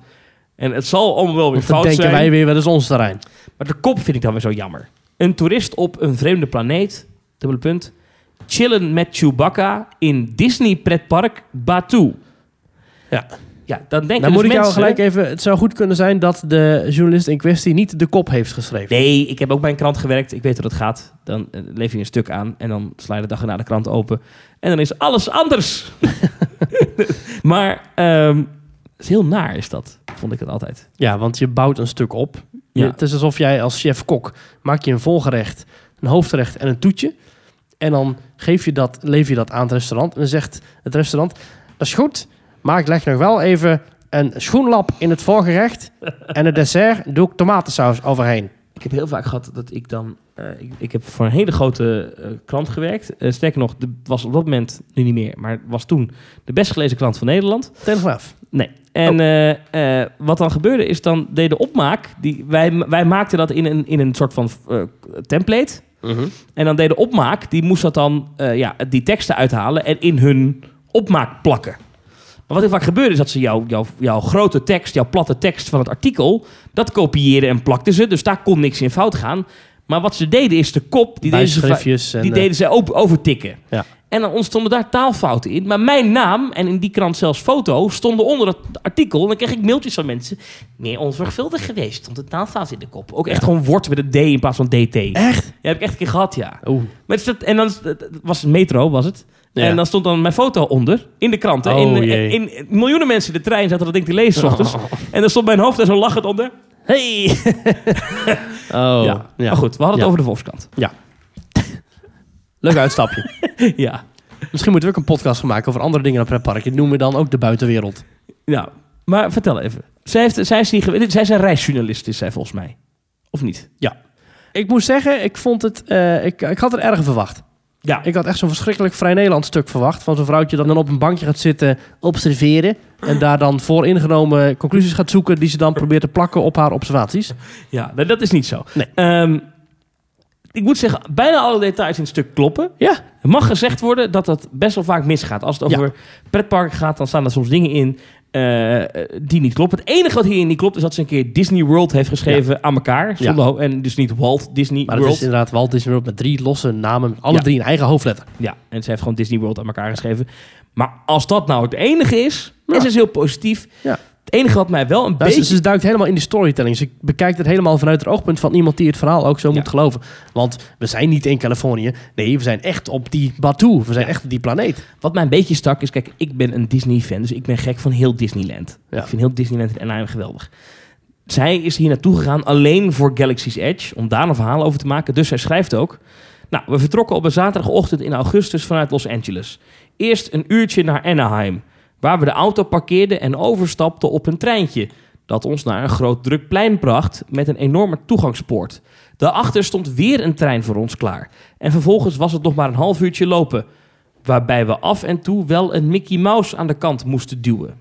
Speaker 1: En het zal allemaal wel weer
Speaker 2: Want
Speaker 1: fout
Speaker 2: dan denken
Speaker 1: zijn.
Speaker 2: wij weer, wel eens ons terrein.
Speaker 1: Maar de kop vind ik dan weer zo jammer. Een toerist op een vreemde planeet, dubbele punt, chillen met Chewbacca in Disney pretpark Batu.
Speaker 2: Ja.
Speaker 1: Ja, dan denk
Speaker 2: Dan
Speaker 1: dus
Speaker 2: moet ik jou
Speaker 1: mensen-
Speaker 2: gelijk even... Het zou goed kunnen zijn dat de journalist in kwestie niet de kop heeft geschreven.
Speaker 1: Nee, ik heb ook bij een krant gewerkt. Ik weet hoe dat gaat. Dan eh, leef je een stuk aan en dan sla je de dag erna de krant open. En dan is alles anders. maar ehm, het is heel naar is dat, vond ik het altijd.
Speaker 2: Ja, want je bouwt een stuk op. Je-
Speaker 1: Ja.
Speaker 2: het is alsof jij als chef-kok maak je een volgerecht, een hoofdgerecht en een toetje. En dan geef je dat, lever je dat aan het restaurant. En dan zegt het restaurant, dat is goed, maar ik leg nog wel even een schoenlap in het voorgerecht. En het dessert doe ik tomatensaus overheen.
Speaker 1: Ik heb heel vaak gehad dat ik dan... eh, ik, ik heb voor een hele grote eh, krant gewerkt. Eh, sterker nog, de, was op dat moment, nu niet meer, maar was toen de best gelezen krant van Nederland.
Speaker 2: Telegraaf.
Speaker 1: Nee. En eh, eh, wat dan gebeurde is, dan deed de opmaak... Die, wij, wij maakten dat in een, in een soort van eh, template. En dan deed de opmaak, die moest dat dan, eh, ja, die teksten uithalen en in hun opmaak plakken. Maar wat er vaak gebeurde is dat ze jouw jouw jouw grote tekst, jouw platte tekst van het artikel, dat kopieerden en plakten ze. Dus daar kon niks in fout gaan. Maar wat ze deden is de kop, die deden ze, va-
Speaker 2: Bijschriftjes. en,
Speaker 1: die
Speaker 2: eh,
Speaker 1: deden ze op- overtikken.
Speaker 2: Ja.
Speaker 1: En dan ontstonden daar taalfouten in. Maar mijn naam en in die krant zelfs foto stonden onder het artikel. En dan kreeg ik mailtjes van mensen. Meer onzorgvuldig geweest, stond de taalfout in de kop. Ook echt gewoon woord met een D in plaats van DT.
Speaker 2: Echt?
Speaker 1: Ja, heb ik echt een keer gehad, ja.
Speaker 2: Oeh.
Speaker 1: Maar het is dat, en dan is- het was het metro, was het.
Speaker 2: Ja.
Speaker 1: En dan stond dan mijn foto onder, in de kranten.
Speaker 2: Oh,
Speaker 1: in,
Speaker 2: jee.
Speaker 1: in, in- miljoenen mensen in de trein zaten dat ding te lezen 's ochtends. En dan stond mijn hoofd daar zo lachend onder. Hey!
Speaker 2: Oh.
Speaker 1: ja.
Speaker 2: Ja.
Speaker 1: Maar goed, we hadden het
Speaker 2: Ja.
Speaker 1: over de Volkskrant.
Speaker 2: Leuk uitstapje.
Speaker 1: ja.
Speaker 2: Misschien moeten we ook een podcast gaan maken over andere dingen dan pretparken. Die noemen we dan ook de buitenwereld.
Speaker 1: ja. Maar vertel even. Zij, heeft, zij, is die, gewe- zij is een reisjournalist, is zij volgens mij. Of niet?
Speaker 2: Ik moet zeggen, ik vond het... eh, ik, ik had er erger verwacht.
Speaker 1: Ja.
Speaker 2: Ik had echt zo'n verschrikkelijk Vrij Nederland stuk verwacht. Van zo'n vrouwtje dat dan op een bankje gaat zitten observeren. En daar dan vooringenomen conclusies gaat zoeken. Die ze dan probeert te plakken op haar observaties.
Speaker 1: Ja, nou, dat is niet zo.
Speaker 2: Nee.
Speaker 1: Ehm, ik moet zeggen, bijna alle details in het stuk kloppen.
Speaker 2: Ja.
Speaker 1: Het mag gezegd worden dat dat best wel vaak misgaat. Als het
Speaker 2: Ja.
Speaker 1: over pretparken gaat, dan staan er soms dingen in eh, die niet kloppen. Het enige wat hierin niet klopt, is dat ze een keer Disney World heeft geschreven aan elkaar. zonder ho- En dus niet Walt Disney
Speaker 2: Maar het
Speaker 1: World.
Speaker 2: is inderdaad Walt Disney World met drie losse namen. met Alle
Speaker 1: Ja.
Speaker 2: drie een eigen hoofdletter.
Speaker 1: Ja, en ze heeft gewoon Disney World aan elkaar geschreven. Maar als dat nou het enige is,
Speaker 2: Ja.
Speaker 1: en ze is heel positief.
Speaker 2: Ja.
Speaker 1: Het enige wat mij wel een
Speaker 2: Nou, ze,
Speaker 1: beetje...
Speaker 2: ze duikt helemaal in die storytelling. Ze bekijkt het helemaal vanuit het oogpunt van iemand die het verhaal ook zo
Speaker 1: Ja.
Speaker 2: moet geloven. Want we zijn niet in Californië. Nee, we zijn echt op die Batu. We zijn echt op die planeet.
Speaker 1: Wat mij een beetje stak is, kijk, ik ben een Disney-fan, dus ik ben gek van heel Disneyland.
Speaker 2: Ja.
Speaker 1: Ik vind heel Disneyland en Anaheim geweldig. zij is hier naartoe gegaan alleen voor Galaxy's Edge, om daar een verhaal over te maken. Dus zij schrijft ook. Nou, we vertrokken op een zaterdagochtend in augustus vanuit Los Angeles. Eerst een uurtje naar Anaheim, waar we de auto parkeerden en overstapten op een treintje. Dat ons naar een groot druk plein bracht met een enorme toegangspoort. Daarachter stond weer een trein voor ons klaar. En vervolgens was het nog maar een half uurtje lopen. Waarbij we af en toe wel een Mickey Mouse aan de kant moesten duwen.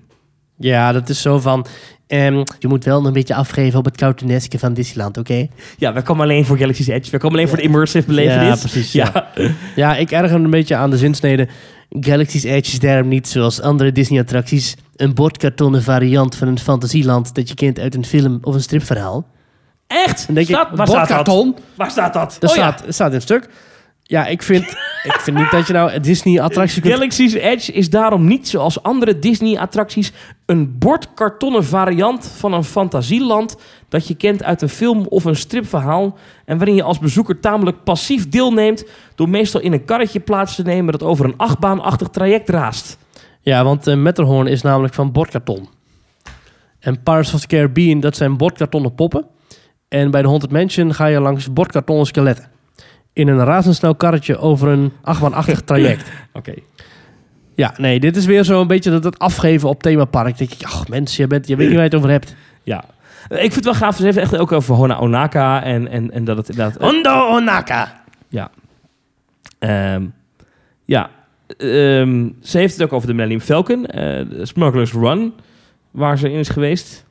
Speaker 2: Ja, dat is zo van. ehm, je moet wel een beetje afgeven op het cartooneske van Disneyland, oké?
Speaker 1: Ja, we kwamen alleen voor Galaxy's Edge. We kwamen alleen voor de immersive
Speaker 2: Ja,
Speaker 1: belevenis.
Speaker 2: precies. Ja.
Speaker 1: Ja,
Speaker 2: Ja, ik erger me een beetje aan de zinsnede. Galaxy's Edge is daarom niet zoals andere Disney-attracties een bordkartonnen variant van een fantasieland dat je kent uit een film of een stripverhaal.
Speaker 1: echt?
Speaker 2: Dan denk ik,
Speaker 1: Staat- waar, staat dat?
Speaker 2: bordkarton?
Speaker 1: waar staat dat?
Speaker 2: Dat
Speaker 1: Oh ja,
Speaker 2: staat, dat staat in het stuk. Ja, ik vind, ik vind niet dat je nou een Disney-attractie kunt...
Speaker 1: Galaxy's Edge is daarom niet zoals andere Disney-attracties een bordkartonnen variant van een fantasieland dat je kent uit een film of een stripverhaal en waarin je als bezoeker tamelijk passief deelneemt door meestal in een karretje plaats te nemen dat over een achtbaanachtig traject raast.
Speaker 2: Ja, want eh, Matterhorn is namelijk van bordkarton. En Pirates of the Caribbean, dat zijn bordkartonnen poppen. En bij de Haunted Mansion ga je langs bordkartonnen skeletten. In een razendsnel karretje over een achtbaanachtig traject.
Speaker 1: Oké.
Speaker 2: Ja, nee, dit is weer zo'n beetje dat, dat afgeven op themapark. Denk ik, ach mensen, je, bent, je weet niet waar je het over hebt.
Speaker 1: Ja. Eh, Ik vind het wel gaaf. Ze heeft echt ook over Hona Onaka en, en, en dat het inderdaad...
Speaker 2: Hondo Onaka.
Speaker 1: Ehm, ja, ehm, ze heeft het ook over de Millennium Falcon, eh, de Smuggler's Run, waar ze in is geweest.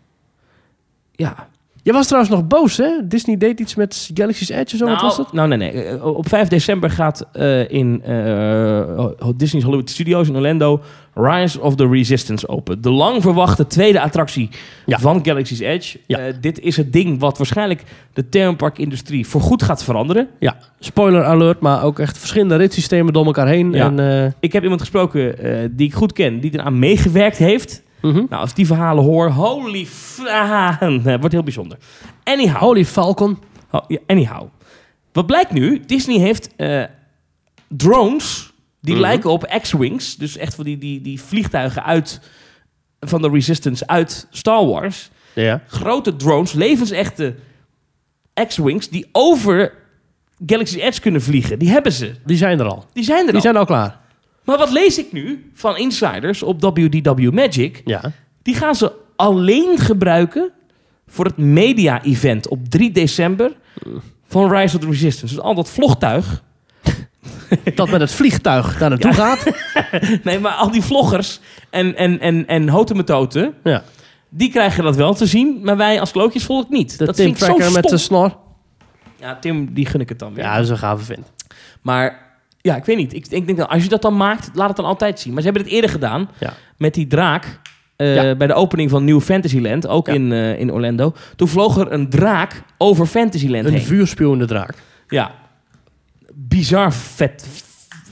Speaker 1: Ja,
Speaker 2: Je was trouwens nog boos, hè? Disney deed iets met Galaxy's Edge of zo, wat was dat?
Speaker 1: Nou, nee, nee. Eh, Op 5 december gaat eh, in eh, Disney's Hollywood Studios in Orlando Rise of the Resistance open. De lang verwachte tweede attractie
Speaker 2: Ja.
Speaker 1: van Galaxy's Edge.
Speaker 2: Ja.
Speaker 1: Eh, dit is het ding wat waarschijnlijk de themaparkindustrie voorgoed gaat veranderen.
Speaker 2: Ja, spoiler alert, maar ook echt verschillende ritssystemen door elkaar heen.
Speaker 1: Ja.
Speaker 2: En, eh,
Speaker 1: Ik heb iemand gesproken eh, die ik goed ken, die eraan meegewerkt heeft.
Speaker 2: mhm.
Speaker 1: Nou, als ik die verhalen hoor, holy f... ah, wordt heel bijzonder. Anyhow.
Speaker 2: Holy Falcon.
Speaker 1: Oh, ja, anyhow. Wat blijkt nu? Disney heeft eh, drones die
Speaker 2: Mhm.
Speaker 1: lijken op X-Wings. Dus echt van die, die, die vliegtuigen uit, van de Resistance uit Star Wars.
Speaker 2: Ja.
Speaker 1: Grote drones, levensechte X-Wings, die over Galaxy Edge kunnen vliegen. Die hebben ze.
Speaker 2: Die zijn er al.
Speaker 1: Die zijn er
Speaker 2: Die
Speaker 1: al.
Speaker 2: zijn al klaar.
Speaker 1: Maar wat lees ik nu van insiders op WDW Magic?
Speaker 2: Ja.
Speaker 1: Die gaan ze alleen gebruiken voor het media-event op 3 december van Rise of the Resistance. Dus al dat vlogtuig.
Speaker 2: Dat met het vliegtuig daar naartoe gaat.
Speaker 1: Nee, maar al die vloggers en, en, en, en hotemetoten,
Speaker 2: Ja.
Speaker 1: die krijgen dat wel te zien. Maar wij als klootjesvolk niet.
Speaker 2: De
Speaker 1: dat
Speaker 2: Tim
Speaker 1: vind ik zo
Speaker 2: Tracker
Speaker 1: stom.
Speaker 2: met zijn snor.
Speaker 1: Ja, Tim, die gun ik het dan weer.
Speaker 2: Ja, dat is een gave vent.
Speaker 1: Maar ja, ik weet niet. Ik, ik denk dat als je dat dan maakt, laat het dan altijd zien. Maar ze hebben het eerder gedaan
Speaker 2: Ja.
Speaker 1: met die draak. eh,
Speaker 2: Ja.
Speaker 1: Bij de opening van New Fantasyland, ook
Speaker 2: Ja.
Speaker 1: in, eh, in Orlando. Toen vloog er een draak over Fantasyland
Speaker 2: Een
Speaker 1: heen.
Speaker 2: vuurspuwende draak.
Speaker 1: Ja. Bizar vet,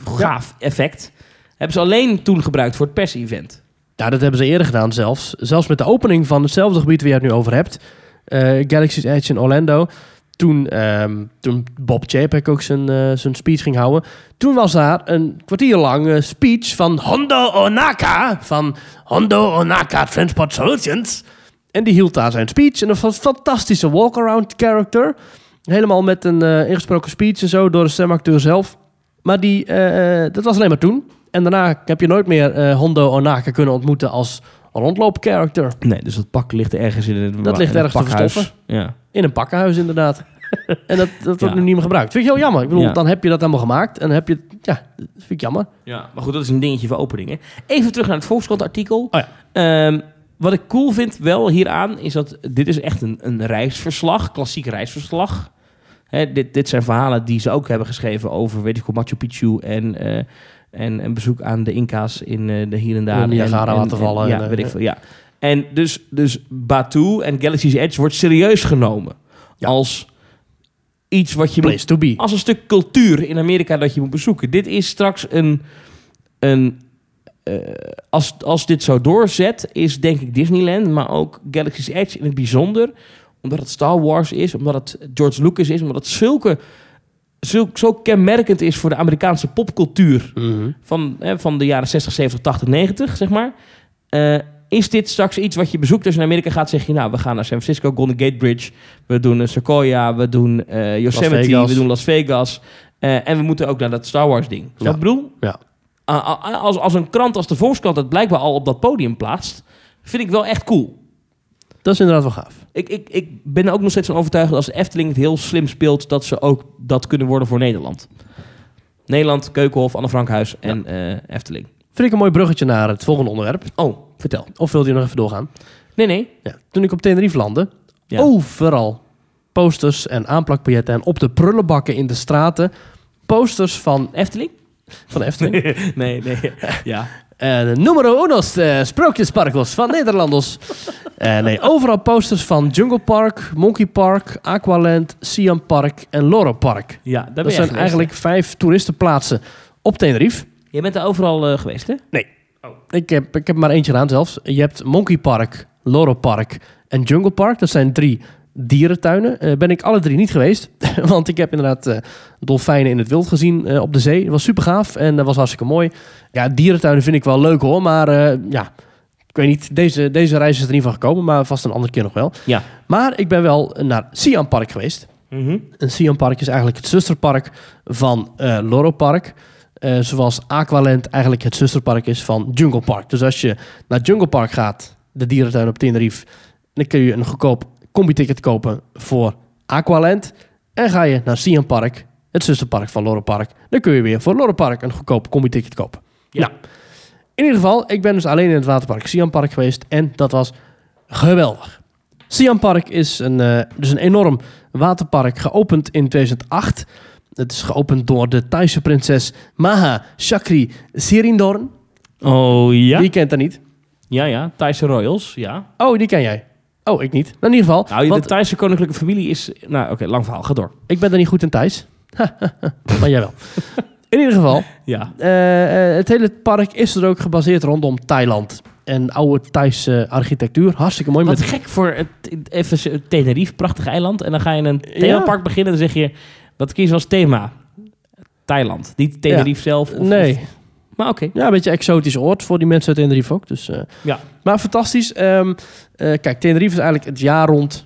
Speaker 1: gaaf effect. Hebben ze alleen toen gebruikt voor het pers-event.
Speaker 2: Ja, Nou, dat hebben ze eerder gedaan zelfs. Zelfs met de opening van hetzelfde gebied waar je het nu over hebt. eh, Galaxy's Edge in Orlando. Toen, ehm, toen Bob Chapek ook zijn, eh, zijn speech ging houden. Toen was daar een kwartier lang eh, speech van Hondo Onaka. Van Hondo Onaka Transport Solutions. En die hield daar zijn speech. En dat was een fantastische walk-around character. Helemaal met een eh, ingesproken speech en zo door de stemacteur zelf. Maar die, eh, dat was alleen maar toen. En daarna heb je nooit meer eh, Hondo Onaka kunnen ontmoeten als rondloopcharacter.
Speaker 1: Nee, dus dat pak ligt ergens in een
Speaker 2: Dat ligt
Speaker 1: in een
Speaker 2: ergens te
Speaker 1: pakhuis.
Speaker 2: verstoffen.
Speaker 1: Ja.
Speaker 2: In een pakkenhuis inderdaad. en dat, dat wordt
Speaker 1: Ja.
Speaker 2: nu niet meer gebruikt. Vind ik heel jammer. Ik bedoel,
Speaker 1: Ja.
Speaker 2: dan heb je dat allemaal gemaakt. En dan heb je, ja, dat vind ik jammer.
Speaker 1: ja. Maar goed, dat is een dingetje voor openingen. Even terug naar het Volkskrant-artikel.
Speaker 2: Oh
Speaker 1: Ehm, wat ik cool vind wel hieraan, is dat dit is echt een, een reisverslag. Klassiek reisverslag. Hè, dit, dit zijn verhalen die ze ook hebben geschreven over, weet ik wel, Machu Picchu en... eh, en een bezoek aan de Inca's in eh, de hier en daar.
Speaker 2: De Niagara-watervallen
Speaker 1: En- en-
Speaker 2: en,
Speaker 1: Ja,
Speaker 2: eh,
Speaker 1: weet ik
Speaker 2: ja.
Speaker 1: veel. Ja. En dus, dus Batu en Galaxy's Edge wordt serieus genomen.
Speaker 2: Ja.
Speaker 1: Als iets wat je moet
Speaker 2: Place to be.
Speaker 1: als een stuk cultuur in Amerika dat je moet bezoeken. Dit is straks een. een eh, als, als dit zo doorzet, is denk ik Disneyland, maar ook Galaxy's Edge in het bijzonder. Omdat het Star Wars is, omdat het George Lucas is, omdat het zulke. Zulk, zo kenmerkend is voor de Amerikaanse popcultuur
Speaker 2: Mhm.
Speaker 1: van, hè, van de jaren 60, 70, 80, 90, zeg maar. eh, Is dit straks iets wat je bezoekt als je naar Amerika gaat? Zeg je, nou, we gaan naar San Francisco, Golden Gate Bridge. We doen eh, Sequoia, we doen eh, Yosemite,
Speaker 2: Vegas.
Speaker 1: we doen Las Vegas. eh, en we moeten ook naar dat Star Wars ding. Snap je
Speaker 2: Ja.
Speaker 1: wat ik bedoel?
Speaker 2: Ja.
Speaker 1: A- a- als, als een krant als de Volkskrant dat blijkbaar al op dat podium plaatst... vind ik wel echt cool.
Speaker 2: Dat is inderdaad wel gaaf.
Speaker 1: Ik, ik, ik ben er ook nog steeds van overtuigd dat als de Efteling het heel slim speelt, dat ze ook dat kunnen worden voor Nederland. Nederland, Keukenhof, Anne Frankhuis en eh, Efteling.
Speaker 2: Vind ik een mooi bruggetje naar het volgende onderwerp.
Speaker 1: Oh, vertel.
Speaker 2: Of wilde je nog even doorgaan?
Speaker 1: Nee, nee. Oh.
Speaker 2: Ja. Toen ik op Tenerife landde,
Speaker 1: Ja.
Speaker 2: overal posters en aanplakbiljetten en op de prullenbakken in de straten posters van,
Speaker 1: Efteling?
Speaker 2: van de Efteling.
Speaker 1: nee, nee. Ja.
Speaker 2: Eh, de numero unos eh, sprookjesparkels van Nederlanders. Eh, nee, overal posters van Jungle Park, Monkey Park, Aqualand, Siam Park en Loro Park.
Speaker 1: ja daar ben
Speaker 2: Dat
Speaker 1: jij
Speaker 2: zijn
Speaker 1: geweest,
Speaker 2: eigenlijk vijf toeristenplaatsen op Tenerife.
Speaker 1: hè? Je bent er overal eh, geweest, hè?
Speaker 2: Ik heb, ik heb maar eentje aan zelfs. Je hebt Monkey Park, Loro Park en Jungle Park. Dat zijn drie dierentuinen. Eh, ben ik alle drie niet geweest. Want ik heb inderdaad eh, dolfijnen in het wild gezien eh, op de zee. Dat was super gaaf en dat was hartstikke mooi. Ja, dierentuinen vind ik wel leuk hoor. Maar eh, ja, ik weet niet. Deze, deze reis is er niet van gekomen. Maar vast een andere keer nog wel.
Speaker 1: Ja.
Speaker 2: Maar ik ben wel naar Siam Park geweest.
Speaker 1: Mhm.
Speaker 2: Een Siam Park is eigenlijk het zusterpark van eh Loro Park. Eh, zoals Aqualand eigenlijk het zusterpark is van Jungle Park. Dus als je naar Jungle Park gaat, de dierentuin op Tenerife, dan kun je een goedkoop combi-ticket kopen voor Aqualand. En ga je naar Siam Park, het zusterpark van Loro Park, dan kun je weer voor Loro Park een goedkoop combi-ticket kopen.
Speaker 1: Ja.
Speaker 2: Nou, in ieder geval, ik ben dus alleen in het waterpark Siam Park geweest en dat was geweldig. Siam Park is een, eh, dus een enorm waterpark, geopend in 2008. Het is geopend door de Thaise prinses Maha Chakri Sirindorn.
Speaker 1: Oh, ja?
Speaker 2: Die kent dat niet.
Speaker 1: Ja, ja. Thaise Royals, ja.
Speaker 2: Oh, die ken jij. Oh, ik niet. Nou, in ieder geval,
Speaker 1: Nou,
Speaker 2: want
Speaker 1: de Thaise koninklijke familie is... Nou, oké, lang verhaal. Ga door.
Speaker 2: ik ben er niet goed in Thais. maar jij wel. In ieder geval,
Speaker 1: Ja.
Speaker 2: eh, eh, het hele park is er ook gebaseerd rondom Thailand. En oude Thaise architectuur. Hartstikke mooi.
Speaker 1: Wat
Speaker 2: met
Speaker 1: gek voor het, even Tenerife, prachtig eiland. En dan ga je een themapark beginnen en dan zeg je... Wat kies je als thema? Thailand. Niet Tenerife zelf. Of,
Speaker 2: nee.
Speaker 1: of- maar oké.
Speaker 2: Ja, een beetje een exotisch oord voor die mensen uit Tenerife ook. Dus, eh,
Speaker 1: Ja.
Speaker 2: Maar fantastisch. Ehm, eh, kijk, Tenerife is eigenlijk het jaar rond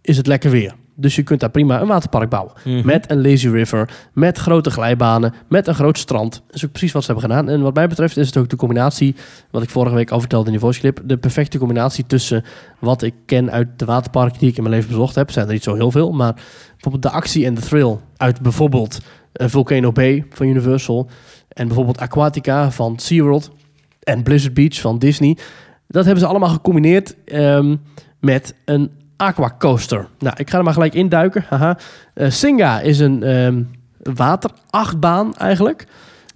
Speaker 2: is het lekker weer. Dus je kunt daar prima een waterpark bouwen.
Speaker 1: Mhm.
Speaker 2: Met een lazy river, met grote glijbanen, met een groot strand. Dat is ook precies wat ze hebben gedaan. En wat mij betreft is het ook de combinatie, wat ik vorige week al vertelde in die voice clip, de perfecte combinatie tussen wat ik ken uit de waterparken die ik in mijn leven bezocht heb. Zijn er niet zo heel veel, maar bijvoorbeeld de actie en de thrill uit bijvoorbeeld eh, Volcano Bay van Universal en bijvoorbeeld Aquatica van SeaWorld en Blizzard Beach van Disney. Dat hebben ze allemaal gecombineerd ehm, met een aquacoaster. Nou, ik ga er maar gelijk induiken. Haha. Eh, Singa is een ehm waterachtbaan eigenlijk.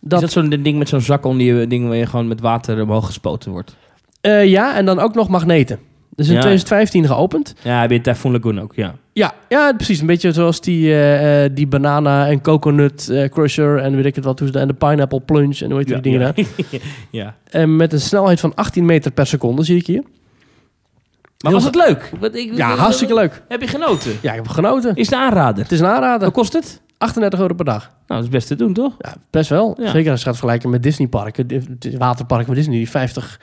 Speaker 1: Dat... Is dat zo'n ding met zo'n zak onder je ding waar je gewoon met water omhoog gespoten wordt?
Speaker 2: Eh, ja, en dan ook nog magneten. Dus in
Speaker 1: Ja.
Speaker 2: 2015 geopend.
Speaker 1: Ja, heb je Typhoon Lagoon ook, ja.
Speaker 2: Ja, ja, precies. Een beetje zoals die, eh, eh, die banana en coconut eh, crusher en weet ik het wat. hoe ze- En de pineapple plunge en hoe heet
Speaker 1: ja,
Speaker 2: die dingen daar.
Speaker 1: ja. ja.
Speaker 2: En met een snelheid van 18 meter per seconde, zie ik hier.
Speaker 1: Maar was het leuk? Wat, ik,
Speaker 2: Ja, hartstikke leuk.
Speaker 1: Heb je genoten?
Speaker 2: Ja, ik heb genoten.
Speaker 1: Is de aanrader.
Speaker 2: Het is een aanrader.
Speaker 1: Wat kost het?
Speaker 2: 38 euro per dag.
Speaker 1: Nou, dat is best te doen, toch?
Speaker 2: Ja, best wel.
Speaker 1: Ja.
Speaker 2: Zeker als je gaat vergelijken met Disneyparken. di- di- Waterparken met Disney die 50,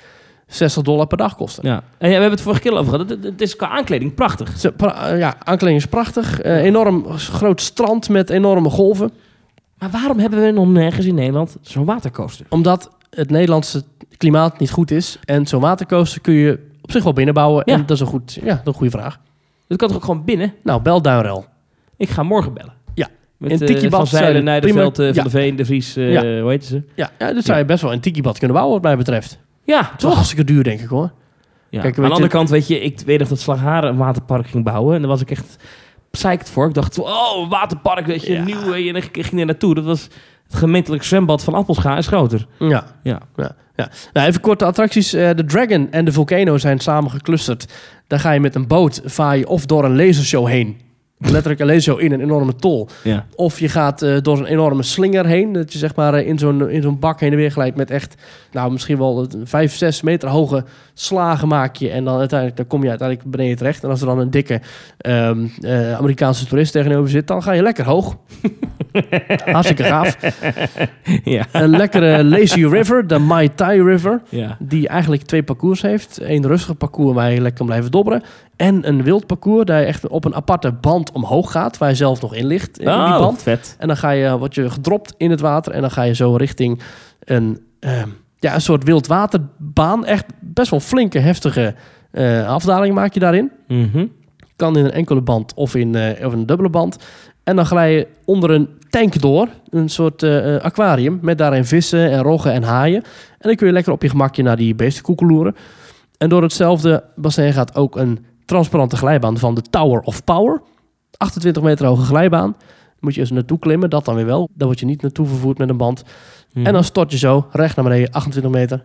Speaker 2: 60 dollar per dag kosten.
Speaker 1: Ja. En ja, we hebben het vorige keer al over gehad. Het, het is qua aankleding prachtig.
Speaker 2: Ze- pra- eh, Ja, aankleding is prachtig. Eh, enorm groot strand met enorme golven.
Speaker 1: Maar waarom hebben we nog nergens in Nederland zo'n watercoaster?
Speaker 2: Omdat het Nederlandse klimaat niet goed is. En zo'n watercoaster kun je op zich wel binnenbouwen.
Speaker 1: Ja.
Speaker 2: En dat is een, goed, ja, een goede vraag.
Speaker 1: Dat kan toch ook gewoon binnen?
Speaker 2: Nou, bel Duinrel.
Speaker 1: Ik ga morgen bellen.
Speaker 2: Ja.
Speaker 1: Met
Speaker 2: In
Speaker 1: eh,
Speaker 2: Tiki Bad
Speaker 1: Van Zeilen,
Speaker 2: zijn-
Speaker 1: Nijderveld, eh,
Speaker 2: prima-
Speaker 1: Van de Veen, De Vries, eh,
Speaker 2: Ja.
Speaker 1: hoe heet ze?
Speaker 2: Ja, ja, dat zou je best wel een tikibad kunnen bouwen wat mij betreft. Het
Speaker 1: Ja,
Speaker 2: is wel
Speaker 1: toch?
Speaker 2: hartstikke duur denk ik hoor.
Speaker 1: Ja. Aan
Speaker 2: Kijk, weet
Speaker 1: de
Speaker 2: je-
Speaker 1: andere kant, weet je, ik weet nog dat Slagharen een waterpark ging bouwen. En daar was ik echt psyched voor. Ik dacht, oh, een waterpark, weet je,
Speaker 2: Ja.
Speaker 1: nieuw. eh, En ik ging er naartoe. Dat was het gemeentelijk zwembad van Appelscha is groter.
Speaker 2: Ja.
Speaker 1: Ja.
Speaker 2: Ja, ja. Nou, even kort de attracties. Eh, de Dragon en de Volcano zijn samen geclusterd. Daar ga je met een boot vaaien of door een lasershow heen. letterlijk alleen zo in een enorme tol.
Speaker 1: Ja.
Speaker 2: Of je gaat eh, door een enorme slinger heen. Dat je zeg maar eh, in zo'n in zo'n bak heen en weer glijdt met echt, nou misschien wel eh, vijf, zes meter hoge slagen maak je. En dan uiteindelijk dan kom je uiteindelijk beneden terecht. En als er dan een dikke ehm, eh, Amerikaanse toerist tegenover zit, dan ga je lekker hoog. Hartstikke gaaf.
Speaker 1: ja.
Speaker 2: Een lekkere Lazy River, de Mai Tai River.
Speaker 1: ja.
Speaker 2: Die eigenlijk twee parcours heeft. Eén rustig parcours waar je lekker kan blijven dobberen. En een wild parcours daar je echt op een aparte band omhoog gaat. Waar je zelf nog in ligt. In die
Speaker 1: Oh,
Speaker 2: band.
Speaker 1: vet.
Speaker 2: En dan ga je, word je gedropt in het water. En dan ga je zo richting een, ehm, ja, een soort wildwaterbaan. Echt best wel flinke, heftige eh, afdaling maak je daarin.
Speaker 1: Mhm.
Speaker 2: Kan in een enkele band of in, eh, of in een dubbele band. En dan glij je onder een tank door. Een soort eh, eh, aquarium met daarin vissen en roggen en haaien. En dan kun je lekker op je gemakje naar die beestenkoeken loeren. En door hetzelfde bassin gaat ook een transparante glijbaan van de Tower of Power. 28 meter hoge glijbaan. Moet je eens naartoe klimmen, dat dan weer wel. Daar word je niet naartoe vervoerd met een band.
Speaker 1: Mhm.
Speaker 2: En dan stort je zo recht naar beneden, 28 meter.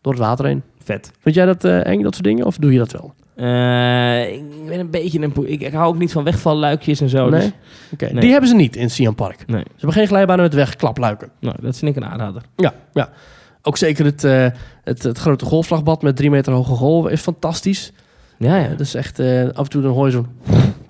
Speaker 2: Door het water heen.
Speaker 1: Mhm. Vet.
Speaker 2: Vind jij dat eh, eng, dat soort dingen? Of doe je dat wel?
Speaker 1: Eh, ik ben een beetje een... poe- Ik, ik hou ook niet van wegvalluikjes en zo.
Speaker 2: nee?
Speaker 1: dus-
Speaker 2: Oké,
Speaker 1: Nee.
Speaker 2: Die hebben ze niet in Siam Park.
Speaker 1: nee.
Speaker 2: Ze hebben geen glijbanen met wegklapluiken.
Speaker 1: Nou, dat vind ik een aanrader.
Speaker 2: Ja, ja. Ook zeker het, eh, het, het grote golfslagbad met drie meter hoge golven is fantastisch.
Speaker 1: Ja,
Speaker 2: Ja, dat is echt, eh, af en toe dan hoor je zo'n,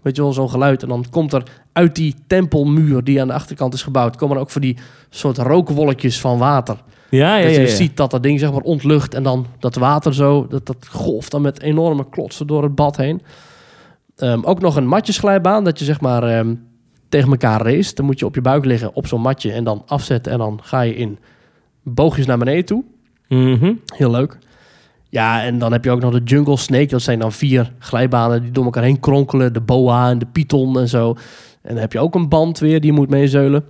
Speaker 2: weet je wel, zo'n geluid. En dan komt er uit die tempelmuur die aan de achterkant is gebouwd, komen er ook van die soort rookwolkjes van water.
Speaker 1: Ja, ja,
Speaker 2: dat
Speaker 1: ja.
Speaker 2: je dus
Speaker 1: ja.
Speaker 2: ziet dat dat ding zeg maar ontlucht en dan dat water zo, dat, dat golft dan met enorme klotsen door het bad heen. Ehm, ook nog een matjesglijbaan, dat je zeg maar ehm, tegen elkaar race. Dan moet je op je buik liggen op zo'n matje en dan afzetten en dan ga je in boogjes naar beneden toe.
Speaker 1: Mhm.
Speaker 2: Heel leuk. Ja, en dan heb je ook nog de Jungle Snake. Dat zijn dan vier glijbanen die door elkaar heen kronkelen. De boa en de python en zo. En dan heb je ook een band weer die je moet meezeulen.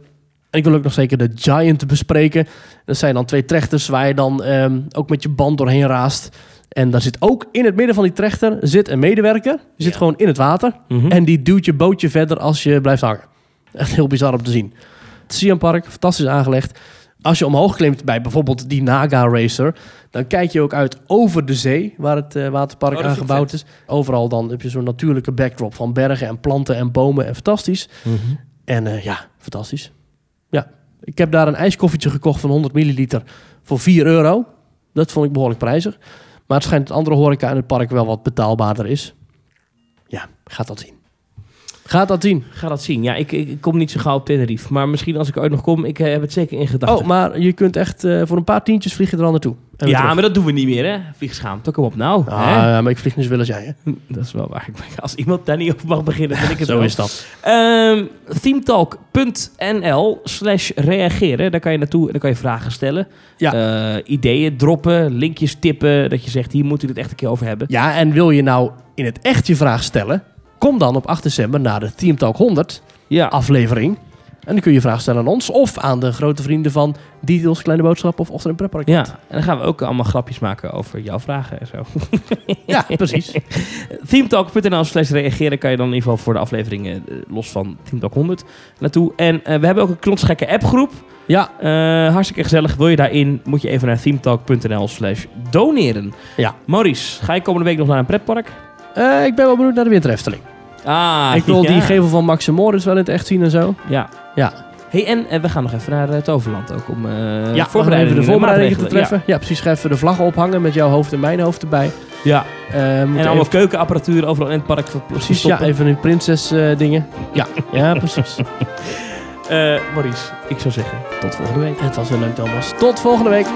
Speaker 2: En ik wil ook nog zeker de Giant bespreken. Dat zijn dan twee trechters waar je dan ehm, ook met je band doorheen raast. En daar zit ook in het midden van die trechter zit een medewerker. Die zit
Speaker 1: Ja.
Speaker 2: gewoon in het water.
Speaker 1: Mhm.
Speaker 2: En die duwt je bootje verder als je blijft hangen. Echt heel bizar om te zien. Het Siam Park, fantastisch aangelegd. Als je omhoog klimt bij bijvoorbeeld die Naga Racer, dan kijk je ook uit over de zee waar het eh, waterpark
Speaker 1: Oh, dat
Speaker 2: aan
Speaker 1: vind ik
Speaker 2: gebouwd is. Overal dan heb je zo'n natuurlijke backdrop van bergen en planten en bomen en fantastisch.
Speaker 1: Mhm.
Speaker 2: En eh, ja, fantastisch. Ja, ik heb daar een ijskoffietje gekocht van 100 milliliter voor 4 euro. Dat vond ik behoorlijk prijzig. Maar het schijnt dat andere horeca in het park wel wat betaalbaarder is. Ja, gaat dat zien. Gaat dat zien.
Speaker 1: Ga dat zien. Ja, ik, ik ik kom niet zo gauw op Tenerife. Maar misschien als ik ooit nog kom, ik eh, heb het zeker in gedachten.
Speaker 2: Oh, maar je kunt echt eh, voor een paar tientjes vlieg je er al naartoe. En weer
Speaker 1: ja,
Speaker 2: terug.
Speaker 1: maar dat doen we niet meer, hè? Vliegschaamte, kom op nou.
Speaker 2: Ah,
Speaker 1: hè?
Speaker 2: ja, maar ik vlieg nu zoveel als jij. Hè?
Speaker 1: Dat is wel waar. Ik ben- Als iemand daar niet op mag beginnen, ben ik het
Speaker 2: Zo
Speaker 1: wel.
Speaker 2: is dat.
Speaker 1: Ehm, themetalk.nl slash reageren. Daar kan je naartoe en daar kan je vragen stellen.
Speaker 2: Ja.
Speaker 1: Eh, ideeën droppen, linkjes tippen. Dat je zegt, hier moeten we het echt een keer over hebben.
Speaker 2: Ja, en wil je nou in het echt je vraag stellen? Kom dan op 8 december naar de Team Talk 100.
Speaker 1: Ja,
Speaker 2: aflevering. En dan kun je je vraag stellen aan ons of aan de grote vrienden van Details, Kleine Boodschap of Ochtend en Preppark.
Speaker 1: ja. en dan gaan we ook allemaal grapjes maken over jouw vragen en zo.
Speaker 2: Ja, precies.
Speaker 1: Themetalk.nl slash reageren kan je dan in ieder geval voor de afleveringen eh, los van Themetalk 100 naartoe. En eh, we hebben ook een knotsgekke appgroep.
Speaker 2: Ja,
Speaker 1: Eh, hartstikke gezellig. Wil je daarin, moet je even naar themetalk.nl slash doneren.
Speaker 2: Ja.
Speaker 1: Maurice, ga je komende week nog naar een pretpark?
Speaker 2: eh, ik ben wel benieuwd naar de Winterhefteling.
Speaker 1: Ah,
Speaker 2: ik wil
Speaker 1: ja.
Speaker 2: die gevel van Max en Morris wel in het echt zien en zo.
Speaker 1: Ja.
Speaker 2: Ja,
Speaker 1: Hey, en eh, we gaan nog even naar eh, Toverland ook om eh
Speaker 2: ja
Speaker 1: voorbereidingen
Speaker 2: de
Speaker 1: en
Speaker 2: voorbereidingen te
Speaker 1: maatregelen.
Speaker 2: treffen. Ja. precies. Ga even de vlaggen ophangen met jouw hoofd en mijn hoofd erbij.
Speaker 1: Ja.
Speaker 2: Eh,
Speaker 1: Ja.
Speaker 2: moeten
Speaker 1: En allemaal
Speaker 2: even-
Speaker 1: keukenapparatuur overal in het park ver-
Speaker 2: Precies, ja,
Speaker 1: verstoppen.
Speaker 2: even hun prinses eh, dingen. Ja, ja precies.
Speaker 1: Eh, Maurice, ik zou zeggen, tot volgende week.
Speaker 2: Het was weer leuk, Thomas. Tot volgende week.